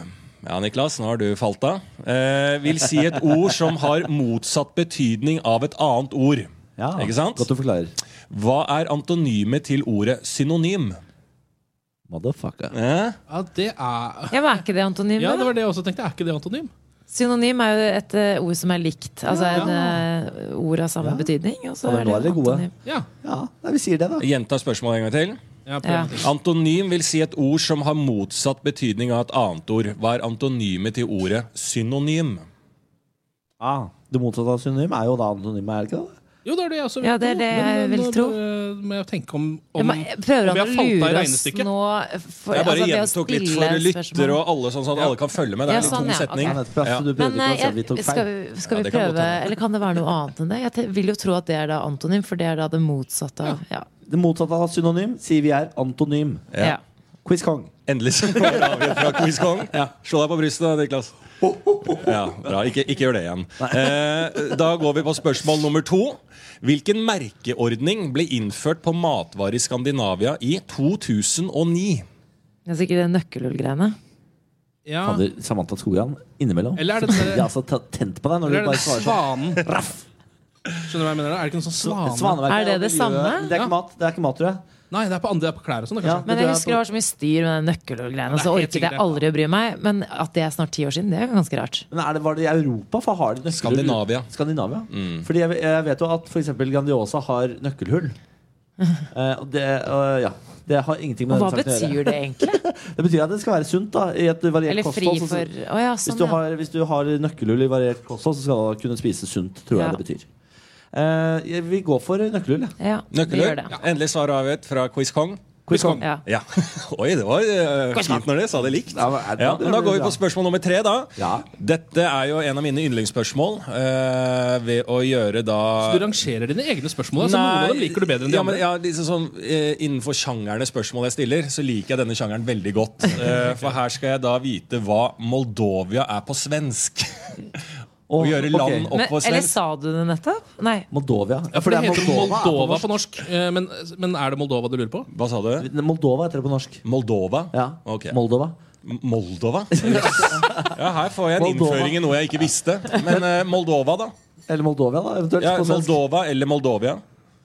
[SPEAKER 9] Ja, Niklas, nå har du falt av. Eh, vil si et ord som har motsatt betydning av et annet ord.
[SPEAKER 6] Ja,
[SPEAKER 9] Ikke sant?
[SPEAKER 6] Godt du forklarer.
[SPEAKER 9] Hva er antonymet til ordet synonym?
[SPEAKER 6] Motherfucker.
[SPEAKER 9] Ja.
[SPEAKER 4] Ja, det er
[SPEAKER 2] Ja, men er ikke det antonyme?
[SPEAKER 4] Ja, det var det jeg også tenkte. Er ikke det antonym?
[SPEAKER 2] Synonym er jo et eh, ord som er likt. Altså et eh, ord av samme betydning. Og så
[SPEAKER 6] Ja, men
[SPEAKER 2] er det
[SPEAKER 6] nå er dere gode.
[SPEAKER 2] antonym.
[SPEAKER 4] Ja.
[SPEAKER 6] Ja, nei, vi sier det, da.
[SPEAKER 9] Gjenta spørsmålet en gang til.
[SPEAKER 4] ja, på
[SPEAKER 2] Ja.
[SPEAKER 4] den tiden.
[SPEAKER 9] Antonym vil si et ord som har motsatt betydning av et annet ord. Hva er antonymet til ordet synonym?
[SPEAKER 6] Ah, det motsatte av synonym er jo da antonym, er det ikke det?
[SPEAKER 4] Jo, det er det jeg også
[SPEAKER 2] Ja, det er det
[SPEAKER 4] men,
[SPEAKER 2] jeg
[SPEAKER 4] eh,
[SPEAKER 2] vil
[SPEAKER 4] nå
[SPEAKER 2] tro.
[SPEAKER 4] bare Må jeg tenke om,
[SPEAKER 2] Jeg
[SPEAKER 4] om
[SPEAKER 2] må- jeg prøver han
[SPEAKER 4] om vi
[SPEAKER 2] å
[SPEAKER 4] har falt av i
[SPEAKER 2] lure oss
[SPEAKER 4] regnestykket?
[SPEAKER 2] nå? For,
[SPEAKER 9] Jeg bare
[SPEAKER 2] altså, det å
[SPEAKER 9] gjentok litt
[SPEAKER 2] spille
[SPEAKER 9] for lytter
[SPEAKER 2] spørsmål.
[SPEAKER 9] og alle, sånn, sånn at alle kan følge med.
[SPEAKER 2] Ja,
[SPEAKER 9] Det er en litt
[SPEAKER 2] sånn,
[SPEAKER 9] tung
[SPEAKER 2] ja,
[SPEAKER 9] setning.
[SPEAKER 6] Ja, nettopp, ja. Så du prøvde
[SPEAKER 2] Men
[SPEAKER 6] ikke å
[SPEAKER 2] eh,
[SPEAKER 6] si at vi tok
[SPEAKER 2] jeg, skal
[SPEAKER 6] feil.
[SPEAKER 2] vi, skal
[SPEAKER 9] Ja,
[SPEAKER 2] vi
[SPEAKER 9] det kan godt
[SPEAKER 2] prøve,
[SPEAKER 9] hende.
[SPEAKER 2] eller kan det være noe annet enn det? Jeg te- vil jo tro at det er da antonym, for det er da det motsatte av ja.
[SPEAKER 6] Det motsatte av synonym sier vi er antonym.
[SPEAKER 2] Ja.
[SPEAKER 6] Quiz Kong.
[SPEAKER 9] Endelig så kommer det avgjort fra Quiz Kong. Slå deg på brystet, Niklas. Ja, bra. Ikke, ikke gjør det igjen. Eh, da går vi på spørsmål nummer to. Hvilken merkeordning ble innført på matvarer i Skandinavia i 2009?
[SPEAKER 2] Det er sikkert det nøkkelhullgreiene.
[SPEAKER 4] Ja.
[SPEAKER 6] Hadde Samantha Skogran innimellom.
[SPEAKER 4] Eller er det den
[SPEAKER 6] Jeg
[SPEAKER 4] der-
[SPEAKER 6] har altså ta- tent på deg når
[SPEAKER 4] Eller er det
[SPEAKER 6] du bare
[SPEAKER 4] den
[SPEAKER 6] svarer sånn.
[SPEAKER 4] svanen? Skjønner du hva jeg mener? da? Er det ikke noen sånn svane?
[SPEAKER 6] Svanemerket
[SPEAKER 2] Er det det
[SPEAKER 6] miljøet.
[SPEAKER 2] samme?
[SPEAKER 6] Det er ikke mat, det er ikke mat tror jeg.
[SPEAKER 4] Nei, det er på andre, det er på klær og sånn. da,
[SPEAKER 6] Ja,
[SPEAKER 4] kanskje.
[SPEAKER 2] Men jeg
[SPEAKER 6] tror er
[SPEAKER 2] husker det var så mye styr med den nøkkelhullgreiene, så
[SPEAKER 4] Det er helt
[SPEAKER 2] orket jeg
[SPEAKER 4] sikkert.
[SPEAKER 2] aldri å bry meg. Men at det er snart ti år siden, det er jo ganske rart.
[SPEAKER 6] Men er det, var det i Europa? For har de nøkkelhull?
[SPEAKER 9] Skandinavia.
[SPEAKER 6] Skandinavia. Fordi jeg, jeg vet jo at f.eks. Grandiosa har nøkkelhull. Eh, og det, eh, ja. det har ingenting med
[SPEAKER 2] Og hva
[SPEAKER 6] denne saken å
[SPEAKER 2] betyr
[SPEAKER 6] gjøre.
[SPEAKER 2] det egentlig?
[SPEAKER 6] Det betyr at det skal være sunt. da I et variert
[SPEAKER 2] Eller fri
[SPEAKER 6] kosthold. så-
[SPEAKER 2] for Å ja,
[SPEAKER 6] hvis,
[SPEAKER 2] sånn,
[SPEAKER 6] du
[SPEAKER 2] ja.
[SPEAKER 6] har, hvis du har nøkkelhull i variert kosthold, så skal du kunne spise sunt. Tror
[SPEAKER 2] Ja.
[SPEAKER 6] jeg det betyr. Eh, jeg- vi går for nøkkelhull. jeg.
[SPEAKER 2] ja. vi gjør
[SPEAKER 9] Nøkkelhull.
[SPEAKER 2] det.
[SPEAKER 9] Endelig svar avgjort fra Quiz Kong.
[SPEAKER 6] Quiz Kong.
[SPEAKER 2] Ja.
[SPEAKER 9] Ja. Oi, det var eh, fint når dere sa det likt.
[SPEAKER 6] Ja, men er det-
[SPEAKER 9] Ja, men da går vi på spørsmål nummer tre, da.
[SPEAKER 6] Ja.
[SPEAKER 9] Dette er jo en av mine yndlingsspørsmål. eh, ved å gjøre da
[SPEAKER 4] Du rangerer dine egne spørsmål. Altså, noen av dem liker du bedre enn de
[SPEAKER 9] ja, men,
[SPEAKER 4] andre.
[SPEAKER 9] ja, liksom sånn, eh, Innenfor sjangerne spørsmål jeg stiller, så liker jeg denne sjangeren veldig godt. Eh, for her skal jeg da vite hva Moldovia er på svensk. Å
[SPEAKER 6] Å,
[SPEAKER 9] gjøre
[SPEAKER 6] ok.
[SPEAKER 9] land opp
[SPEAKER 2] Men,
[SPEAKER 9] på
[SPEAKER 2] eller
[SPEAKER 9] svensk.
[SPEAKER 2] sa du det nettopp? Nei.
[SPEAKER 6] Moldovia.
[SPEAKER 4] Ja, for det
[SPEAKER 6] er
[SPEAKER 4] heter Moldova,
[SPEAKER 6] er på
[SPEAKER 4] på norsk. Eh, Men, men er det Moldova du lurer på?
[SPEAKER 9] Hva sa du?
[SPEAKER 6] norsk. Moldova heter det på norsk.
[SPEAKER 9] Moldova?
[SPEAKER 6] Ja.
[SPEAKER 9] Ok.
[SPEAKER 6] Moldova.
[SPEAKER 9] M- Moldova? Ja, her får jeg en
[SPEAKER 6] Moldova.
[SPEAKER 9] innføring i noe jeg ikke visste. Men eh, Moldova, da?
[SPEAKER 6] Eller Moldovia, da, eventuelt.
[SPEAKER 9] Ja,
[SPEAKER 6] på svensk.
[SPEAKER 9] Moldova eller Moldovia?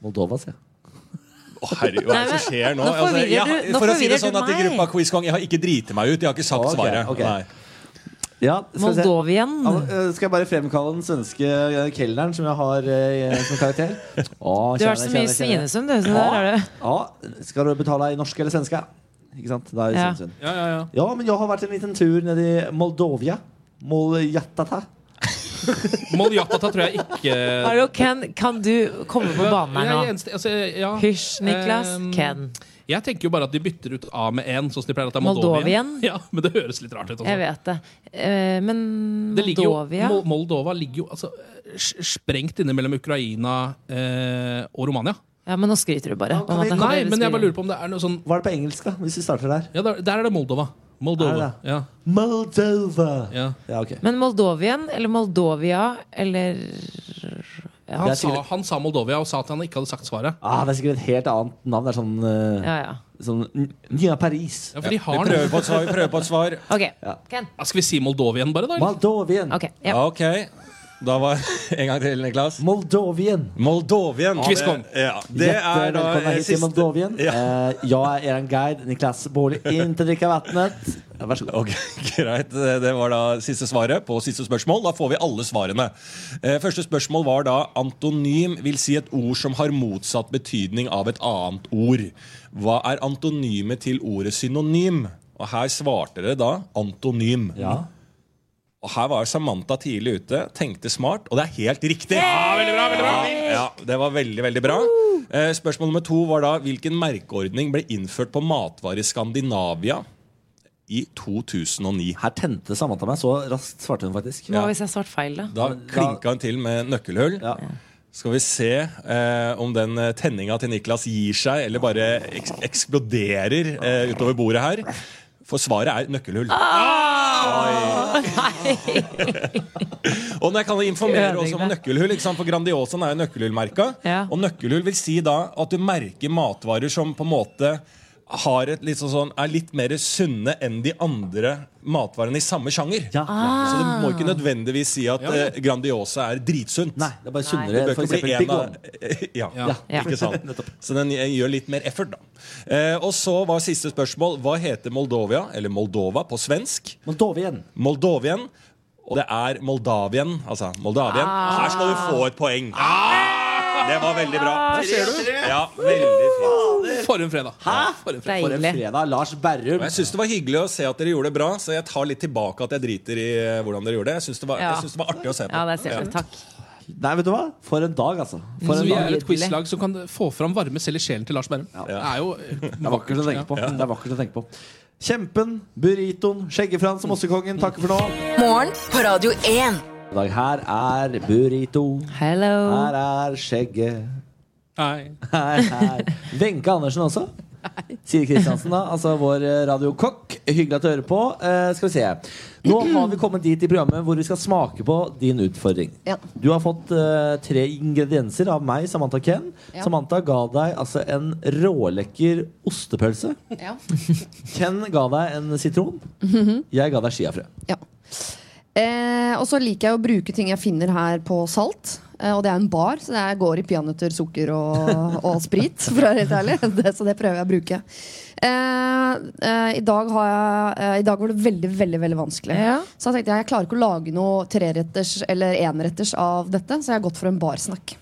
[SPEAKER 6] Moldova, sier jeg.
[SPEAKER 9] Å, herregud, hva er det som skjer nå?
[SPEAKER 2] Nei, men, nå
[SPEAKER 9] Altså, jeg,
[SPEAKER 2] forvirrer du- nå
[SPEAKER 9] for å si
[SPEAKER 2] forvirrer
[SPEAKER 9] det sånn
[SPEAKER 2] du
[SPEAKER 9] at i
[SPEAKER 2] meg.
[SPEAKER 9] gruppa Quiz Kong, jeg har ikke driti meg ut. Jeg har ikke sagt
[SPEAKER 6] Ok,
[SPEAKER 9] svaret.
[SPEAKER 6] ok.
[SPEAKER 9] Nei.
[SPEAKER 6] Ja, skal vi se.
[SPEAKER 2] Moldovien.
[SPEAKER 6] Ja, men, eh, skal jeg bare fremkalle den svenske eh, kelneren som jeg har eh, som karakter? Å,
[SPEAKER 2] Du
[SPEAKER 6] kjære,
[SPEAKER 2] har så mye
[SPEAKER 6] kjære, kjære.
[SPEAKER 2] svinesum, du. Så der er du.
[SPEAKER 6] Ja, skal du betale i norsk eller svenske? Ikke sant? Da er det
[SPEAKER 2] Ja.
[SPEAKER 6] Svinesund.
[SPEAKER 4] Ja, ja, ja.
[SPEAKER 6] Ja, men jeg har vært en liten tur nede i Moldovia. Moljatata.
[SPEAKER 4] Moljatata tror jeg ikke
[SPEAKER 2] Hallo, Ken, kan du komme på banen her
[SPEAKER 4] Jeg
[SPEAKER 2] nå?
[SPEAKER 4] er eneste- altså, ja.
[SPEAKER 2] Hysj, Niklas.
[SPEAKER 4] Eh,
[SPEAKER 2] Ken.
[SPEAKER 4] Jeg tenker jo bare at de bytter ut A med N, sånn som de pleier at det er
[SPEAKER 2] Moldovien?
[SPEAKER 4] Ja, men det høres litt rart ut. altså.
[SPEAKER 2] Jeg vet det. Eh, Men
[SPEAKER 4] Det ligger jo,
[SPEAKER 2] Moldovia
[SPEAKER 4] Mol- Moldova ligger jo altså, eh, s- sprengt inne mellom Ukraina eh, og Romania.
[SPEAKER 2] Ja, men nå skryter du bare. på en måte.
[SPEAKER 4] Nei, men jeg bare lurer på om det er noe sånn
[SPEAKER 6] Hva er det på engelsk, da? Hvis vi starter der.
[SPEAKER 4] Ja, der, der er det Moldova. Moldova.
[SPEAKER 6] Er det?
[SPEAKER 4] Ja,
[SPEAKER 6] Moldova. Ja,
[SPEAKER 4] ja.
[SPEAKER 6] ok.
[SPEAKER 2] Men Moldovien eller Moldovia eller
[SPEAKER 6] Det
[SPEAKER 4] Han,
[SPEAKER 6] er
[SPEAKER 4] sa,
[SPEAKER 6] sikkert-
[SPEAKER 4] han sa Moldovia og sa at han ikke hadde sagt svaret.
[SPEAKER 6] Ah, det er sikkert et helt annet navn. Det er sånn, eh,
[SPEAKER 2] Ja, ja.
[SPEAKER 6] sånn N- Nya Paris.
[SPEAKER 4] Ja, for de
[SPEAKER 9] Vi
[SPEAKER 4] har
[SPEAKER 9] prøver
[SPEAKER 4] noe.
[SPEAKER 9] på et svar. Vi prøver på et svar.
[SPEAKER 2] Ok.
[SPEAKER 6] Ja.
[SPEAKER 2] Ken.
[SPEAKER 4] Ja, Skal vi si Moldovien bare, da? eller?
[SPEAKER 6] Moldovien.
[SPEAKER 2] Ok, ja.
[SPEAKER 9] Ok. Da var En gang til, Niklas.
[SPEAKER 6] Moldovien.
[SPEAKER 9] Moldovien.
[SPEAKER 4] Quiz Kong.
[SPEAKER 9] Ja, det
[SPEAKER 6] Hjertelig
[SPEAKER 9] er da
[SPEAKER 6] velkommen
[SPEAKER 9] eh,
[SPEAKER 6] hit til
[SPEAKER 9] siste
[SPEAKER 6] Moldovien.
[SPEAKER 9] Ja.
[SPEAKER 6] Eh, jeg er en guide. Niklas Baarli, ikke drikke vannet. Ja, Vær så god.
[SPEAKER 9] Ok, Greit. Det var da siste svaret på siste spørsmål. Da får vi alle svarene. Eh, Første spørsmål var da antonym vil si et ord som har motsatt betydning av et annet ord. Hva er antonymet til ordet synonym? Og her svarte dere da antonym.
[SPEAKER 6] Ja.
[SPEAKER 9] Og her var Samantha tidlig ute, tenkte smart, og det er helt riktig. Ja, ja, det var veldig, veldig bra. Eh, Spørsmål nummer to var da hvilken merkeordning ble innført på matvarer i Skandinavia i 2009?
[SPEAKER 6] Her tente Samantha meg. Så raskt svarte hun faktisk.
[SPEAKER 2] Hva hvis jeg svarte feil, da?
[SPEAKER 9] Da klinka hun til med nøkkelhull.
[SPEAKER 6] Ja.
[SPEAKER 9] Skal vi se eh, om den eh, tenninga til Niklas gir seg, eller bare eks eksploderer eh, utover bordet her. For svaret er nøkkelhull. Oi. og når jeg kan informere også om nøkkelhull, ikke sant? for Grandiosaen er jo nøkkelhullmerka.
[SPEAKER 2] Ja.
[SPEAKER 9] Og nøkkelhull vil si da at du merker matvarer som på en måte har et litt sånn, sånn, er litt mer sunne enn de andre matvarene i samme sjanger. Så du må
[SPEAKER 2] Ah.
[SPEAKER 9] ikke nødvendigvis si at eh, Grandiosa er dritsunt.
[SPEAKER 6] Nei, det er bare
[SPEAKER 9] Det
[SPEAKER 6] sunnere enn
[SPEAKER 9] bør ikke
[SPEAKER 6] f.eks.
[SPEAKER 9] bli en av
[SPEAKER 6] Bigone.
[SPEAKER 9] ja,
[SPEAKER 6] Ja.
[SPEAKER 2] Ja.
[SPEAKER 9] ikke sant? Så den eh, gjør litt mer effort, da. Eh, og så var siste spørsmål hva heter Moldovia, eller Moldova på svensk?
[SPEAKER 6] Men dove igjen.
[SPEAKER 9] Moldovien. Og det er Moldavien. Altså Moldavien.
[SPEAKER 2] Ah.
[SPEAKER 9] Her skal du få et poeng. Det var veldig bra.
[SPEAKER 2] Ah,
[SPEAKER 9] Ja, veldig fint.
[SPEAKER 4] For en fredag. For en fredag.
[SPEAKER 6] For en
[SPEAKER 2] Deilig.
[SPEAKER 6] fredag. Lars Berrum.
[SPEAKER 9] Og jeg syns det var hyggelig å se at dere gjorde det bra, så jeg tar litt tilbake at jeg driter i eh, hvordan dere gjorde det. Jeg syns det, var-
[SPEAKER 2] Ja.
[SPEAKER 9] jeg syns det var artig å se på.
[SPEAKER 2] Ja, det ser du. Takk.
[SPEAKER 6] Nei, vet du hva? For en dag, altså. For
[SPEAKER 4] Så
[SPEAKER 6] en
[SPEAKER 4] vi
[SPEAKER 6] dag.
[SPEAKER 4] er et quizlag som kan få fram varme selv i sjelen til Lars Berrum. Det er jo
[SPEAKER 6] Det er vakkert å tenke på. Det er vakkert å tenke på. Kjempen, burritoen, Skjeggefrans og Mossekongen takker for nå.
[SPEAKER 5] Morgen på Radio 1.
[SPEAKER 6] I dag her er burrito.
[SPEAKER 2] Hello.
[SPEAKER 6] Her er skjegget.
[SPEAKER 4] Nei.
[SPEAKER 6] Her er Wenche Andersen også. Siri Kristiansen, da. Altså vår eh, radiokokk. Hyggelig at du hører på. Eh, skal vi se. Nå har vi kommet dit i programmet hvor vi skal smake på din utfordring.
[SPEAKER 7] Ja.
[SPEAKER 6] Du har fått eh, tre ingredienser av meg, Samantha Ken.
[SPEAKER 7] Ja.
[SPEAKER 6] Samantha ga deg altså en rålekker ostepølse.
[SPEAKER 7] Ja.
[SPEAKER 6] Ken ga deg en sitron. Jeg ga deg skiafrø.
[SPEAKER 7] Ja. Eh, og så liker jeg å bruke ting jeg finner her på Salt. Eh, og det er en bar, så det er- går i peanøtter, sukker og, og sprit. For å være helt ærlig. Det, så det prøver jeg å bruke. Eh, eh, i, dag har jeg, eh, I dag var det veldig veldig, veldig vanskelig.
[SPEAKER 2] Ja.
[SPEAKER 7] Så jeg tenkte jeg, jeg klarer ikke å lage noe treretters eller enretters av dette, så jeg har gått for en barsnakk.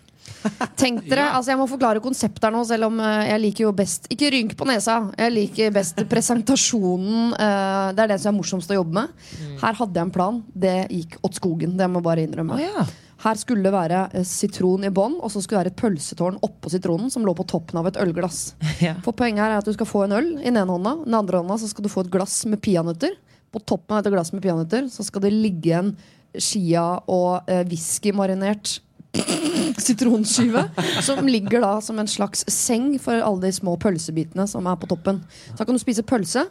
[SPEAKER 7] Tenk dere, altså Jeg må forklare konseptet her nå, selv om eh, jeg liker jo best Ikke rynk på nesa. Jeg liker best presentasjonen. eh, det er det som er morsomst å jobbe med. Her hadde jeg en plan. Det gikk åt skogen. Det må jeg bare innrømme.
[SPEAKER 2] Mm. Å, ja.
[SPEAKER 7] Her skulle det være eh, sitron i bånn, og så skulle det være et pølsetårn oppå sitronen som lå på toppen av et ølglass.
[SPEAKER 2] Ja.
[SPEAKER 7] For poenget her er at du skal få en øl i den ene hånda. I den andre hånda så skal du få et glass med peanøtter. På toppen av dette glasset med peanøtter så skal det ligge en chia- og eh, whiskymarinert sitronskive, som ligger da som en slags seng for alle de små pølsebitene som er på toppen. Så da kan du spise pølse,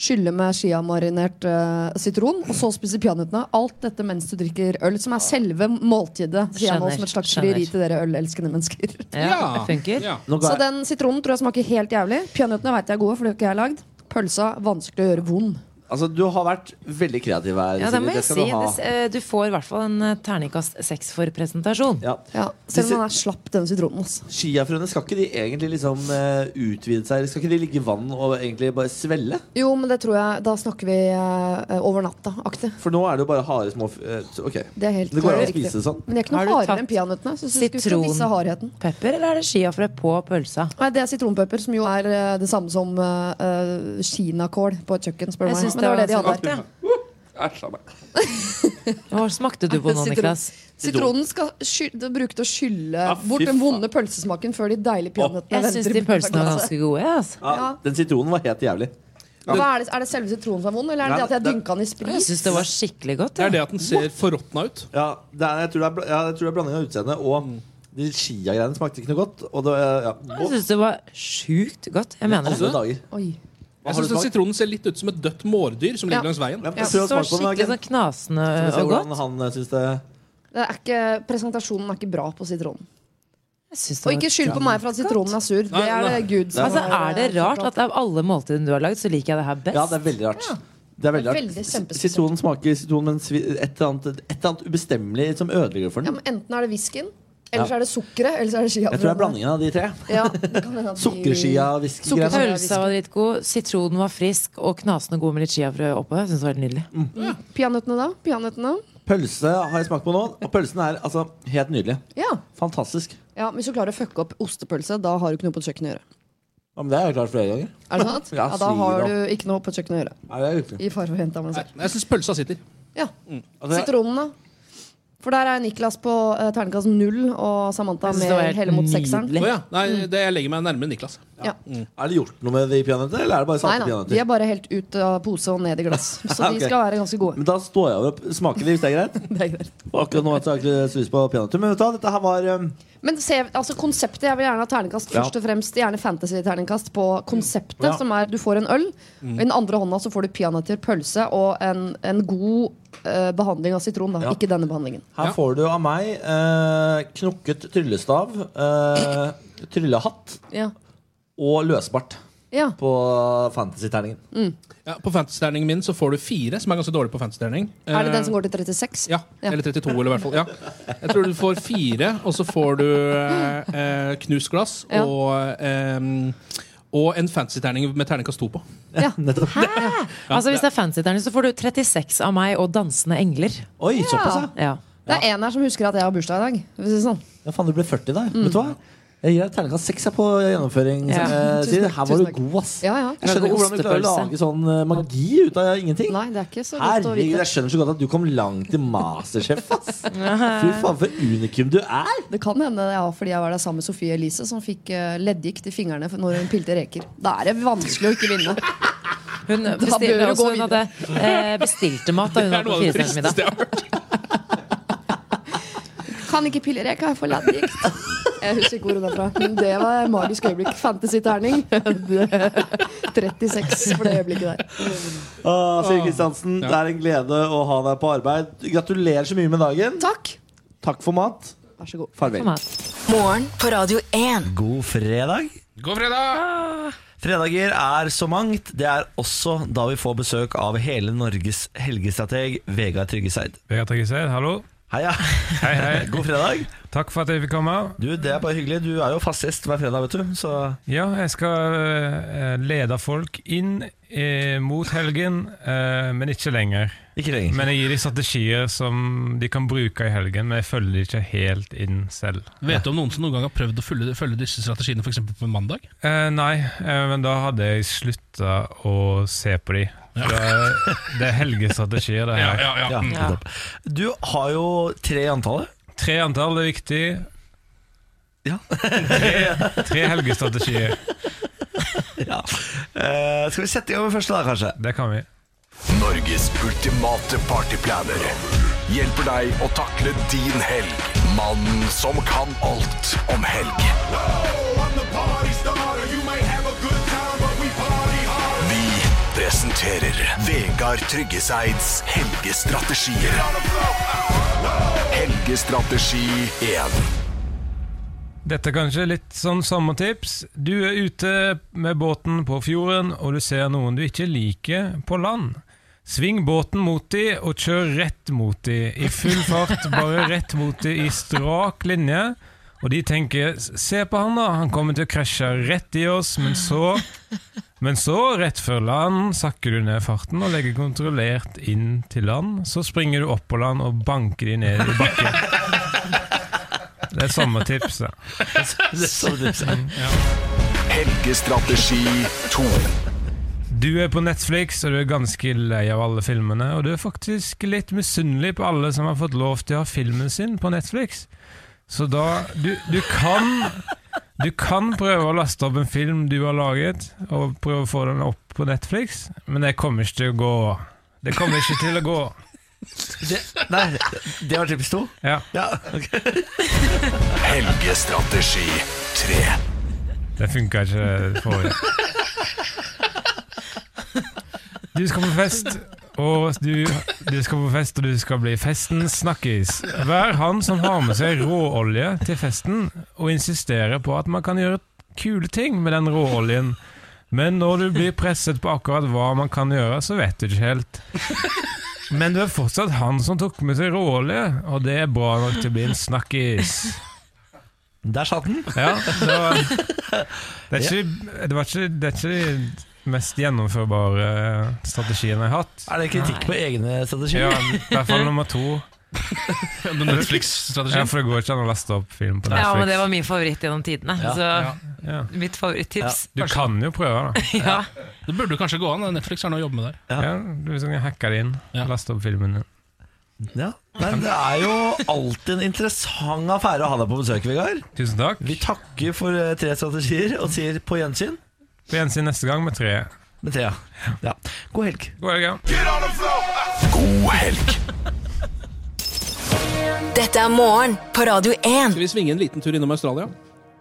[SPEAKER 7] skylle med chiamarinert eh, sitron, og så spise peanøttene. Alt dette mens du drikker øl, som er selve måltidet. Sier jeg nå
[SPEAKER 2] Skjønner,
[SPEAKER 7] som et slags
[SPEAKER 2] skjønner.
[SPEAKER 7] frieri til dere ølelskende mennesker.
[SPEAKER 2] Ja, det funker.
[SPEAKER 4] Ja.
[SPEAKER 6] Nå ga
[SPEAKER 7] Så
[SPEAKER 6] jeg-
[SPEAKER 7] den sitronen tror jeg smaker helt jævlig. Peanøttene vet jeg er gode, for det har ikke jeg lagd. Pølsa vanskelig å gjøre vond.
[SPEAKER 6] altså, du har vært veldig kreativ her.
[SPEAKER 2] Ja, det
[SPEAKER 6] Siri.
[SPEAKER 2] må jeg
[SPEAKER 6] skal
[SPEAKER 2] si.
[SPEAKER 6] du ha.
[SPEAKER 2] Det s- eh, Du får i hvert fall en eh, terningkast seks for presentasjon.
[SPEAKER 6] Ja.
[SPEAKER 7] Ja, selv om den er slapp, den sitronen. Altså.
[SPEAKER 6] Skiafrøene, skal ikke de egentlig liksom eh, utvide seg? Skal ikke de ligge i vann og egentlig bare svelle?
[SPEAKER 7] Jo, men det tror jeg Da snakker vi eh, over natta-aktig.
[SPEAKER 6] For nå er det jo bare harde små f- eh, så- Ok,
[SPEAKER 7] Det er helt
[SPEAKER 6] det går an å
[SPEAKER 7] riktig.
[SPEAKER 6] spise det sånn.
[SPEAKER 7] Men de er ikke
[SPEAKER 2] Har
[SPEAKER 7] noe
[SPEAKER 2] du
[SPEAKER 7] hardere
[SPEAKER 2] tatt
[SPEAKER 7] enn peanøttene. Så jeg synes ikke vi skal
[SPEAKER 2] sitron?
[SPEAKER 7] vise hardheten.
[SPEAKER 2] Pepper, eller er det skiafrø på pølsa?
[SPEAKER 7] Nei, Det er sitronpepper, som jo er eh, det samme som eh, eh, kinakål på et kjøkken. spør du
[SPEAKER 2] Jeg
[SPEAKER 7] meg.
[SPEAKER 2] synes
[SPEAKER 7] Men det var det de hadde her.
[SPEAKER 2] vanskelig. Hva smakte du på nå,
[SPEAKER 7] Sitron-
[SPEAKER 2] Niklas?
[SPEAKER 7] Sitronen skal sky bruke til å skylle
[SPEAKER 6] Ah, fy
[SPEAKER 7] bort den
[SPEAKER 6] faen.
[SPEAKER 7] vonde pølsesmaken før de deilige peanøttene
[SPEAKER 2] Jeg syns
[SPEAKER 7] venter i
[SPEAKER 2] de pølsene var
[SPEAKER 7] glasset.
[SPEAKER 2] ganske gode. jeg, Altså.
[SPEAKER 6] Ja, Den sitronen var helt jævlig.
[SPEAKER 7] Hva er, det, er det selve sitronen som er vond, eller er det det at jeg dynka den i
[SPEAKER 2] Jeg
[SPEAKER 7] sprit?
[SPEAKER 2] syns det var skikkelig godt.
[SPEAKER 4] Det
[SPEAKER 2] Ja.
[SPEAKER 4] er det at den ser forråtna ut.
[SPEAKER 6] Ja, det er, jeg, tror det er, bla- ja, jeg tror det er blanding av utseende og de Skia-greiene smakte ikke noe godt. Og det, eh, ja.
[SPEAKER 2] Jeg syns det var sjukt godt. Jeg mener det.
[SPEAKER 6] Alle dager. Hva
[SPEAKER 7] Oi.
[SPEAKER 4] Jeg
[SPEAKER 6] har
[SPEAKER 4] synes
[SPEAKER 6] du
[SPEAKER 4] den
[SPEAKER 6] smakt?
[SPEAKER 4] Sitronen ser litt ut som et dødt mårdyr som
[SPEAKER 7] Ja.
[SPEAKER 4] ligger langs veien.
[SPEAKER 6] Ja,
[SPEAKER 7] Ja,
[SPEAKER 6] prøv
[SPEAKER 2] Så
[SPEAKER 6] å
[SPEAKER 2] det var
[SPEAKER 6] smake på den,
[SPEAKER 2] skikkelig
[SPEAKER 6] Hagen.
[SPEAKER 2] sånn knasende
[SPEAKER 6] Skal vi se
[SPEAKER 2] og
[SPEAKER 6] hvordan
[SPEAKER 2] godt.
[SPEAKER 6] han eh, syns det
[SPEAKER 7] Det er ikke, presentasjonen er ikke bra på sitronen.
[SPEAKER 2] Jeg synes det
[SPEAKER 7] Og
[SPEAKER 2] var
[SPEAKER 7] ikke skyld på meg for at sitronen er sur. Det er det Gud som
[SPEAKER 2] Altså,
[SPEAKER 7] har,
[SPEAKER 2] Er det
[SPEAKER 7] eh,
[SPEAKER 2] rart at av alle måltidene du har lagd, så liker jeg det her
[SPEAKER 6] Ja, det
[SPEAKER 2] best?
[SPEAKER 6] er veldig rart. Det er veldig
[SPEAKER 7] Det er veldig
[SPEAKER 6] rart.
[SPEAKER 7] kjempespesielt.
[SPEAKER 6] Sitronen smaker sitron, men svi- et eller annet, et eller annet ubestemmelig som ødelegger for
[SPEAKER 7] Ja,
[SPEAKER 6] den.
[SPEAKER 7] men enten er det whiskyen, eller
[SPEAKER 6] Ja.
[SPEAKER 7] så er det sukkeret, eller så er det skia.
[SPEAKER 6] Jeg tror det er blandingen av de tre.
[SPEAKER 7] Ja, det kan hende at de-
[SPEAKER 6] Sukkerskia,
[SPEAKER 7] Mm. Sukker-
[SPEAKER 6] whiskygreier.
[SPEAKER 2] Pølsa var dritgod, sitronen var frisk og knasende god med litt chiafrø oppå. Jeg synes det var helt nydelig.
[SPEAKER 7] Mm. Peanøttene, da? Peanøttene?
[SPEAKER 6] Pølse har jeg smakt på nå, og pølsen er altså helt nydelig.
[SPEAKER 7] Ja.
[SPEAKER 6] Fantastisk.
[SPEAKER 7] ja. Hvis du klarer å fucke opp ostepølse, da har du ikke noe på et kjøkken å gjøre.
[SPEAKER 6] Ja, men det har jeg klart flere ganger.
[SPEAKER 7] Er det sant?
[SPEAKER 6] Ja,
[SPEAKER 7] Ja, da
[SPEAKER 6] sier
[SPEAKER 7] har
[SPEAKER 6] da.
[SPEAKER 7] du ikke noe på et kjøkken å gjøre.
[SPEAKER 6] Nei, det er riktig.
[SPEAKER 7] I farvehenta, må jeg si.
[SPEAKER 4] Jeg syns pølsa sitter.
[SPEAKER 7] Ja.
[SPEAKER 6] Altså, jeg-
[SPEAKER 7] Sitronen, da? For der er Niklas på eh, terningkast null og Samantha
[SPEAKER 2] Jeg synes det var
[SPEAKER 7] med
[SPEAKER 2] helt
[SPEAKER 7] hele mot sekseren.
[SPEAKER 2] nydelig.
[SPEAKER 4] Å ja. Nei,
[SPEAKER 7] Mm.
[SPEAKER 4] det, jeg legger meg nærmere Niklas.
[SPEAKER 7] Ja.
[SPEAKER 6] Er det gjort noe med de peanøttene, eller er det bare
[SPEAKER 7] Nei
[SPEAKER 6] salte
[SPEAKER 7] da, de er
[SPEAKER 6] peanøtter?
[SPEAKER 7] bare helt ut av pose og ned i glass. Så de
[SPEAKER 6] Ok.
[SPEAKER 7] skal være ganske gode.
[SPEAKER 6] Men da står jeg over og smaker de, hvis det er greit.
[SPEAKER 7] Det er greit.
[SPEAKER 6] Og Akkurat nå har jeg ikke så lyst på peanøtter. Men vet du hva, dette her var um,
[SPEAKER 7] Men se, altså konseptet, jeg vil gjerne ha terningkast
[SPEAKER 6] Ja.
[SPEAKER 7] først og fremst. Gjerne fantasy-terningkast på konseptet,
[SPEAKER 6] Ja.
[SPEAKER 7] som er du får en øl. Og I den andre hånda så får du peanøtter, pølse og en, en god eh, behandling av sitron. Da.
[SPEAKER 6] Ja.
[SPEAKER 7] Ikke denne behandlingen.
[SPEAKER 6] Her
[SPEAKER 4] Ja.
[SPEAKER 6] får du av meg eh, knokket tryllestav, eh, tryllehatt
[SPEAKER 7] Ja.
[SPEAKER 6] og løsbart.
[SPEAKER 7] Ja.
[SPEAKER 6] på fantasy-terningen.
[SPEAKER 7] Mm.
[SPEAKER 4] Ja, på fantasy-terningen min så får du fire, som er ganske dårlig på fantasy-terning.
[SPEAKER 7] Er det den som går til 36?
[SPEAKER 4] eh, Ja,
[SPEAKER 7] Ja.
[SPEAKER 4] eller 32, eller i hvert fall. Ja. Jeg tror du får fire, og så får du eh, eh, knust glass
[SPEAKER 7] Ja.
[SPEAKER 4] og eh, og en fantasy-terning med terningkast to på.
[SPEAKER 7] Ja.
[SPEAKER 6] Nettopp.
[SPEAKER 2] Altså Hvis det er fancy terning, så får du 36 av meg og dansende engler.
[SPEAKER 6] Oi, såpass, ja.
[SPEAKER 2] Ja.
[SPEAKER 7] Det er en her som husker at jeg har bursdag i dag. for å si det sånn.
[SPEAKER 6] Ja, faen, du ble 40 der.
[SPEAKER 7] Mm.
[SPEAKER 6] Vet du hva? Jeg gir deg terningkast seks jeg, på gjennomføring.
[SPEAKER 2] Ja.
[SPEAKER 6] eh,
[SPEAKER 7] Tusen
[SPEAKER 6] sier.
[SPEAKER 7] takk,
[SPEAKER 6] Her var
[SPEAKER 7] tusen
[SPEAKER 6] du
[SPEAKER 7] takk.
[SPEAKER 6] god, ass.
[SPEAKER 7] Ja, ja.
[SPEAKER 6] Jeg skjønner ikke hvordan du klarer å
[SPEAKER 2] Ostepølse.
[SPEAKER 6] lage sånn eh, magi ut av ingenting.
[SPEAKER 7] Nei, det er ikke så godt å
[SPEAKER 6] Herregud,
[SPEAKER 7] vite.
[SPEAKER 6] jeg skjønner så godt at du kom langt til Masterchef, ass. Fy faen, for unikum du er.
[SPEAKER 7] Det kan hende det var fordi jeg var der sammen med Sofie Elise, som fikk eh, leddgikt i fingrene for- når hun pilte reker. Da er det vanskelig å ikke vinne.
[SPEAKER 2] Hun,
[SPEAKER 7] bør
[SPEAKER 2] bestil,
[SPEAKER 7] du
[SPEAKER 2] også,
[SPEAKER 7] gå
[SPEAKER 2] hun hadde eh, bestilte mat da hun var på firestjerners middag.
[SPEAKER 4] jeg har hørt.
[SPEAKER 7] Kan ikke pille reker, jeg får leddgikt. Jeg husker ikke hvor hun er fra, men det var et magisk øyeblikk. Fantasy-terning. 36 for det øyeblikket der.
[SPEAKER 6] Åh, Siri Kristiansen, det er en glede å ha deg på arbeid. Gratulerer så mye med dagen.
[SPEAKER 7] Takk.
[SPEAKER 6] Takk for mat.
[SPEAKER 7] Vær så god.
[SPEAKER 6] Farvel.
[SPEAKER 5] Morgen på Radio 1.
[SPEAKER 1] God fredag.
[SPEAKER 11] God fredag!
[SPEAKER 1] Fredager er så mangt. Det er også da vi får besøk av hele Norges helgestrateg Vegard Tryggeseid.
[SPEAKER 9] Vegard Tryggeseid, hallo.
[SPEAKER 1] Heia.
[SPEAKER 9] Hei, hei.
[SPEAKER 1] God fredag.
[SPEAKER 9] Takk for at jeg fikk komme.
[SPEAKER 1] Du, Det er bare hyggelig. Du er jo fast gjest hver fredag, vet du. Så
[SPEAKER 9] Ja, jeg skal eh, lede folk inn eh, mot helgen, eh, men ikke lenger.
[SPEAKER 1] ikke lenger.
[SPEAKER 9] Men jeg gir dem strategier som de kan bruke i helgen, men jeg følger de ikke helt inn selv.
[SPEAKER 11] Vet du om noen som noen gang har prøvd å følge, følge disse strategiene for eksempel på en mandag?
[SPEAKER 9] Eh, nei, eh, men da hadde jeg slutta å se på de. For da- Det er helgestrategier, det her.
[SPEAKER 1] Ja, nettopp. Du har jo tre i antallet.
[SPEAKER 9] Tre antall er viktig.
[SPEAKER 1] Ja.
[SPEAKER 9] tre, tre helgestrategier.
[SPEAKER 1] Eh, skal vi sette i gang med første, da, kanskje?
[SPEAKER 9] Det kan vi.
[SPEAKER 12] Norges ultimate partyplaner hjelper deg å takle din helg. Mannen som kan alt om helg. Vi presenterer Vegard Tryggeseids helgestrategier. Helgestrategi 1.
[SPEAKER 9] Dette er kanskje litt sånn sommertips. Du er ute med båten på fjorden, og du ser noen du ikke liker på land. Sving båten mot de, og kjør rett mot de. I full fart, bare rett mot de i strak linje. Og de tenker 'se på han, da, han kommer til å krasje rett i oss', men så men så, rett før land, sakker du ned farten og legger kontrollert inn til land. Så springer du opp på land og banker de ned i bakken. Det er sommertips, da.
[SPEAKER 1] Det er sånn du sier.
[SPEAKER 12] Helgestrategi 2.
[SPEAKER 9] Du er på Netflix, og du er ganske lei av alle filmene. Og du er faktisk litt misunnelig på alle som har fått lov til å ha filmen sin på Netflix. Så da Du, du kan Du kan prøve å laste opp en film du har laget, og prøve å få den opp på Netflix, men det kommer ikke til å gå. Det kommer ikke til å gå.
[SPEAKER 1] Det- Nei, det var tips to.
[SPEAKER 9] Ja,
[SPEAKER 1] Ja, ok.
[SPEAKER 12] Helgestrategi 3.
[SPEAKER 9] det funka ikke forrige. Du skal på fest, og du, du skal på fest, og du skal bli festens snakkis. Vær han som har med seg råolje til festen, og insisterer på at man kan gjøre kule ting med den råoljen. Men når du blir presset på akkurat hva man kan gjøre, så vet du ikke helt. Men du er fortsatt han som tok med seg råolje, og det er bra nok til å bli en snakkis.
[SPEAKER 1] Der satt den.
[SPEAKER 9] Ja, det var, det, er ikke, det, var ikke, det er ikke de mest gjennomførbare eh, strategien jeg har hatt.
[SPEAKER 1] Er det kritikk på egne strategier?
[SPEAKER 9] Ja, I hvert fall nummer to.
[SPEAKER 11] Den
[SPEAKER 9] Ja,
[SPEAKER 11] Netflix-strategien.
[SPEAKER 9] for det går ikke an å laste opp film på
[SPEAKER 2] Ja, men det
[SPEAKER 9] Netflix.
[SPEAKER 2] var min favoritt gjennom tidene.
[SPEAKER 1] Ja.
[SPEAKER 2] Så
[SPEAKER 9] Ja.
[SPEAKER 2] mitt favorittips.
[SPEAKER 9] Du kan jo prøve, da.
[SPEAKER 2] Ja.
[SPEAKER 11] Det burde kanskje gå an. Netflix har noe å jobbe med der.
[SPEAKER 1] Ja.
[SPEAKER 9] Ja, du kan hacke det inn.
[SPEAKER 11] Ja.
[SPEAKER 9] Laste opp filmen din.
[SPEAKER 1] Ja. Men det er jo alltid en interessant affære å ha deg på besøk, Vegard.
[SPEAKER 9] Tusen takk.
[SPEAKER 1] Vi takker for eh, tre strategier og sier på gjensyn
[SPEAKER 9] På gjensyn neste gang med tre.
[SPEAKER 1] med trea. Ja. God helg.
[SPEAKER 9] God helg. ja.
[SPEAKER 12] God helg.
[SPEAKER 5] Dette er morgen på Radio 1.
[SPEAKER 4] Skal vi svinge en liten tur innom Australia?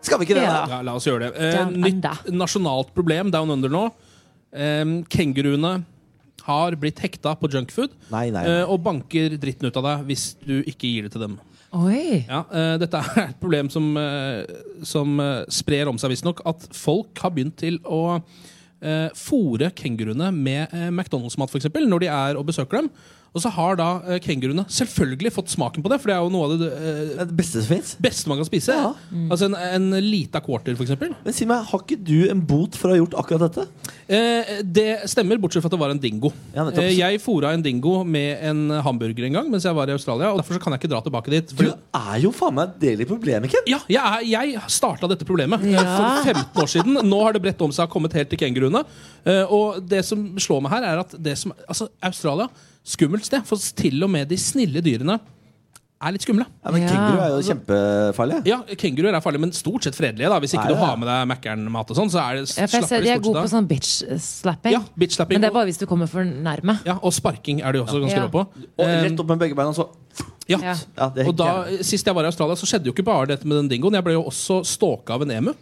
[SPEAKER 6] Skal vi ikke det, da?
[SPEAKER 4] Ja, la oss gjøre det. Eh,
[SPEAKER 2] Down
[SPEAKER 4] nytt
[SPEAKER 2] under.
[SPEAKER 4] nasjonalt problem down under nå. Eh, Kenguruene har blitt hekta på junkfood
[SPEAKER 6] Nei, nei.
[SPEAKER 4] eh, og banker dritten ut av deg hvis du ikke gir det til dem.
[SPEAKER 2] Oi.
[SPEAKER 4] Ja, eh, dette er et problem som, eh, som eh, sprer om seg, visstnok. At folk har begynt til å eh, fôre kenguruene med eh, McDonald's-mat for eksempel, når de er og besøker dem. Og så har da eh, kenguruene selvfølgelig fått smaken på det, for det er jo noe av det eh,
[SPEAKER 6] beste som fins.
[SPEAKER 4] Beste man kan spise.
[SPEAKER 2] Mm.
[SPEAKER 4] Altså en, en lita quarter, for eksempel.
[SPEAKER 6] Men si meg, har ikke du en bot for å ha gjort akkurat dette?
[SPEAKER 4] Eh, det stemmer, bortsett fra at det var en dingo.
[SPEAKER 6] nettopp.
[SPEAKER 4] eh, jeg fôra en dingo med en hamburger en gang mens jeg var i Australia, og derfor så kan jeg ikke dra tilbake dit.
[SPEAKER 6] Du er jo faen meg del i problemet, Ken.
[SPEAKER 4] Ja, jeg, er- jeg starta dette problemet eh,
[SPEAKER 6] Ja.
[SPEAKER 4] for 15 år siden. Nå har det bredt om seg og kommet helt til kenguruene. Eh, og det som slår meg her, er at det som, altså, Australia skummelt sted. For til og med de snille dyrene er litt skumle.
[SPEAKER 6] Ja, men Kenguru er jo kjempefarlig.
[SPEAKER 4] Ja, Kenguruer er farlige, men stort sett fredelige. da Hvis ikke
[SPEAKER 6] Ja, ja,
[SPEAKER 4] du
[SPEAKER 6] ja.
[SPEAKER 4] har med deg Mækkern-mat og sånn, så er det
[SPEAKER 2] Ja, for jeg ser
[SPEAKER 4] slapper
[SPEAKER 2] de
[SPEAKER 4] de
[SPEAKER 2] er
[SPEAKER 4] stort
[SPEAKER 2] gode på
[SPEAKER 4] sett av.
[SPEAKER 2] sånn bitch-slapping.
[SPEAKER 4] Ja, bitch-slapping.
[SPEAKER 2] Men det er bare hvis du kommer for nærme.
[SPEAKER 4] Ja, og sparking er de også ganske
[SPEAKER 2] Ja.
[SPEAKER 4] rå på.
[SPEAKER 6] Og rett opp med begge beina, så
[SPEAKER 4] Ja.
[SPEAKER 6] Ja, det er
[SPEAKER 4] og da, Sist jeg var i Australia, så skjedde jo ikke bare dette med den dingoen. Jeg ble jo også stalka av en emu.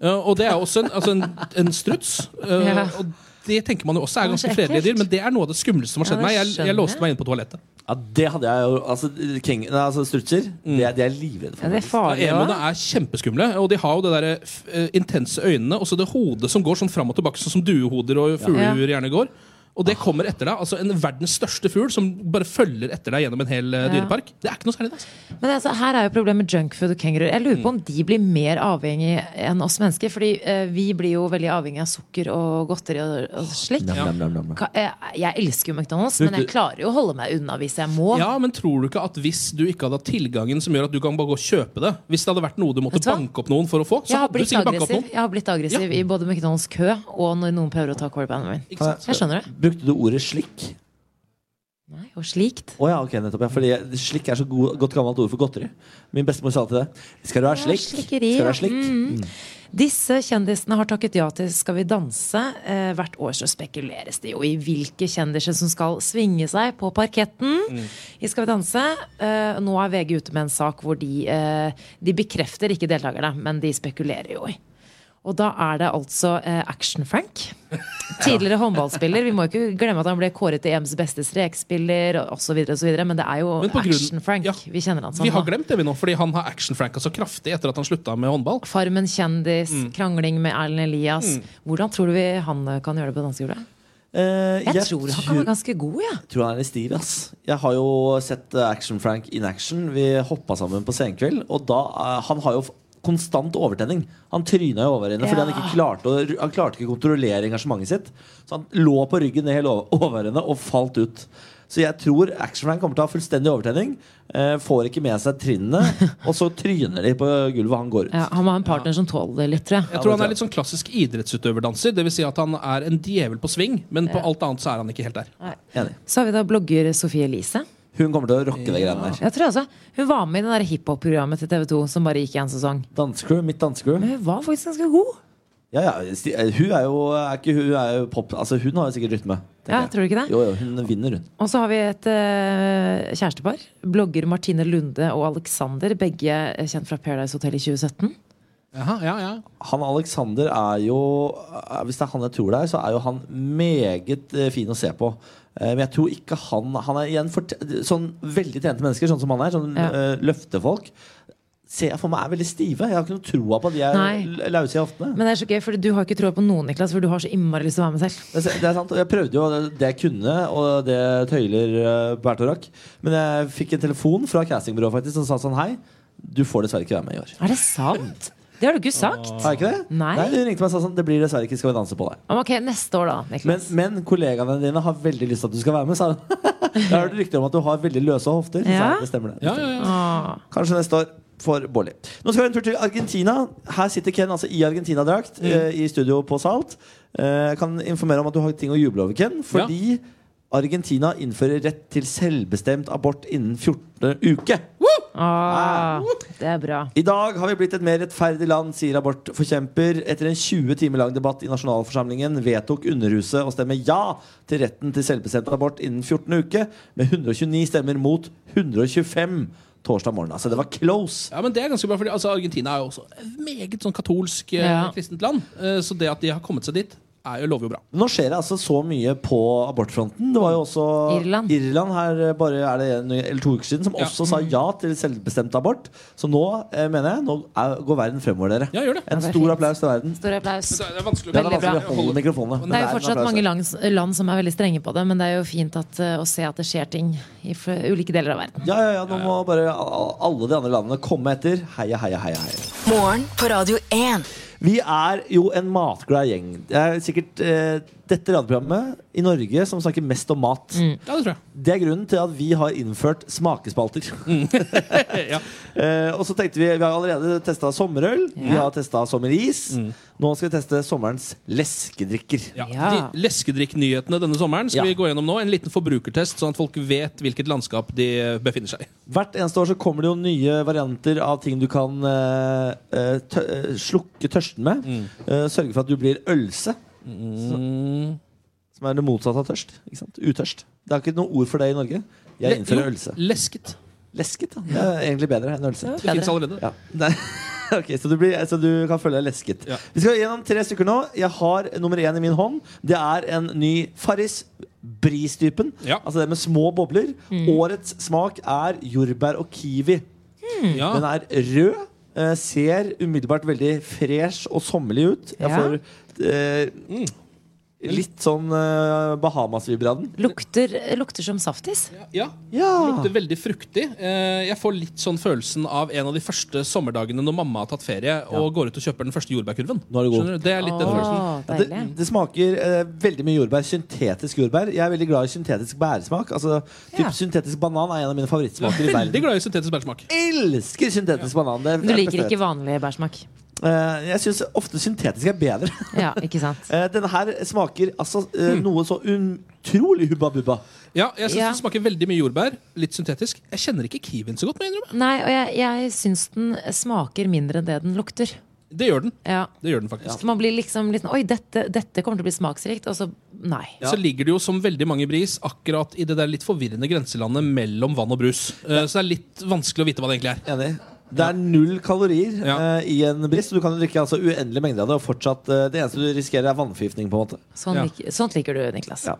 [SPEAKER 4] Eh, og det er jo også en, altså en, en struts. Eh,
[SPEAKER 2] Ja.
[SPEAKER 4] Og det tenker man jo også er
[SPEAKER 2] Det er så
[SPEAKER 4] ganske fredelige dyr,
[SPEAKER 2] ekkelt.
[SPEAKER 4] men det er noe av det skumleste som har
[SPEAKER 2] Ja,
[SPEAKER 4] skjedd
[SPEAKER 2] det
[SPEAKER 4] meg. Jeg,
[SPEAKER 2] skjønner
[SPEAKER 4] jeg låste
[SPEAKER 2] jeg.
[SPEAKER 4] meg inne på toalettet.
[SPEAKER 6] Ja, det hadde jeg jo Altså, keng, nei, altså strutser, det, er- det er jeg livredd for.
[SPEAKER 2] Ja, det er farlig
[SPEAKER 4] Ja, Emuene
[SPEAKER 2] også.
[SPEAKER 4] er kjempeskumle, og de har jo det der, f- eh, intense øynene og så det hodet som går sånn fram og tilbake, sånn som duehoder og fuglehuer gjerne går. Og det kommer etter deg. altså En verdens største fugl som bare følger etter deg gjennom en hel
[SPEAKER 2] Ja.
[SPEAKER 4] eh, dyrepark. Det er ikke noe særlig. Altså.
[SPEAKER 2] Men altså, her er jo problemet med junkfood og kenguruer. Jeg lurer på om
[SPEAKER 4] Mm.
[SPEAKER 2] de blir mer avhengige enn oss mennesker. Fordi eh, vi blir jo veldig avhengige av sukker og godteri og, og slikt.
[SPEAKER 6] Nam, nam, nam, nam, nam.
[SPEAKER 2] Ka- eh, Jeg elsker jo McDonald's,
[SPEAKER 4] Brukte-
[SPEAKER 2] men jeg klarer jo å holde meg unna hvis jeg må.
[SPEAKER 4] Ja, men tror du ikke at hvis du ikke hadde hatt tilgangen som gjør at du kan bare gå og kjøpe det Hvis det hadde vært noe du måtte
[SPEAKER 2] Vet du hva?
[SPEAKER 4] banke opp noen for å få,
[SPEAKER 2] jeg
[SPEAKER 4] så
[SPEAKER 2] har
[SPEAKER 4] hadde du
[SPEAKER 2] blitt
[SPEAKER 4] sikkert banka opp
[SPEAKER 2] aggressiv,
[SPEAKER 4] noen.
[SPEAKER 2] jeg har blitt aggressiv i både McDonald's kø og når noen prøver å ta callbanen min.
[SPEAKER 4] Ikke sant?
[SPEAKER 2] Jeg skjønner det.
[SPEAKER 6] Brukte du ordet slikk?
[SPEAKER 2] Nei, og slikt.
[SPEAKER 6] Å ja, ok, nettopp. Ja, fordi jeg- slikk er så god, godt gammelt ord for godteri. Min bestemor sa alltid det. Skal du ha
[SPEAKER 2] Ja,
[SPEAKER 6] slikk?
[SPEAKER 2] slikkeri,
[SPEAKER 6] Skal du ha
[SPEAKER 2] ja.
[SPEAKER 6] slikk?
[SPEAKER 2] Mm.
[SPEAKER 6] Mm.
[SPEAKER 2] Disse kjendisene har takket ja til Skal vi danse. Eh, hvert år så spekuleres det jo i hvilke kjendiser som skal svinge seg på parketten
[SPEAKER 4] Mm.
[SPEAKER 2] i Skal vi danse. Eh, nå er VG ute med en sak hvor de, eh, de bekrefter ikke deltakerne, men de spekulerer jo i. Og da er det altså eh, Action-Frank. Tidligere håndballspiller. Vi må ikke glemme at han ble kåret til EMs beste strekspiller og osv., men det er jo
[SPEAKER 4] Men på grunn-
[SPEAKER 2] Action-Frank vi kjenner han som.
[SPEAKER 4] Vi har
[SPEAKER 2] nå.
[SPEAKER 4] glemt det, vi nå, fordi han har Action-Franka så kraftig etter at han slutta med håndball.
[SPEAKER 2] Farmen kjendis, krangling med Erlend Elias. Hvordan tror du vi han eh, kan gjøre det på danskegulvet?
[SPEAKER 6] Eh,
[SPEAKER 2] Jeg, tror han kan være ganske god, ja.
[SPEAKER 6] tror han er i stiv, ass. Jeg har jo sett eh, Action Frank in action. Vi hoppa sammen på senkveld, og da eh, Han har jo f- konstant overtenning. Han tryna jo over henne fordi
[SPEAKER 2] Ja.
[SPEAKER 6] han ikke klarte å, han klarte ikke å kontrollere engasjementet sitt. Så han lå på ryggen ned hele over over henne og falt ut. Så jeg tror Action Frank kommer til å ha fullstendig overtenning. eh, Får ikke med seg trinnene, og så tryner de på gulvet, og han går ut.
[SPEAKER 2] ja. Han må ha en partner som tåler det litt, tror jeg.
[SPEAKER 4] Jeg tror han er litt sånn klassisk idrettsutøverdanser. Dvs. Si at han er en djevel på sving, men på alt annet så er han ikke helt der.
[SPEAKER 6] Enig.
[SPEAKER 2] Så har vi da blogger Sofie Elise.
[SPEAKER 6] Hun kommer til å rocke de greiene der.
[SPEAKER 2] Jeg tror altså, Hun var med i det der hiphop-programmet til TV 2 som bare gikk i en sesong.
[SPEAKER 6] Dansecrew, mitt dansecrew.
[SPEAKER 2] Men hun var faktisk ganske god.
[SPEAKER 6] Ja, ja, sti- eh, hun er jo, er ikke, hun er jo pop Altså, hun har jo sikkert rytme. tenker
[SPEAKER 2] Ja,
[SPEAKER 6] jeg.
[SPEAKER 2] tror du ikke det?
[SPEAKER 6] Jo, jo, hun vinner, hun.
[SPEAKER 2] Og så har vi et eh, kjærestepar. Blogger Martine Lunde og Alexander. Begge eh, kjent fra Paradise Hotel i 2017.
[SPEAKER 4] Jaha, ja, ja.
[SPEAKER 6] Han Alexander er jo eh, Hvis det er han jeg tror det er, så er jo han meget eh, fin å se på. Eh, Men jeg tror ikke han Han er igjen fort, sånn veldig trente mennesker, sånn som han er. Sånn
[SPEAKER 2] Ja.
[SPEAKER 6] eh, løftefolk. Ser jeg for meg er veldig stive. Jeg har ikke noe troa på at de er
[SPEAKER 2] Nei.
[SPEAKER 6] l- lause i hoftene.
[SPEAKER 2] Men det er så gøy, for du har ikke troa på noen, Niklas, for du har så innmari lyst til å være med selv.
[SPEAKER 6] Det er det er sant, og Jeg prøvde jo det jeg kunne, og det tøyler eh, Bernt og rakk. Men jeg fikk en telefon fra castingbyrået faktisk som sa sånn Hei, du får dessverre ikke være med i år.
[SPEAKER 2] Er det sant? Det har du ikke sagt.
[SPEAKER 6] Er det ikke det?
[SPEAKER 2] Nei.
[SPEAKER 6] Hun ringte meg og sa sånn Det blir dessverre ikke Skal vi danse på deg.
[SPEAKER 2] Om, Ok, neste år da, Niklas.
[SPEAKER 6] Men, men kollegaene dine har veldig lyst til at du skal være med, sa hun. Jeg har hørt rykter om at du har veldig løse hofter. Så sa
[SPEAKER 2] Ja?
[SPEAKER 6] jeg, det stemmer det.
[SPEAKER 4] Ja, ja, ja.
[SPEAKER 2] Ah.
[SPEAKER 6] Kanskje neste år for Bårli. Nå skal vi en tur til Argentina. Her sitter Ken altså i Argentina-drakt
[SPEAKER 2] Mm.
[SPEAKER 6] eh, i studio på Salt. Eh, Jeg kan informere om at du har ting å juble over, Ken. Fordi Argentina innfører rett til selvbestemt abort innen 14. uke.
[SPEAKER 2] Ah, det er bra.
[SPEAKER 6] I dag har vi blitt et mer rettferdig land, sier abortforkjemper. Etter en 20 timer lang debatt i nasjonalforsamlingen vedtok Underhuset å stemme ja til retten til selvbestemt abort innen 14. uke, med 129 stemmer mot 125 torsdag morgen. Altså, det var close.
[SPEAKER 4] Ja, men det er ganske bra, fordi altså, Argentina er jo også et meget sånn katolsk, eh,
[SPEAKER 2] Ja.
[SPEAKER 4] kristent land. Eh, Så det at de har kommet seg dit, er jo, lover jo bra.
[SPEAKER 6] Nå skjer det altså så mye på abortfronten. Det var jo også
[SPEAKER 4] Irland.
[SPEAKER 6] her eh, bare er det en eller to uker siden som også sa ja til selvbestemt abort. Så nå eh, mener jeg, nå er, går verden fremover, dere. En
[SPEAKER 2] Det er
[SPEAKER 6] stor applaus til verden.
[SPEAKER 2] Stor applaus.
[SPEAKER 4] Det er vanskelig,
[SPEAKER 6] Det er vanskelig å holde mikrofonene.
[SPEAKER 2] Det er jo fortsatt mange land, land som er veldig strenge på det, men det er jo fint at, eh, å se at det skjer ting i fl- ulike deler av verden.
[SPEAKER 6] Ja, ja, ja, nå må bare a- alle de andre landene komme etter. Heia, heia, heia. heia.
[SPEAKER 5] Morgen på Radio 1.
[SPEAKER 6] Vi er jo en matglad gjeng. Det er sikkert eh, dette radioprogrammet i Norge som snakker mest om mat.
[SPEAKER 4] Ja, det tror jeg.
[SPEAKER 6] Det er grunnen til at vi har innført smakespalter. eh, og så tenkte vi Vi har allerede testa sommerøl, vi har testa sommeris. Nå skal vi teste sommerens leskedrikker.
[SPEAKER 4] De Leskedrikknyhetene denne sommeren skal
[SPEAKER 6] Ja.
[SPEAKER 4] vi gå gjennom nå. En liten forbrukertest, sånn at folk vet hvilket landskap de befinner seg i.
[SPEAKER 6] Hvert eneste år så kommer det jo nye varianter av ting du kan eh, eh, tø eh, slukke tørsten med. Eh, sørge for at du blir ølse. Så, som er det motsatte av tørst. Ikke sant? Utørst. Det er ikke noe ord for det i Norge.
[SPEAKER 4] Le-
[SPEAKER 6] Jeg innfører
[SPEAKER 4] jo,
[SPEAKER 6] ølse.
[SPEAKER 4] Lesket.
[SPEAKER 6] Lesket, da. Det er egentlig bedre enn ølse.
[SPEAKER 4] Det finnes allerede.
[SPEAKER 6] Ja. Nei. Ok, så du, blir, så du kan føle deg lesket. Vi skal gjennom tre stykker nå. Jeg har nummer én i min hånd. Det er en ny Farris. Bris-typen. Altså det med små bobler. Årets smak er jordbær og kiwi.
[SPEAKER 4] Ja.
[SPEAKER 6] Den er rød. eh, Ser umiddelbart veldig fresh og sommerlig ut. Jeg
[SPEAKER 2] Ja.
[SPEAKER 6] får eh, litt sånn eh, Bahamas-vibber av den.
[SPEAKER 2] Lukter, lukter som saftis.
[SPEAKER 4] Ja. Lukter veldig fruktig. Eh, Jeg får litt sånn følelsen av en av de første sommerdagene når mamma har tatt ferie og går ut og kjøper den første jordbærkurven.
[SPEAKER 6] Nå er det god.
[SPEAKER 4] Skjønner du? Det er litt den følelsen.
[SPEAKER 2] Åh,
[SPEAKER 6] Ja, det,
[SPEAKER 2] deilig.
[SPEAKER 6] det smaker eh, veldig mye jordbær. Syntetisk jordbær. Jeg er veldig glad i syntetisk bæresmak. Altså, typ
[SPEAKER 2] Ja.
[SPEAKER 6] Syntetisk banan er en av mine
[SPEAKER 4] Du er
[SPEAKER 6] favorittsmaker
[SPEAKER 4] veldig
[SPEAKER 6] i verden.
[SPEAKER 4] glad i syntetisk bærsmak.
[SPEAKER 6] Elsker syntetisk banan. Det er-
[SPEAKER 2] Men Du
[SPEAKER 6] det er
[SPEAKER 2] liker
[SPEAKER 6] beste jeg
[SPEAKER 2] ikke vanlig bærsmak.
[SPEAKER 6] vet. Eh, Jeg syns ofte syntetisk er bedre.
[SPEAKER 2] Ja, ikke sant?
[SPEAKER 6] Eh, Denne her smaker altså eh, noe så utrolig hubba bubba.
[SPEAKER 4] Ja, jeg synes
[SPEAKER 2] Ja.
[SPEAKER 4] Det smaker veldig mye jordbær. Litt syntetisk. Jeg kjenner ikke kiwien så godt. må jeg innrømme.
[SPEAKER 2] Nei, og jeg, jeg syns den smaker mindre enn det den lukter.
[SPEAKER 4] Det gjør den.
[SPEAKER 2] Ja.
[SPEAKER 4] Det gjør den faktisk.
[SPEAKER 2] Så man blir liksom litt sånn Oi, dette, dette kommer til å bli smaksrikt. Og så nei.
[SPEAKER 4] så ligger det jo som veldig mange bris akkurat i det der litt forvirrende grenselandet mellom vann og brus. Eh, Så det er litt vanskelig å vite hva det egentlig er.
[SPEAKER 6] Enig. Det er null kalorier
[SPEAKER 4] Ja.
[SPEAKER 6] eh, i en bris. Du kan jo drikke altså, uendelig mengde av det. Og fortsatt, eh, det eneste du riskerer, er vannforgiftning. på en måte
[SPEAKER 2] Sånn
[SPEAKER 4] Ja.
[SPEAKER 2] lik, sånt liker du, Niklas.
[SPEAKER 6] Ja.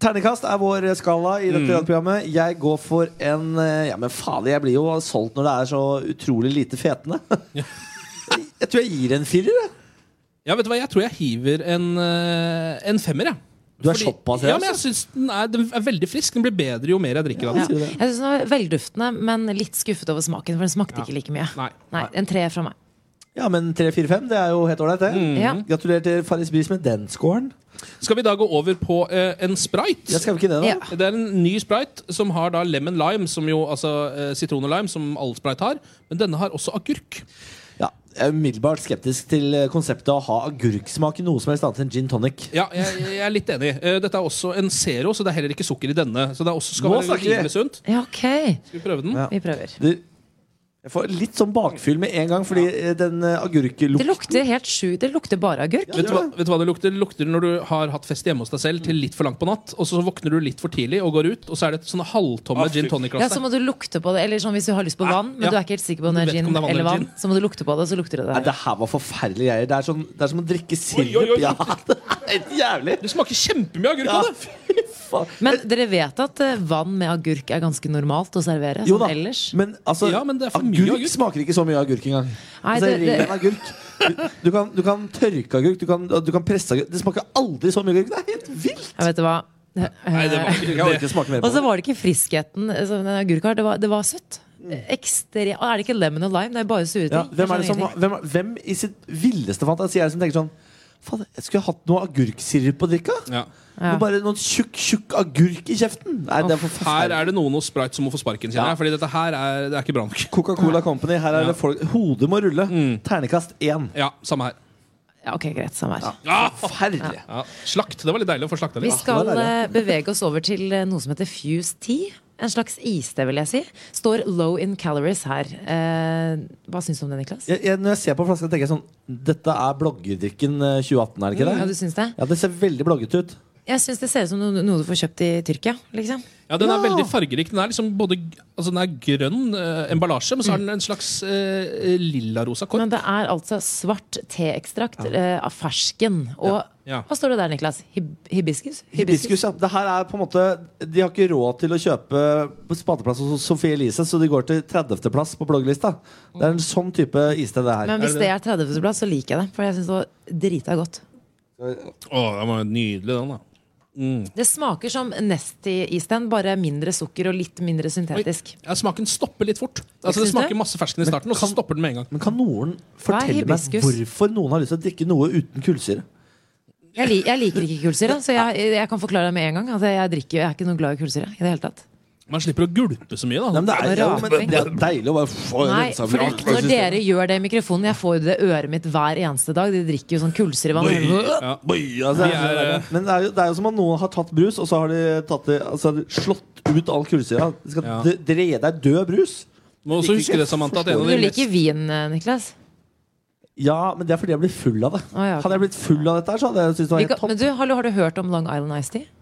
[SPEAKER 6] Ternekast er vår skala i
[SPEAKER 4] Mm.
[SPEAKER 6] dette radioprogrammet. Jeg går for en eh, Ja, men fader, jeg blir jo solgt når det er så utrolig lite fetende. jeg tror jeg gir en firer. jeg.
[SPEAKER 4] Ja, vet du hva, Jeg tror jeg hiver en, eh, en femmer. jeg.
[SPEAKER 6] Du er
[SPEAKER 4] Fordi-
[SPEAKER 6] såpass
[SPEAKER 4] Ja,
[SPEAKER 6] raus?
[SPEAKER 4] men jeg synes den er, den er veldig frisk. Den blir bedre jo mer jeg drikker av
[SPEAKER 2] Ja.
[SPEAKER 4] den.
[SPEAKER 6] sier du
[SPEAKER 2] Jeg
[SPEAKER 6] det?
[SPEAKER 2] syns den var velduftende, men litt skuffet over smaken. For den smakte
[SPEAKER 4] Ja.
[SPEAKER 2] ikke like mye.
[SPEAKER 4] Nei.
[SPEAKER 2] Nei, En treer fra meg.
[SPEAKER 6] Ja, men tre, fire, fem, det er jo helt ålreit, det.
[SPEAKER 4] Mm.
[SPEAKER 2] Ja.
[SPEAKER 6] Gratulerer til Farris Bris med den scoren.
[SPEAKER 4] Skal vi da gå over på eh, en sprite?
[SPEAKER 6] Jeg skal vel ikke det, da?
[SPEAKER 2] Ja.
[SPEAKER 4] Det er en ny sprite som har da lemon lime, som jo, altså eh, sitron og lime, som all sprite har. Men denne har også agurk.
[SPEAKER 6] Ja, jeg er umiddelbart skeptisk til eh, konseptet å ha agurksmak i noe som helst annet enn gin tonic.
[SPEAKER 4] Ja, jeg, jeg er litt enig. Eh, Dette er også en zero, så det er heller ikke sukker i denne. Så det er også skal
[SPEAKER 6] Nå
[SPEAKER 4] være
[SPEAKER 6] snakker vi!
[SPEAKER 4] rimelig sunt.
[SPEAKER 2] Ja, ok.
[SPEAKER 4] Skal vi prøve den?
[SPEAKER 6] Ja.
[SPEAKER 2] Vi prøver.
[SPEAKER 6] Det, jeg får litt sånn bakfyll med en gang, fordi eh, den eh,
[SPEAKER 2] Det
[SPEAKER 6] agurklukten
[SPEAKER 2] lukter helt sjukt. Det lukter bare agurk.
[SPEAKER 4] Vet du, hva, vet du hva det lukter? Det lukter når du har hatt fest hjemme hos deg selv til litt for langt på natt, og så våkner du litt for tidlig og går ut, og så er det et sånne halvtomme
[SPEAKER 9] Ah, fy.
[SPEAKER 4] gin
[SPEAKER 2] Ja,
[SPEAKER 4] tonic-glass
[SPEAKER 2] Så
[SPEAKER 4] der.
[SPEAKER 2] må du lukte på det. Eller sånn hvis du har lyst på vann, men
[SPEAKER 4] ja.
[SPEAKER 2] du er ikke helt sikker på om det
[SPEAKER 4] Du
[SPEAKER 2] er
[SPEAKER 4] vet ikke
[SPEAKER 2] gin
[SPEAKER 4] om det er vann
[SPEAKER 2] eller
[SPEAKER 4] eller
[SPEAKER 2] vann.
[SPEAKER 4] gin.
[SPEAKER 2] Så må du lukte på det, så lukter det
[SPEAKER 6] Nei,
[SPEAKER 2] der.
[SPEAKER 6] det her var forferdelige greier. Det er, sånn, det er som å drikke sirup.
[SPEAKER 4] Oi, oi, oi.
[SPEAKER 6] Ja, det er helt jævlig.
[SPEAKER 4] Det smaker kjempemye agurk av
[SPEAKER 6] Ja,
[SPEAKER 4] det!
[SPEAKER 6] fy faen.
[SPEAKER 2] Men dere vet at eh, vann med agurk er ganske normalt å servere?
[SPEAKER 6] Jo
[SPEAKER 2] Sånn
[SPEAKER 6] da,
[SPEAKER 2] ellers?
[SPEAKER 6] men, altså,
[SPEAKER 4] Ja, men det er for mye
[SPEAKER 6] agurk,
[SPEAKER 4] agurk.
[SPEAKER 6] smaker ikke så mye agurk engang.
[SPEAKER 2] Nei,
[SPEAKER 6] altså,
[SPEAKER 2] det- det-
[SPEAKER 6] ren agurk. Du, du, kan, du kan tørke agurk, du kan, du kan presse agurk. Det smaker aldri så mye agurk. Det er helt vilt!
[SPEAKER 2] Jeg vet du hva. Eh,
[SPEAKER 4] Nei, det var
[SPEAKER 6] Jeg orker ikke smake mer
[SPEAKER 2] Og
[SPEAKER 6] på
[SPEAKER 2] så
[SPEAKER 6] det.
[SPEAKER 2] var det ikke friskheten eh, som en agurk har. Det var, det var søtt.
[SPEAKER 4] Mm.
[SPEAKER 2] Ekstre... Er det ikke lemon og lime? Det er bare sure ting.
[SPEAKER 6] Ja,
[SPEAKER 2] Jeg
[SPEAKER 6] hvem,
[SPEAKER 2] skjønner
[SPEAKER 6] er det som,
[SPEAKER 2] ingenting.
[SPEAKER 6] hvem, hvem i sitt villeste fantasi er det som tenker sånn Faen, jeg skulle hatt noe agurksirup å drikke av.
[SPEAKER 4] Ja.
[SPEAKER 2] Ja.
[SPEAKER 6] Men Bare noen tjukk, tjukk agurk i kjeften. Nei, det er for
[SPEAKER 4] Her
[SPEAKER 6] forferdelig.
[SPEAKER 4] er det noen hos Sprite som må få sparken, kjenner jeg. Fordi dette her er, det er ikke bra nok.
[SPEAKER 6] Coca-Cola Company, her er
[SPEAKER 4] Ja.
[SPEAKER 6] det folk Hodet må rulle. Ternekast én.
[SPEAKER 4] Ja, samme her.
[SPEAKER 2] Ja, ok, greit, samme her.
[SPEAKER 6] Forferdelig.
[SPEAKER 4] Ja. Slakt. Det var litt deilig å få slakta
[SPEAKER 2] Vi
[SPEAKER 4] litt.
[SPEAKER 2] skal
[SPEAKER 6] det var
[SPEAKER 2] eh, bevege oss over til eh, noe som heter Fuse Tea. En slags iste, vil jeg si. Står low in calories her. Eh, hva syns du om det, Niklas?
[SPEAKER 6] jeg, jeg, når jeg ser på flaska, tenker jeg sånn Dette er bloggerdrikken eh, 2018, er det ikke
[SPEAKER 2] Mm. Ja, du
[SPEAKER 6] det?
[SPEAKER 2] syns det?
[SPEAKER 6] Ja, Det ser veldig bloggete ut.
[SPEAKER 2] Jeg syns det ser ut som noe, noe du får kjøpt i Tyrkia. liksom
[SPEAKER 4] Ja, Den er veldig fargerik. Den er liksom både g- altså den er grønn eh, emballasje, men så har den en slags eh, lillarosa kork.
[SPEAKER 2] Men det er altså svart teekstrakt eh, av fersken. Og
[SPEAKER 4] Ja.
[SPEAKER 2] Hva står det der, Niklas? Hib hibiskus?
[SPEAKER 6] Hibiskus, ja. Det her er på en måte De har ikke råd til å kjøpe spadeplass hos Sophie Elise, så de går til 30.-plass på blogglista. Det er en sånn type iste, det her.
[SPEAKER 2] Men hvis det er 30. plass, så liker jeg det. For jeg syns det var drita godt.
[SPEAKER 4] Å, den var jo nydelig, den, da.
[SPEAKER 2] Det smaker som Nesti-isten, bare mindre sukker og litt mindre syntetisk.
[SPEAKER 4] Ja, smaken stopper litt fort. Altså, det
[SPEAKER 2] Syns du?
[SPEAKER 4] smaker masse fersken i starten, og så stopper den med en gang.
[SPEAKER 6] Men kan noen fortelle meg
[SPEAKER 2] hibiskus?
[SPEAKER 6] hvorfor noen har lyst til å drikke noe uten kullsyre?
[SPEAKER 2] Jeg, li jeg liker ikke kullsyre, så jeg, jeg kan forklare det med en gang. Altså, jeg, drikker, jeg er ikke noe glad i kullsyre i det hele tatt.
[SPEAKER 4] Man slipper å gulpe så mye, da.
[SPEAKER 6] Nei, men det er, jo, men det er deilig å bare få
[SPEAKER 2] Nei,
[SPEAKER 6] rensa
[SPEAKER 2] fordi
[SPEAKER 6] vrak.
[SPEAKER 2] når dere gjør det i mikrofonen Jeg får jo det i øret mitt hver eneste dag. De drikker jo sånn kullsyrevann.
[SPEAKER 6] Ja. Bøy, altså,
[SPEAKER 4] Vi er,
[SPEAKER 6] Men det er, jo, det er jo som om noen har tatt brus, og så har de, tatt det, altså, har de slått ut all kullsyra. De skal
[SPEAKER 4] Ja.
[SPEAKER 6] d- drede deg død brus.
[SPEAKER 4] Må også huske det, Samantha, at en av
[SPEAKER 2] Du
[SPEAKER 4] de mest
[SPEAKER 2] liker vin, eh, Niklas.
[SPEAKER 6] Ja, men det er fordi jeg blir full av det.
[SPEAKER 2] Å, ja, ok.
[SPEAKER 6] Hadde jeg blitt full av dette, her, så hadde jeg syntes det var
[SPEAKER 2] Vi
[SPEAKER 6] helt
[SPEAKER 2] kan,
[SPEAKER 6] topp.
[SPEAKER 2] men du, hallo, har du hørt om Long Island Ice Tea?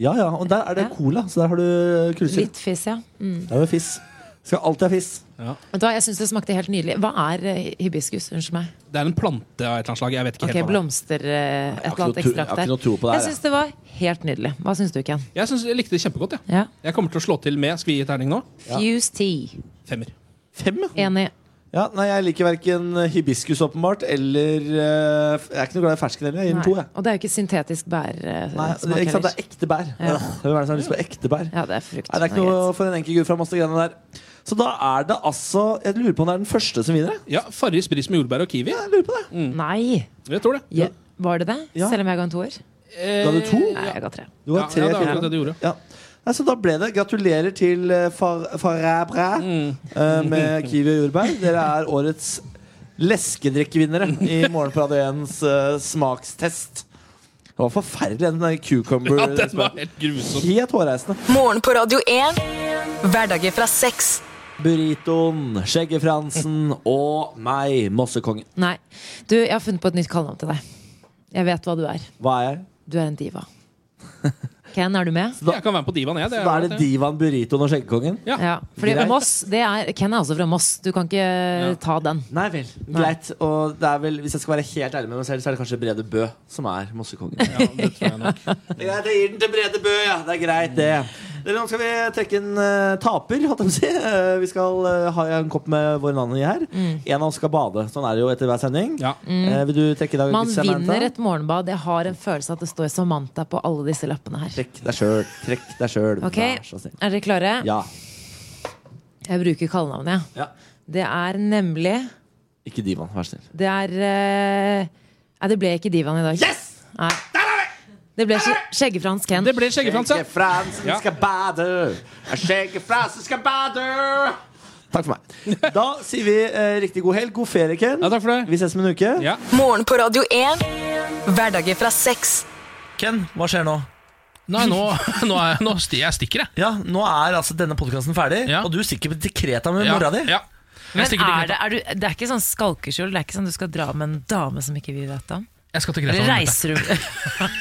[SPEAKER 6] Ja, ja, Og der er det
[SPEAKER 2] Ja.
[SPEAKER 6] cola, så der har du kullsyre.
[SPEAKER 2] Litt fiss, ja. Mm.
[SPEAKER 6] Det er jo fiss. Skal alltid ha fiss.
[SPEAKER 2] Vet du hva, jeg syns det smakte helt nydelig. Hva er eh, hibiskus? Unnskyld meg.
[SPEAKER 4] Det er en plante av et eller annet slag. Jeg vet ikke
[SPEAKER 2] Ok,
[SPEAKER 4] helt hva det er.
[SPEAKER 2] Blomster, eh, et
[SPEAKER 6] Jeg har
[SPEAKER 2] eller
[SPEAKER 6] ikke
[SPEAKER 2] annet
[SPEAKER 6] noe tro- jeg har
[SPEAKER 2] ekstrakt
[SPEAKER 6] ikke
[SPEAKER 2] der.
[SPEAKER 6] noe tro på det
[SPEAKER 2] Jeg
[SPEAKER 6] her.
[SPEAKER 2] syns det var helt nydelig. Hva syns du, Ken?
[SPEAKER 4] Jeg, synes, jeg likte det kjempegodt. Jeg.
[SPEAKER 2] Ja.
[SPEAKER 4] jeg kommer til å slå til med. Skal vi gi terning nå?
[SPEAKER 2] Fuse tea.
[SPEAKER 4] Femmer.
[SPEAKER 6] Fem, ja.
[SPEAKER 2] Enig.
[SPEAKER 6] ja. Nei, jeg liker verken hibiskus, åpenbart, eller eh, f- Jeg er ikke noe glad i fersken heller. Jeg gir den to,
[SPEAKER 2] Nei.
[SPEAKER 6] jeg.
[SPEAKER 2] Og det er jo ikke syntetisk eh, bærsmak
[SPEAKER 6] Nei, det, ikke sant? det
[SPEAKER 2] heller.
[SPEAKER 6] er ekte bær.
[SPEAKER 2] Ja.
[SPEAKER 6] Øh, Hvem er det som har lyst på ekte bær?
[SPEAKER 2] Ja, det er frukt.
[SPEAKER 6] Nei, det er ikke
[SPEAKER 2] greit.
[SPEAKER 6] noe for en enkel gud fra Mastegreiene der. Så da er det altså Jeg lurer på om det er den første som vinner. jeg.
[SPEAKER 4] Ja, Farris bris med jordbær og kiwi.
[SPEAKER 6] Jeg lurer på det.
[SPEAKER 2] Nei!
[SPEAKER 4] Jeg tror det.
[SPEAKER 2] Ja. Var det det?
[SPEAKER 6] Ja.
[SPEAKER 2] Selv om jeg ga en toer?
[SPEAKER 4] Eh,
[SPEAKER 6] Da hadde du to.
[SPEAKER 2] Nei, jeg ga tre.
[SPEAKER 6] Du
[SPEAKER 4] Ja,
[SPEAKER 6] har tre
[SPEAKER 4] ja, det er
[SPEAKER 6] fire.
[SPEAKER 4] akkurat det du gjorde.
[SPEAKER 6] Ja. Nei, så da ble det. Gratulerer til eh, far, Farabre
[SPEAKER 4] Mm.
[SPEAKER 6] eh, med Kiwi og jordbær. Dere er årets leskedrikkevinnere i Morgen på Radio 1s eh, smakstest. Det var forferdelig, den der cucumber
[SPEAKER 4] Ja, den var helt grusom.
[SPEAKER 6] Helt hårreisende.
[SPEAKER 5] Morgen på Radio 1. Hverdager fra seks.
[SPEAKER 6] Burritoen, Skjeggefransen og meg, Mossekongen.
[SPEAKER 2] Nei. Du, jeg har funnet på et nytt kallenavn til deg. Jeg vet hva du er.
[SPEAKER 6] Hva er jeg?
[SPEAKER 2] Du er en diva. Ken, er du med?
[SPEAKER 4] Jeg kan være med på divaen, jeg. Det er
[SPEAKER 6] Da er
[SPEAKER 4] greit,
[SPEAKER 6] det divaen, burritoen og skjeggkongen?
[SPEAKER 4] Ja.
[SPEAKER 2] Ja. Fordi
[SPEAKER 6] Greit.
[SPEAKER 2] Moss, det er, Ken er også fra Moss. Du kan ikke ta den.
[SPEAKER 6] Nei vel. Greit. Og det er vel, hvis jeg skal være helt ærlig med meg selv, så er det kanskje Brede Bø som er mossekongen.
[SPEAKER 4] Ja, det tror jeg nok.
[SPEAKER 6] Det er greit, jeg gir den til Brede Bø, ja. Det er greit, det. Dere, nå skal vi trekke en eh, taper, holdt jeg på å si. Eh, vi skal eh, ha en kopp med vår nanny her.
[SPEAKER 2] Mm.
[SPEAKER 6] En av oss skal bade. Sånn er det jo etter hver sending.
[SPEAKER 4] Ja.
[SPEAKER 6] Eh, vil du trekke i dag?
[SPEAKER 2] Man
[SPEAKER 6] Samantha?
[SPEAKER 2] vinner et morgenbad. Jeg har en følelse av at det står Samantha på alle disse lappene her.
[SPEAKER 6] Trekk deg sjøl. Trekk deg sjøl.
[SPEAKER 2] Ok,
[SPEAKER 6] Vær så snill.
[SPEAKER 2] Er dere klare?
[SPEAKER 6] Ja.
[SPEAKER 2] Jeg bruker kallenavnet, jeg.
[SPEAKER 6] ja.
[SPEAKER 2] Det er nemlig
[SPEAKER 6] Ikke divaen, vær så snill.
[SPEAKER 2] Det er eh, Nei, det ble ikke divaen i dag. Yes! Nei. Det ble skje- Skjeggefrans Ken.
[SPEAKER 4] Det ble skjeggefranse.
[SPEAKER 6] Skjeggefransen
[SPEAKER 4] Ja.
[SPEAKER 6] skal bade. Skjeggefransen skal bade. Takk for meg. Da sier vi eh, riktig god helg. God ferie, Ken.
[SPEAKER 4] Ja, takk for det.
[SPEAKER 6] Vi ses om en uke.
[SPEAKER 4] Ja.
[SPEAKER 5] Morgen på Radio 1. Hverdager fra seks.
[SPEAKER 1] Ken, hva skjer nå?
[SPEAKER 3] Nei, nå, nå, er, nå sti, jeg stikker jeg.
[SPEAKER 1] Ja, Nå er altså denne podkasten ferdig,
[SPEAKER 3] Ja.
[SPEAKER 1] og du stikker til Kreta med
[SPEAKER 3] Ja,
[SPEAKER 1] mora di.
[SPEAKER 3] ja. Jeg
[SPEAKER 2] Men
[SPEAKER 3] stikker til
[SPEAKER 2] er det,
[SPEAKER 3] Greta.
[SPEAKER 2] er du, det er ikke sånn skalkeskjul? Det er ikke sånn du skal dra med en dame som ikke vi vet om?
[SPEAKER 3] Jeg skal til Greta.
[SPEAKER 2] Eller
[SPEAKER 3] nå, Greta.
[SPEAKER 2] reiser du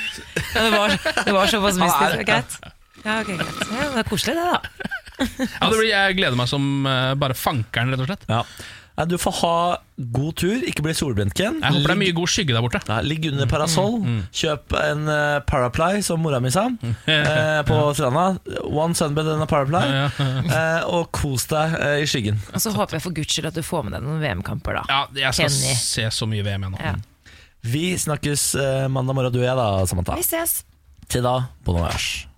[SPEAKER 2] ja, det, var, det var såpass mystisk. det var Greit. Ja, ok, greit. Ja, det er koselig, det, da.
[SPEAKER 3] Ja,
[SPEAKER 2] Altså-
[SPEAKER 3] det blir, jeg gleder meg som eh, bare fankeren, rett og slett.
[SPEAKER 1] Ja. Nei, Du får ha god tur, ikke bli solbrent, Ken.
[SPEAKER 3] Jeg håper det er
[SPEAKER 1] Ligg-
[SPEAKER 3] mye Mm, god skygge der borte.
[SPEAKER 1] Ja, ligg under parasoll, kjøp en eh, paraply, som mora mi sa,
[SPEAKER 3] Mm.
[SPEAKER 1] eh, på stranda. One sunbed and a paraply. eh, og kos deg eh, i skyggen.
[SPEAKER 2] Og så håper jeg for guds skyld at du får med deg noen VM-kamper, da.
[SPEAKER 3] Ja, jeg skal
[SPEAKER 2] Enig.
[SPEAKER 3] se så mye VM igjen nå.
[SPEAKER 2] Ja.
[SPEAKER 1] Vi snakkes eh, mandag morgen, du og jeg, da, Samantha.
[SPEAKER 2] Vi ses.
[SPEAKER 1] Til da, bon voyage.